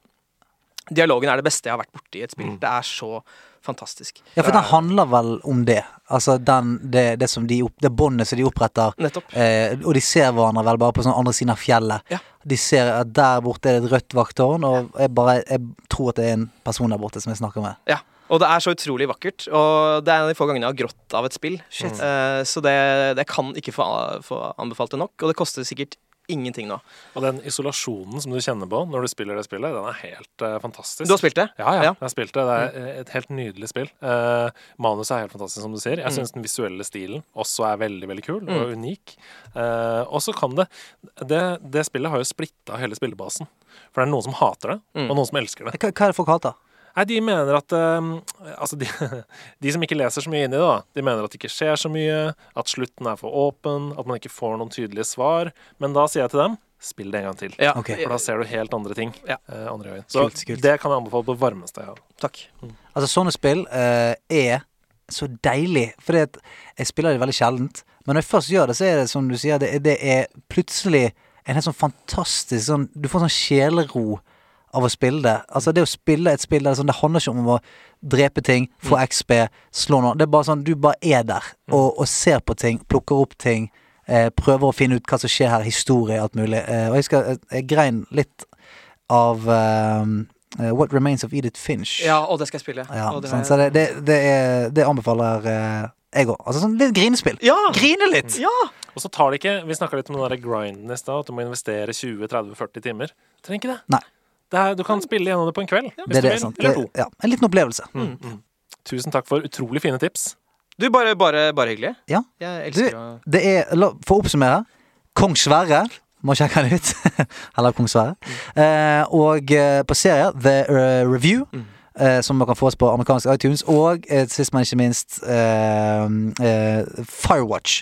[SPEAKER 3] dialogen er det beste jeg har vært borti i et spill. Det er så fantastisk.
[SPEAKER 1] Ja, for den handler vel om det. Altså den, det, det, som de opp, det båndet som de oppretter.
[SPEAKER 3] Nettopp.
[SPEAKER 1] Eh, og de ser hverandre vel bare på sånn andre siden av fjellet.
[SPEAKER 3] Ja.
[SPEAKER 1] De ser at der borte er det et rødt vakttårn, og jeg bare jeg tror at det er en person der borte som jeg snakker med.
[SPEAKER 3] Ja. Og det er så utrolig vakkert. Og det er en av de få gangene jeg har grått av et spill. Eh, så det, det kan ikke få, få anbefalt det nok. Og det koster sikkert ingenting nå.
[SPEAKER 2] Og den isolasjonen som du kjenner på når du spiller det spillet, den er helt eh, fantastisk.
[SPEAKER 3] Du har spilt det?
[SPEAKER 2] Ja, ja,
[SPEAKER 3] Ja. Mm.
[SPEAKER 2] jeg har spilt det. Det er eh, et helt nydelig spill. Eh, manuset er helt fantastisk, som du sier.
[SPEAKER 3] Mm.
[SPEAKER 2] Jeg syns den visuelle stilen også er veldig veldig kul og unik. Eh, og så kan det, det Det spillet har jo splitta hele spillebasen. For det er noen som hater det,
[SPEAKER 3] Mm.
[SPEAKER 2] og noen som elsker det.
[SPEAKER 1] Hva, hva er det folk hater?
[SPEAKER 2] Nei, de mener at eh, Altså, de, de som ikke leser så mye inn i det, da, de mener at det ikke skjer så mye, at slutten er for åpen, at man ikke får noen tydelige svar. Men da sier jeg til dem spill det en gang til.
[SPEAKER 3] Ja.
[SPEAKER 1] Ok.
[SPEAKER 2] For da ser du helt andre ting.
[SPEAKER 3] Ja.
[SPEAKER 2] eh, andre øyne. Så
[SPEAKER 1] Kult, kult.
[SPEAKER 2] det kan jeg anbefale på varmeste. Ja.
[SPEAKER 3] Takk.
[SPEAKER 1] Altså, sånne spill eh, er så deilig, fordi at jeg spiller det veldig sjeldent. Men når jeg først gjør det, så er det som du sier, det, det er plutselig en helt sånn fantastisk sånn Du får sånn sjelero av å spille det. Altså, det å spille et spill der det er sånn, det handler ikke om å drepe ting, få XP, slå noen. Det er bare sånn du bare er der og, og ser på ting, plukker opp ting. Eh, prøver å finne ut hva som skjer her, historie, alt mulig. Eh, og jeg husker jeg, jeg grein litt av eh, What Remains of Edith Finch.
[SPEAKER 3] Ja, og det skal jeg spille.
[SPEAKER 1] Ja,
[SPEAKER 3] og det har
[SPEAKER 1] sant,
[SPEAKER 3] jeg-
[SPEAKER 1] så det, det, det, er, det anbefaler eh, jeg òg. Altså sånn litt grinespill.
[SPEAKER 3] ja!
[SPEAKER 1] Grine litt!
[SPEAKER 3] ja!
[SPEAKER 2] Og så tar det ikke Vi snakka litt om den der grinden i stad, at du må investere 20-30-40 timer. Du trenger ikke det.
[SPEAKER 1] Nei.
[SPEAKER 2] det er, du kan spille gjennom det på en kveld. Hvis
[SPEAKER 1] Det, er
[SPEAKER 2] du
[SPEAKER 1] det,
[SPEAKER 2] vil,
[SPEAKER 1] sant. Det,
[SPEAKER 2] Eller to.
[SPEAKER 1] ja, en liten opplevelse.
[SPEAKER 2] Tusen takk for utrolig fine tips.
[SPEAKER 3] Mm. Du, bare, bare, bare hyggelig.
[SPEAKER 1] Ja.
[SPEAKER 3] Jeg
[SPEAKER 1] Du,
[SPEAKER 3] elsker å
[SPEAKER 1] det er la, For å oppsummere. Kong Sverre. Må sjekke han ut. Eller Kong Sverre.
[SPEAKER 2] Mm.
[SPEAKER 1] Eh, og eh, på serie The eh, Review.
[SPEAKER 2] Mm.
[SPEAKER 1] eh, som man kan få oss på amerikansk iTunes. Og eh, sist, men ikke minst, eh, eh, Firewatch.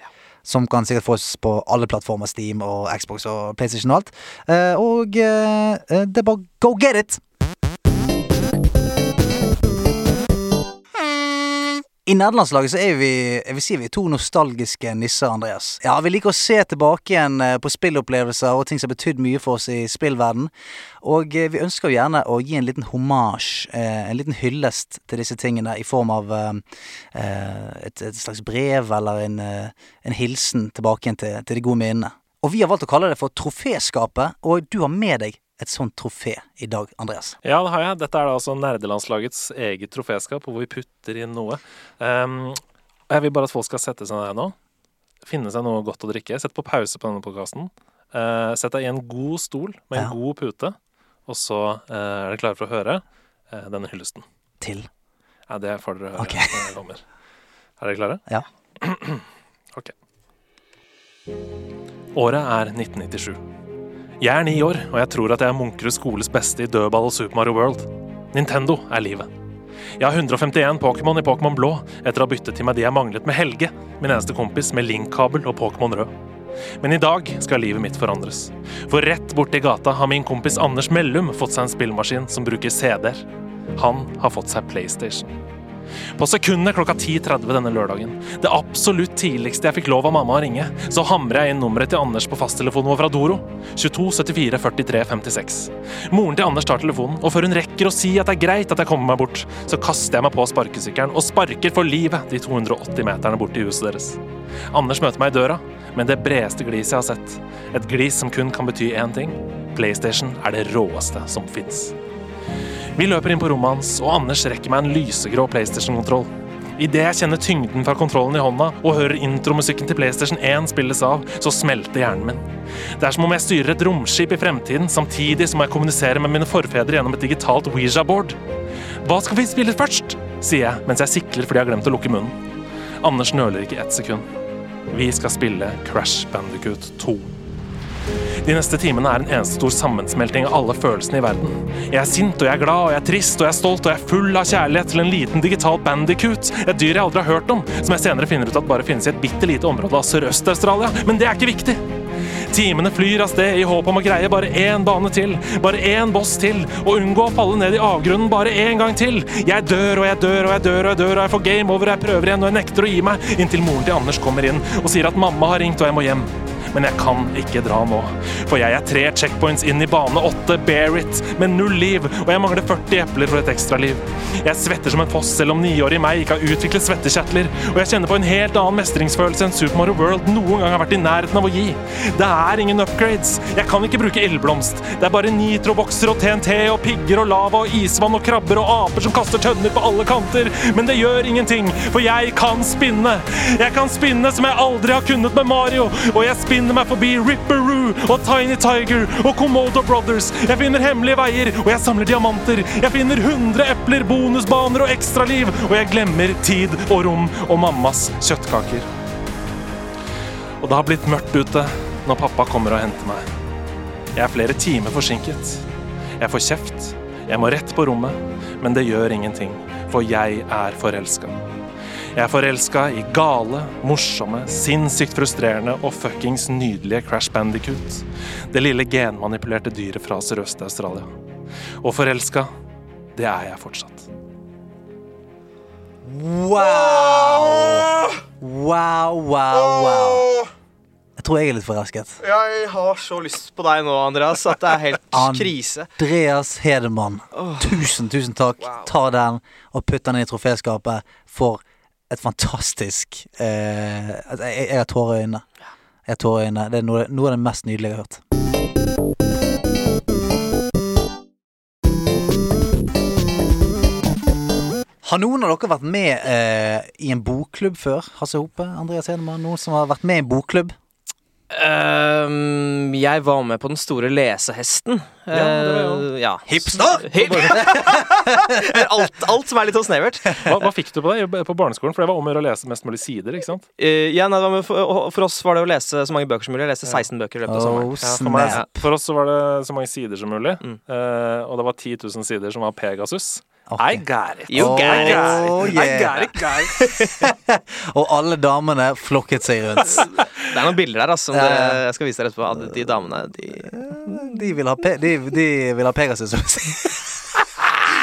[SPEAKER 1] Som kan sikkert fås på alle plattformer. Steam og Xbox og PlayStation og alt. Eh, og eh, eh, det er bare go get it! I nederlandslaget så er vi jeg vil si vi er to nostalgiske nisser, Andreas. Ja, Vi liker å se tilbake igjen eh, på spillopplevelser og ting som har betydd mye for oss i spillverden. Og eh, vi ønsker jo gjerne å gi en liten hommage, eh, en liten hyllest til disse tingene i form av eh, eh, et, et slags brev eller en, eh, en hilsen tilbake igjen til, til de gode minnene. Og vi har valgt å kalle det for Troféskapet, og du har med deg et sånt trofé i dag, Andreas.
[SPEAKER 2] Ja, det har jeg. Dette er da altså nerdelandslagets eget troféskap, hvor vi putter inn noe. Ehm, og jeg vil bare at folk skal sette seg ned nå, finne seg noe godt å drikke, sette på pause på denne podkasten, sett deg i en god stol med en
[SPEAKER 1] Ja.
[SPEAKER 2] god pute, og så eh, er dere klare for å høre eh, denne hyllesten.
[SPEAKER 1] Til
[SPEAKER 2] Ja, det får dere høre
[SPEAKER 1] Ok.
[SPEAKER 2] når jeg kommer. Er dere klare?
[SPEAKER 1] Ja.
[SPEAKER 2] ok. Året er 1997. Jeg er ni år, og jeg tror at jeg er Munkerud skoles beste i dødball og Super Mario World. Nintendo er livet. Jeg har 151 Pokémon i Pokémon blå, etter å ha byttet til meg de jeg manglet med Helge, min eneste kompis med Link-kabel og Pokémon rød. Men i dag skal livet mitt forandres. For rett borti gata har min kompis Anders Mellum fått seg en spillmaskin som bruker CD-er. Han har fått seg PlayStation. På sekundet klokka 10.30 denne lørdagen, det absolutt tidligste jeg fikk lov av mamma å ringe, så hamrer jeg inn nummeret til Anders på fasttelefonen vår fra Doro. 22 74 43 56. Moren til Anders tar telefonen, og før hun rekker å si at det er greit at jeg kommer meg bort, så kaster jeg meg på sparkesykkelen og sparker for livet de 280 meterne bort til huset deres. Anders møter meg i døra, men det bredeste gliset jeg har sett. Et glis som kun kan bety én ting. PlayStation er det råeste som fins. Vi løper inn på rommet hans, og Anders rekker meg en lysegrå PlayStation-kontroll. Idet jeg kjenner tyngden fra kontrollen i hånda og hører intromusikken til PlayStation 1 spilles av, så smelter hjernen min. Det er som om jeg styrer et romskip i fremtiden, samtidig som jeg kommuniserer med mine forfedre gjennom et digitalt Ouija-board. Hva skal vi spille først? sier jeg mens jeg sikler fordi jeg har glemt å lukke munnen. Anders nøler ikke ett sekund. Vi skal spille Crash Bandicoot 2. De neste timene er en eneste stor sammensmelting av alle følelsene i verden. Jeg er sint, og jeg er glad, og jeg er trist, og jeg er stolt, og jeg er full av kjærlighet til en liten digital bandicoot, et dyr jeg aldri har hørt om, som jeg senere finner ut at bare finnes i et bitte lite område av Sørøst-Australia, men det er ikke viktig. Timene flyr av sted i håp om å greie bare én bane til, bare én boss til, og unngå å falle ned i avgrunnen bare én gang til. Jeg dør og jeg dør og jeg dør og jeg dør, og jeg får game over og jeg prøver igjen og jeg nekter å gi meg, inntil moren til Anders kommer inn og sier at mamma har ringt og jeg må hjem. Men jeg kan ikke dra nå, for jeg er tre checkpoints inn i bane åtte, bear it, med null liv, og jeg mangler 40 epler for et ekstraliv. Jeg svetter som en foss, selv om niårige meg ikke har utviklet svettekjertler, og jeg kjenner på en helt annen mestringsfølelse enn Super Mario World noen gang har vært i nærheten av å gi. Det er ingen upgrades, jeg kan ikke bruke ildblomst, det er bare nitrobokser og TNT og pigger og lava og isvann og krabber og aper som kaster tønner på alle kanter, men det gjør ingenting, for jeg kan spinne. Jeg kan spinne som jeg aldri har kunnet med Mario, og jeg spinner meg forbi Ripperoo og Tiny Tiger og Komodo Brothers. Jeg finner hemmelige veier, og jeg samler diamanter. Jeg finner 100 epler, bonusbaner og ekstraliv, og jeg glemmer tid og rom og mammas kjøttkaker. Og det har blitt mørkt ute når pappa kommer og henter meg. Jeg er flere timer forsinket. Jeg får kjeft. Jeg må rett på rommet. Men det gjør ingenting, for jeg er forelska. Jeg er forelska i gale, morsomme, sinnssykt frustrerende og fuckings nydelige Crash Bandicoot. Det lille genmanipulerte dyret fra Sørøst-Australia. Og forelska, det er jeg fortsatt.
[SPEAKER 1] Wow! Wow, wow, wow. Jeg tror jeg er litt forelsket.
[SPEAKER 3] Jeg har så lyst på deg nå, Andreas, at det er
[SPEAKER 1] An-
[SPEAKER 3] helt krise.
[SPEAKER 1] Andreas Hedemann, tusen, tusen takk. Ta den og putt den inn i troféskapet for et fantastisk eh, at jeg, jeg har tårer i øynene. Jeg har tårer i øynene. Det er noe, noe av det mest nydelige jeg har hørt. Har noen av dere vært med eh, i en bokklubb før? Hasse Hope, Andreas Hedemann? Noen som har vært med i en bokklubb?
[SPEAKER 3] Ehm, jeg var med på Den store lesehesten.
[SPEAKER 2] Ja, det var jeg
[SPEAKER 3] Eh, ja.
[SPEAKER 1] Hipster!
[SPEAKER 3] Hip- alt, alt som er litt sånn snevert.
[SPEAKER 2] Hva, hva fikk du på det på barneskolen? For det var om å gjøre å lese mest mulig sider, ikke sant?
[SPEAKER 3] Eh, ja, nei, det var med- for, for oss var det å lese så mange bøker som mulig. Jeg leste 16 bøker i løpet av sommeren.
[SPEAKER 1] Oh,
[SPEAKER 2] For, meg,
[SPEAKER 1] snap.
[SPEAKER 2] for oss så var det så mange sider som mulig,
[SPEAKER 3] Mm.
[SPEAKER 2] eh, og det var 10 000 sider som var Pegasus.
[SPEAKER 1] Ok.
[SPEAKER 2] I got it.
[SPEAKER 3] You got it.
[SPEAKER 1] Oh,
[SPEAKER 2] I got
[SPEAKER 1] yeah.
[SPEAKER 2] it, guys.
[SPEAKER 1] Og alle damene flokket seg rundt.
[SPEAKER 3] Det er noen bilder der altså, som
[SPEAKER 1] Ja, ja.
[SPEAKER 3] dere- jeg skal vise dere etterpå. Ja, De, de damene de,
[SPEAKER 1] De vil ha, pe de, de vil ha Pegasus, som vi sier.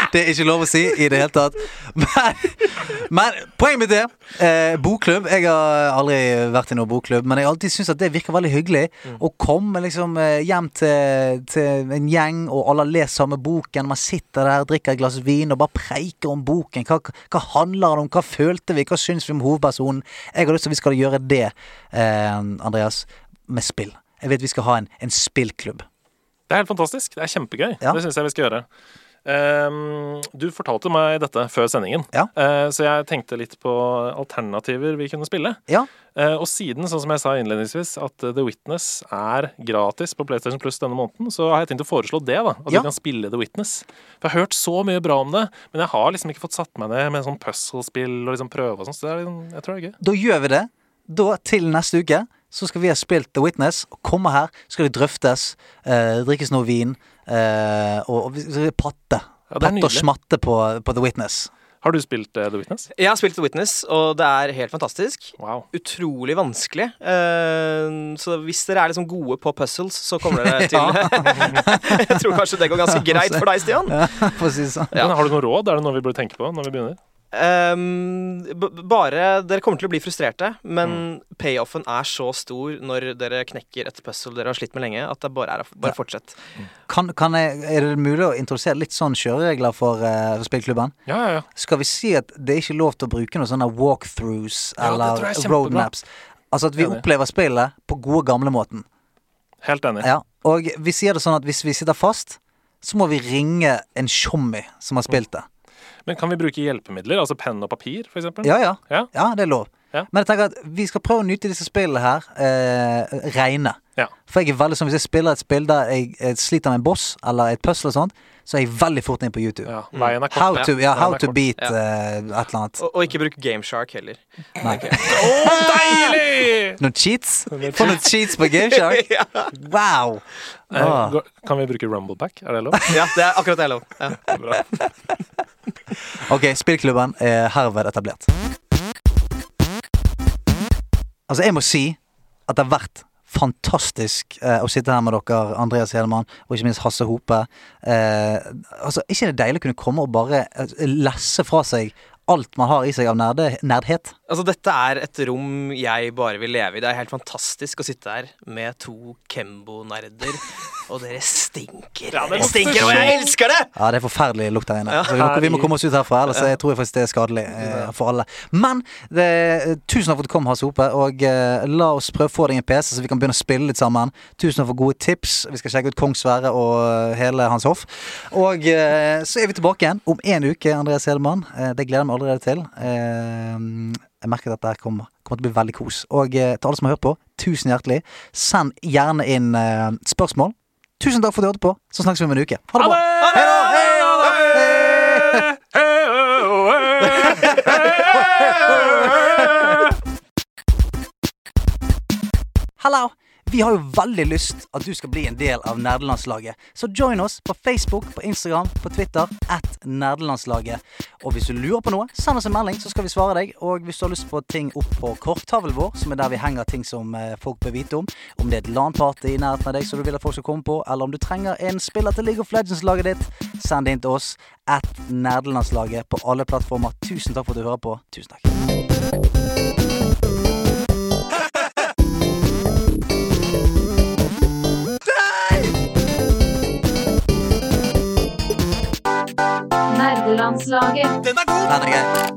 [SPEAKER 1] Det er ikke lov å si i det hele tatt. Men, men poenget mitt er eh, bokklubb. Jeg har aldri vært i noen bokklubb, men jeg har alltid syntes at det virker veldig hyggelig å komme liksom, eh, hjem til, til en gjeng, og alle har lest samme boken. Man sitter der, drikker et glass vin og bare preiker om boken. Hva, hva handler den om? Hva følte vi? Hva syns vi om hovedpersonen? Jeg har lyst til at vi skal gjøre det, eh, Andreas, med spill. Jeg vet vi skal ha en, en spillklubb.
[SPEAKER 2] Det er helt fantastisk. Det er kjempegøy.
[SPEAKER 1] Ja.
[SPEAKER 2] Det syns jeg vi skal gjøre. Ehm, du fortalte meg dette før sendingen,
[SPEAKER 1] Ja.
[SPEAKER 2] Eh, så jeg tenkte litt på alternativer vi kunne spille.
[SPEAKER 1] Ja,
[SPEAKER 2] Eh, og siden, sånn som jeg sa innledningsvis, at eh, The Witness er gratis på PlayStation Plus denne måneden, så har jeg tenkt å foreslå det, da. At
[SPEAKER 1] Ja.
[SPEAKER 2] vi kan spille The Witness. For jeg har hørt så mye bra om det, men jeg har liksom ikke fått satt meg ned med sånn puzzle-spill og liksom prøve og sånn, så det er, liksom- jeg tror det er gøy.
[SPEAKER 1] da gjør vi det. Da til neste uke så skal vi ha spilt The Witness. Og komme her, så skal det drøftes, eh, drikkes noe vin, eh, og, og vi skal patte.
[SPEAKER 2] Ja, det er
[SPEAKER 1] patte og
[SPEAKER 2] nydelig.
[SPEAKER 1] smatte på, på The Witness.
[SPEAKER 2] Har du spilt eh, The Witness?
[SPEAKER 3] Jeg har spilt The Witness, og det er helt fantastisk.
[SPEAKER 2] Wow.
[SPEAKER 3] Utrolig vanskelig. Eh, så hvis dere er liksom gode på puzzles, så kommer dere til Jeg tror kanskje det går ganske greit for deg, Stian.
[SPEAKER 1] Ja, for å si det sånn.
[SPEAKER 3] Ja.
[SPEAKER 2] Men har du noe råd? Er det noe vi burde tenke på når vi begynner?
[SPEAKER 3] Ehm, b b- bare Dere kommer til å bli frustrerte, men
[SPEAKER 1] Mm.
[SPEAKER 3] payoffen er så stor når dere knekker et puzzle dere har slitt med lenge, at det bare er å f- bare fortsette.
[SPEAKER 1] Kan, kan jeg, er det mulig å introdusere litt sånn kjøreregler for, eh, for spillklubben?
[SPEAKER 2] Ja, ja, ja.
[SPEAKER 1] Skal vi si at det er ikke lov til å bruke noen sånne walkthroughs
[SPEAKER 2] Ja, det
[SPEAKER 1] eller
[SPEAKER 2] tror jeg er kjempebra.
[SPEAKER 1] roadmaps? Altså at vi
[SPEAKER 2] Enig.
[SPEAKER 1] opplever spillet på gode gamlemåten.
[SPEAKER 2] Helt enig.
[SPEAKER 1] Ja, og vi sier det sånn at hvis vi sitter fast, så må vi ringe en tjommi som har spilt det.
[SPEAKER 2] Men kan vi bruke hjelpemidler? Altså penn og papir, for eksempel?
[SPEAKER 1] Ja, ja.
[SPEAKER 2] Ja.
[SPEAKER 1] Ja, det er lov.
[SPEAKER 2] Ja.
[SPEAKER 1] Men jeg tenker at vi skal prøve å nyte disse spillene her eh, reine.
[SPEAKER 2] Ja.
[SPEAKER 1] For jeg er veldig sånn, hvis jeg spiller et spill der jeg, eh, sliter med en boss eller et puzzle og sånt, så er jeg veldig fort inn på YouTube.
[SPEAKER 2] Ja, Veien er kort.
[SPEAKER 1] How to, ja,
[SPEAKER 2] Veien
[SPEAKER 1] how
[SPEAKER 2] er
[SPEAKER 1] to
[SPEAKER 2] kort.
[SPEAKER 1] beat
[SPEAKER 3] Ja.
[SPEAKER 1] eh, et eller annet.
[SPEAKER 3] Og, og ikke bruk Gameshark heller.
[SPEAKER 1] Nei.
[SPEAKER 2] Deilig!
[SPEAKER 1] Noen cheats? Få noen cheats på GameShark? Wow!
[SPEAKER 2] Eh,
[SPEAKER 1] Ah.
[SPEAKER 2] går- Kan vi bruke rumbleback? Er det lov?
[SPEAKER 3] Ja, det er akkurat det jeg lov. Ja.
[SPEAKER 2] Bra.
[SPEAKER 1] Ok, spillklubben er herved etablert. Altså, jeg må si at det har vært fantastisk eh, å sitte her med dere, Andreas Hedemann, og ikke minst Hasse Hope. Eh, altså, ikke det deilig å kunne komme og bare eh, lesse fra seg alt man har i seg av nerde, nerdhet?
[SPEAKER 3] Altså, dette er et rom jeg bare vil leve i. Det er helt fantastisk å sitte her med to Kembo-nerder, og dere stinker.
[SPEAKER 2] Ja, det
[SPEAKER 3] dere
[SPEAKER 2] lukter
[SPEAKER 3] stinker, og jeg
[SPEAKER 2] sånn.
[SPEAKER 3] elsker det!
[SPEAKER 1] Ja, det er forferdelig lukt der inne. Så vi må- vi må komme oss ut herfra, ellers jeg tror jeg faktisk det er skadelig eh, for alle. Men det, tusen takk for at du kom, Hasse Hope, og eh, la oss prøve å få deg en PC, så vi kan begynne å spille litt sammen. Tusen takk for gode tips. Vi skal sjekke ut Kong Sverre og eh, hele hans hoff. Og eh, så er vi tilbake igjen om en uke, Andreas Hedemann. Eh, det gleder jeg meg allerede til. Eh, jeg merker at dette her kommer, kommer til å bli veldig kos. Og eh, til alle som har hørt på, tusen hjertelig. Send gjerne inn eh, spørsmål. Tusen takk for at du hørte på. Så snakkes vi om en uke. Ha det
[SPEAKER 2] 뭐.
[SPEAKER 1] bra. Hei da! Hei da! Hei! Hallo! Vi har jo veldig lyst at du skal bli en del av nerdelandslaget. Så join oss på Facebook, på Instagram, på Twitter at nerdelandslaget. Og hvis du lurer på noe, send oss en melding, så skal vi svare deg. Og hvis du har lyst på ting opp på korktavlen vår, som er der vi henger ting som eh, folk bør vite om, om det er et LAN-party i nærheten av deg som du vil at folk skal komme på, eller om du trenger en spiller til League of Legends-laget ditt, send det inn til oss at nerdelandslaget på alle plattformer. Tusen takk for at du hører på. Tusen takk.
[SPEAKER 5] Nerdelandslaget.
[SPEAKER 1] Nei, det er greit.